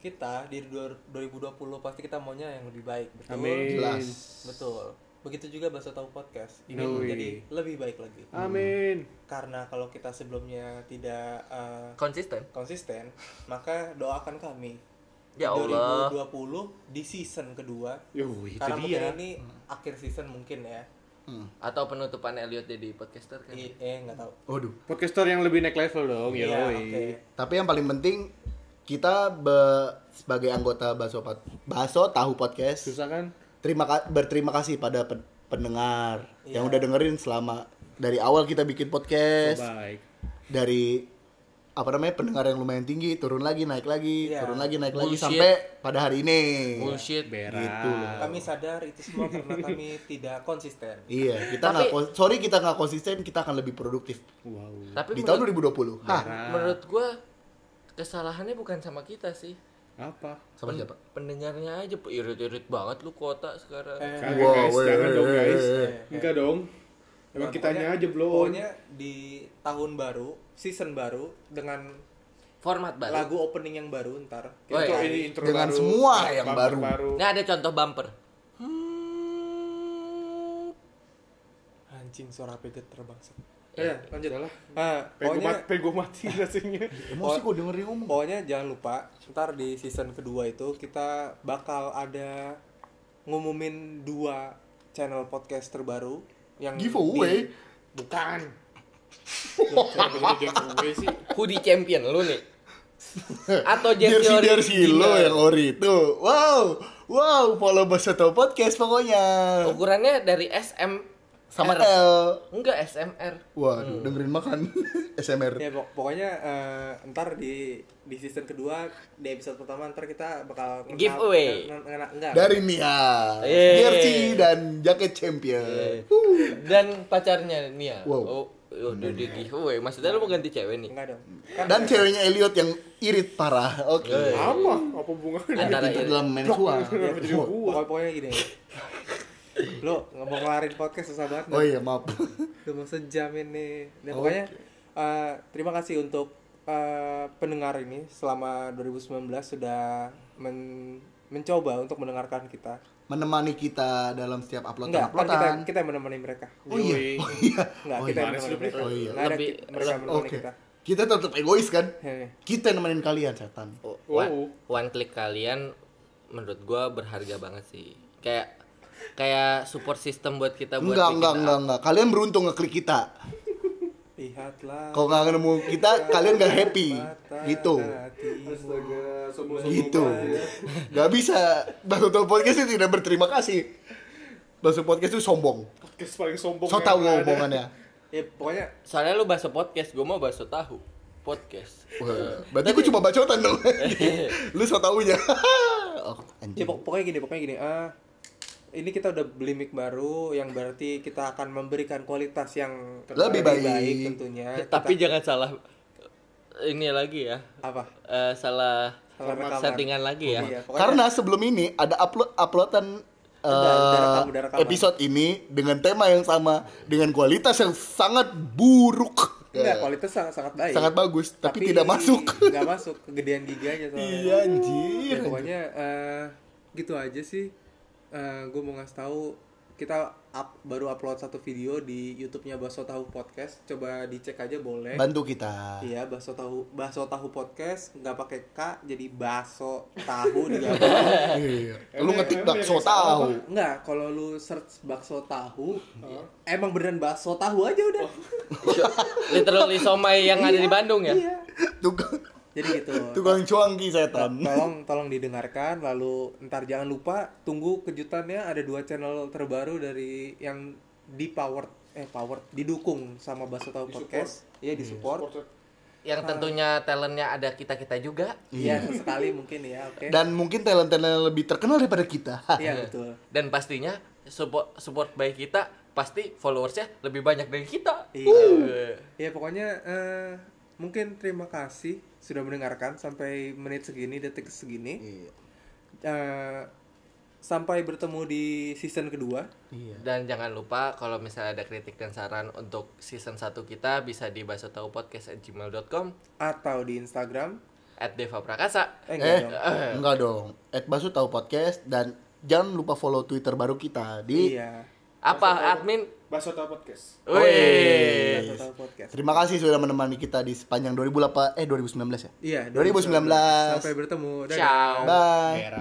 [SPEAKER 3] Kita di dua- 2020 pasti kita maunya yang lebih baik, betul?
[SPEAKER 1] Amin.
[SPEAKER 2] jelas
[SPEAKER 3] Betul. Begitu juga Baso Tahu Podcast. Ingin
[SPEAKER 1] Yoi.
[SPEAKER 3] menjadi lebih baik lagi.
[SPEAKER 1] Amin.
[SPEAKER 2] Hmm.
[SPEAKER 3] Karena kalau kita sebelumnya tidak eh,
[SPEAKER 4] konsisten
[SPEAKER 3] konsisten, maka doakan kami.
[SPEAKER 4] Ya Allah.
[SPEAKER 3] 2020 di season kedua.
[SPEAKER 1] Yo, itu
[SPEAKER 3] karena mungkin
[SPEAKER 1] dia.
[SPEAKER 3] ini akhir season mungkin ya.
[SPEAKER 2] Hmm.
[SPEAKER 4] atau penutupan Elliot jadi podcaster kan
[SPEAKER 2] Iya.
[SPEAKER 3] I- eh nggak tahu.
[SPEAKER 2] waduh
[SPEAKER 1] Podcaster yang lebih naik level dong, ya.
[SPEAKER 3] Iya,
[SPEAKER 1] yoi.
[SPEAKER 3] oke.
[SPEAKER 2] Tapi yang paling penting kita be- sebagai anggota Baso Pat- Baso Tahu Podcast
[SPEAKER 1] Susah kan?
[SPEAKER 2] terima ka- berterima kasih pada pen- pendengar
[SPEAKER 3] Iya.
[SPEAKER 2] yang udah dengerin selama dari awal kita bikin podcast
[SPEAKER 1] Baik.
[SPEAKER 2] dari apa namanya pendengar yang lumayan tinggi turun lagi naik lagi
[SPEAKER 3] Iya.
[SPEAKER 2] turun lagi naik lagi
[SPEAKER 4] Bullshit.
[SPEAKER 2] sampai pada hari ini
[SPEAKER 4] bullshit
[SPEAKER 1] Berak.
[SPEAKER 2] Gitu loh.
[SPEAKER 3] Kami sadar itu semua karena kami tidak konsisten.
[SPEAKER 2] iya kita nggak kon- sorry kita nggak konsisten kita akan lebih produktif
[SPEAKER 1] Wow.
[SPEAKER 4] tapi
[SPEAKER 2] di
[SPEAKER 4] menurut,
[SPEAKER 2] tahun 2020 Hah,
[SPEAKER 4] menurut gue kesalahannya bukan sama kita sih
[SPEAKER 1] Apa?
[SPEAKER 2] sama siapa
[SPEAKER 4] pendengarnya aja irit-irit banget lu kota sekarang
[SPEAKER 3] Eh,
[SPEAKER 1] Kagak
[SPEAKER 2] Wow,
[SPEAKER 1] guys,
[SPEAKER 2] weh,
[SPEAKER 1] jangan
[SPEAKER 2] weh,
[SPEAKER 1] dong
[SPEAKER 2] weh,
[SPEAKER 1] guys.
[SPEAKER 2] weh.
[SPEAKER 1] Enggak dong. Emang
[SPEAKER 3] Nah,
[SPEAKER 1] kitanya
[SPEAKER 3] pokoknya-
[SPEAKER 1] aja belum.
[SPEAKER 3] Pokoknya di tahun baru, season baru dengan
[SPEAKER 4] format baru
[SPEAKER 3] lagu opening yang baru ntar.
[SPEAKER 4] Oh,
[SPEAKER 1] Intro
[SPEAKER 4] iya.
[SPEAKER 1] ini intro
[SPEAKER 2] Dengan
[SPEAKER 1] baru,
[SPEAKER 2] semua yang
[SPEAKER 1] bumper
[SPEAKER 2] baru. Nah.
[SPEAKER 4] ini ada contoh bumper
[SPEAKER 3] Anjing suara apa geter bangsat.
[SPEAKER 1] Eh, lanjut lah.
[SPEAKER 3] Ah,
[SPEAKER 1] Pegu
[SPEAKER 3] pokoknya
[SPEAKER 1] mati, pegu mati rasanya.
[SPEAKER 2] emosi kok dengerin ngomong
[SPEAKER 3] Pokoknya jangan lupa, ntar di season kedua itu kita bakal ada ngumumin dua channel podcast terbaru yang
[SPEAKER 2] giveaway
[SPEAKER 3] di-
[SPEAKER 1] Bukan. Kenapa jadi giveaway sih?
[SPEAKER 4] hoodie champion lu nih atau jersey
[SPEAKER 2] jersey
[SPEAKER 4] original.
[SPEAKER 2] jersey lo
[SPEAKER 3] ya,
[SPEAKER 2] yang ori itu wow wow follow bahasa Tahu podcast pokoknya
[SPEAKER 4] ukurannya dari SM
[SPEAKER 2] sama
[SPEAKER 4] R.
[SPEAKER 2] L
[SPEAKER 4] enggak SMR
[SPEAKER 3] Hmm.
[SPEAKER 2] waduh dengerin makan
[SPEAKER 3] Ya
[SPEAKER 2] SMR
[SPEAKER 3] pok- pokoknya eh, ntar di di season kedua di episode pertama ntar kita bakal ngena-
[SPEAKER 4] Giveaway.
[SPEAKER 3] ngena- ngena- enggak.
[SPEAKER 2] dari Nia
[SPEAKER 3] Iya.
[SPEAKER 4] Yeay.
[SPEAKER 2] jersey dan jaket champion
[SPEAKER 4] dan pacarnya Nia
[SPEAKER 2] Wow.
[SPEAKER 4] oh udah di giveaway maksudnya lu mau ganti cewek nih
[SPEAKER 3] enggak dong. Kan
[SPEAKER 2] dan ceweknya Elliot yang irit parah oke
[SPEAKER 3] Iya.
[SPEAKER 4] Yeay.
[SPEAKER 1] Apa? Apa hubungannya?
[SPEAKER 4] Antara
[SPEAKER 2] Pintar
[SPEAKER 4] ini.
[SPEAKER 2] dalam main uang
[SPEAKER 1] Kenapa jadi
[SPEAKER 2] Wow.
[SPEAKER 1] gua?
[SPEAKER 3] pokoknya, pokoknya gini. Lo nggak mau ngelarin podcast susah banget.
[SPEAKER 2] oh iya Oh, maaf
[SPEAKER 3] Udah mau sejam ini. Dan pokoknya eh, terima kasih untuk eh, pendengar ini selama 2019 sudah men- mencoba untuk mendengarkan kita.
[SPEAKER 2] menemani kita dalam setiap uploadan
[SPEAKER 3] Enggak, kan kita
[SPEAKER 2] uploadan
[SPEAKER 3] kita yang menemani mereka.
[SPEAKER 2] oh iya
[SPEAKER 1] Yoi.
[SPEAKER 2] oh iya
[SPEAKER 3] Enggak,
[SPEAKER 2] Oh
[SPEAKER 3] kita
[SPEAKER 2] iya.
[SPEAKER 3] yang menemani mereka.
[SPEAKER 2] Oh iya.
[SPEAKER 3] Nggak ada
[SPEAKER 4] Lebih-
[SPEAKER 3] ki- mereka menemani
[SPEAKER 2] oke
[SPEAKER 3] kita.
[SPEAKER 2] kita tetap egois kan
[SPEAKER 3] Hehe.
[SPEAKER 2] kita yang nemenin kalian setan
[SPEAKER 1] Wow.
[SPEAKER 4] one, one click kalian menurut gua berharga banget sih kayak kayak support system buat kita buat
[SPEAKER 2] enggak
[SPEAKER 4] bikin
[SPEAKER 2] enggak
[SPEAKER 4] up.
[SPEAKER 2] enggak enggak kalian beruntung ngeklik kita
[SPEAKER 3] Lihatlah.
[SPEAKER 2] Kalau nggak ketemu kita, kalian nggak happy.
[SPEAKER 3] mata
[SPEAKER 2] Gitu.
[SPEAKER 3] hatimu.
[SPEAKER 1] Astaga, sombong-sombong
[SPEAKER 2] Gitu.
[SPEAKER 1] banget ya.
[SPEAKER 2] Nggak bisa. Baso Tau Podcast itu tidak berterima kasih. Baso Podcast itu sombong.
[SPEAKER 1] Podcast paling sombong.
[SPEAKER 2] So
[SPEAKER 1] yang
[SPEAKER 2] tau
[SPEAKER 1] ada.
[SPEAKER 2] omongannya.
[SPEAKER 3] Ya pokoknya
[SPEAKER 4] soalnya lu bahasa podcast gua mau bahasa tahu podcast
[SPEAKER 2] Wah, Berarti gue cuma bacotan dong. Lu so taunya. oh,
[SPEAKER 3] ya
[SPEAKER 2] anjing.
[SPEAKER 3] pok- pokoknya gini, pokoknya gini. eh, ini kita udah beli mic baru yang berarti kita akan memberikan kualitas yang
[SPEAKER 2] Lebih baik. Ya,
[SPEAKER 3] tentunya.
[SPEAKER 4] tapi
[SPEAKER 3] Kita-
[SPEAKER 4] jangan salah ini lagi ya
[SPEAKER 3] apa?
[SPEAKER 4] Eh, salah
[SPEAKER 3] Salah rekaman.
[SPEAKER 4] settingan lagi ya
[SPEAKER 3] Iya, pokoknya-
[SPEAKER 2] Karena sebelum ini ada upload uploadan eh,
[SPEAKER 3] Udah, udah rekam, udah rekaman.
[SPEAKER 2] episode ini dengan tema yang sama dengan kualitas yang sangat buruk
[SPEAKER 3] Enggak, kualitas sangat, sangat baik.
[SPEAKER 2] Iya. sangat bagus tapi, tidak masuk
[SPEAKER 3] Enggak masuk, kegedean gigi aja soalnya.
[SPEAKER 2] iya anjir
[SPEAKER 3] Ya, Eh, pokoknya eh, gitu aja sih. gue mau ngasih tahu kita up baru upload satu video di YouTube-nya Baso Tahu Podcast. Coba dicek aja boleh.
[SPEAKER 2] Bantu kita.
[SPEAKER 3] Iya, bakso tahu bakso tahu podcast nggak pakai K jadi bakso tahu digabung.
[SPEAKER 2] Iya. Lu
[SPEAKER 1] Emang-
[SPEAKER 2] ngetik
[SPEAKER 1] emang
[SPEAKER 2] bakso
[SPEAKER 1] yang salah
[SPEAKER 2] tahu.
[SPEAKER 3] Nggak, kalau lu search bakso tahu, emang beneran bakso tahu aja udah.
[SPEAKER 4] Literally somai yang ada di Bandung
[SPEAKER 3] Oh,
[SPEAKER 4] ya.
[SPEAKER 3] Iya.
[SPEAKER 2] Tukang
[SPEAKER 3] Jadi gitu.
[SPEAKER 2] tukang cuangki setan.
[SPEAKER 3] Tolong tolong didengarkan lalu ntar jangan lupa tunggu kejutannya ada dua channel terbaru dari yang di powered eh powered didukung sama bakso tahu podcast. Iya, di support.
[SPEAKER 4] Yang tentunya talentnya ada kita kita juga.
[SPEAKER 3] Iya, sekali mungkin ya, oke.
[SPEAKER 2] Dan mungkin talent-talent lebih terkenal daripada kita.
[SPEAKER 3] Iya, betul.
[SPEAKER 4] Dan pastinya support support by kita pasti followersnya lebih banyak dari kita.
[SPEAKER 3] Iya. Ya pokoknya eh, mungkin terima kasih sudah mendengarkan sampai menit segini detik segini.
[SPEAKER 2] Iya.
[SPEAKER 3] Eh, sampai bertemu di season kedua.
[SPEAKER 4] Dan jangan lupa kalau misalnya ada kritik dan saran untuk season 1 kita bisa di basotahupodcast@gmail.com
[SPEAKER 3] atau di Instagram.
[SPEAKER 4] at Deva Prakasa.
[SPEAKER 3] Eh,
[SPEAKER 2] Eh,
[SPEAKER 3] enggak dong.
[SPEAKER 2] enggak dong. Ed Basu tahu podcast dan jangan lupa follow Twitter baru kita di
[SPEAKER 3] Iya.
[SPEAKER 4] Apa admin?
[SPEAKER 1] Baso Tahu Podcast.
[SPEAKER 4] Wih.
[SPEAKER 3] Atau tahu podcast.
[SPEAKER 2] Terima kasih sudah menemani kita di sepanjang 2008 eh 2019 ya.
[SPEAKER 3] Iya.
[SPEAKER 2] 2019.
[SPEAKER 3] Sampai bertemu. Dadah.
[SPEAKER 4] Ciao.
[SPEAKER 2] Bye.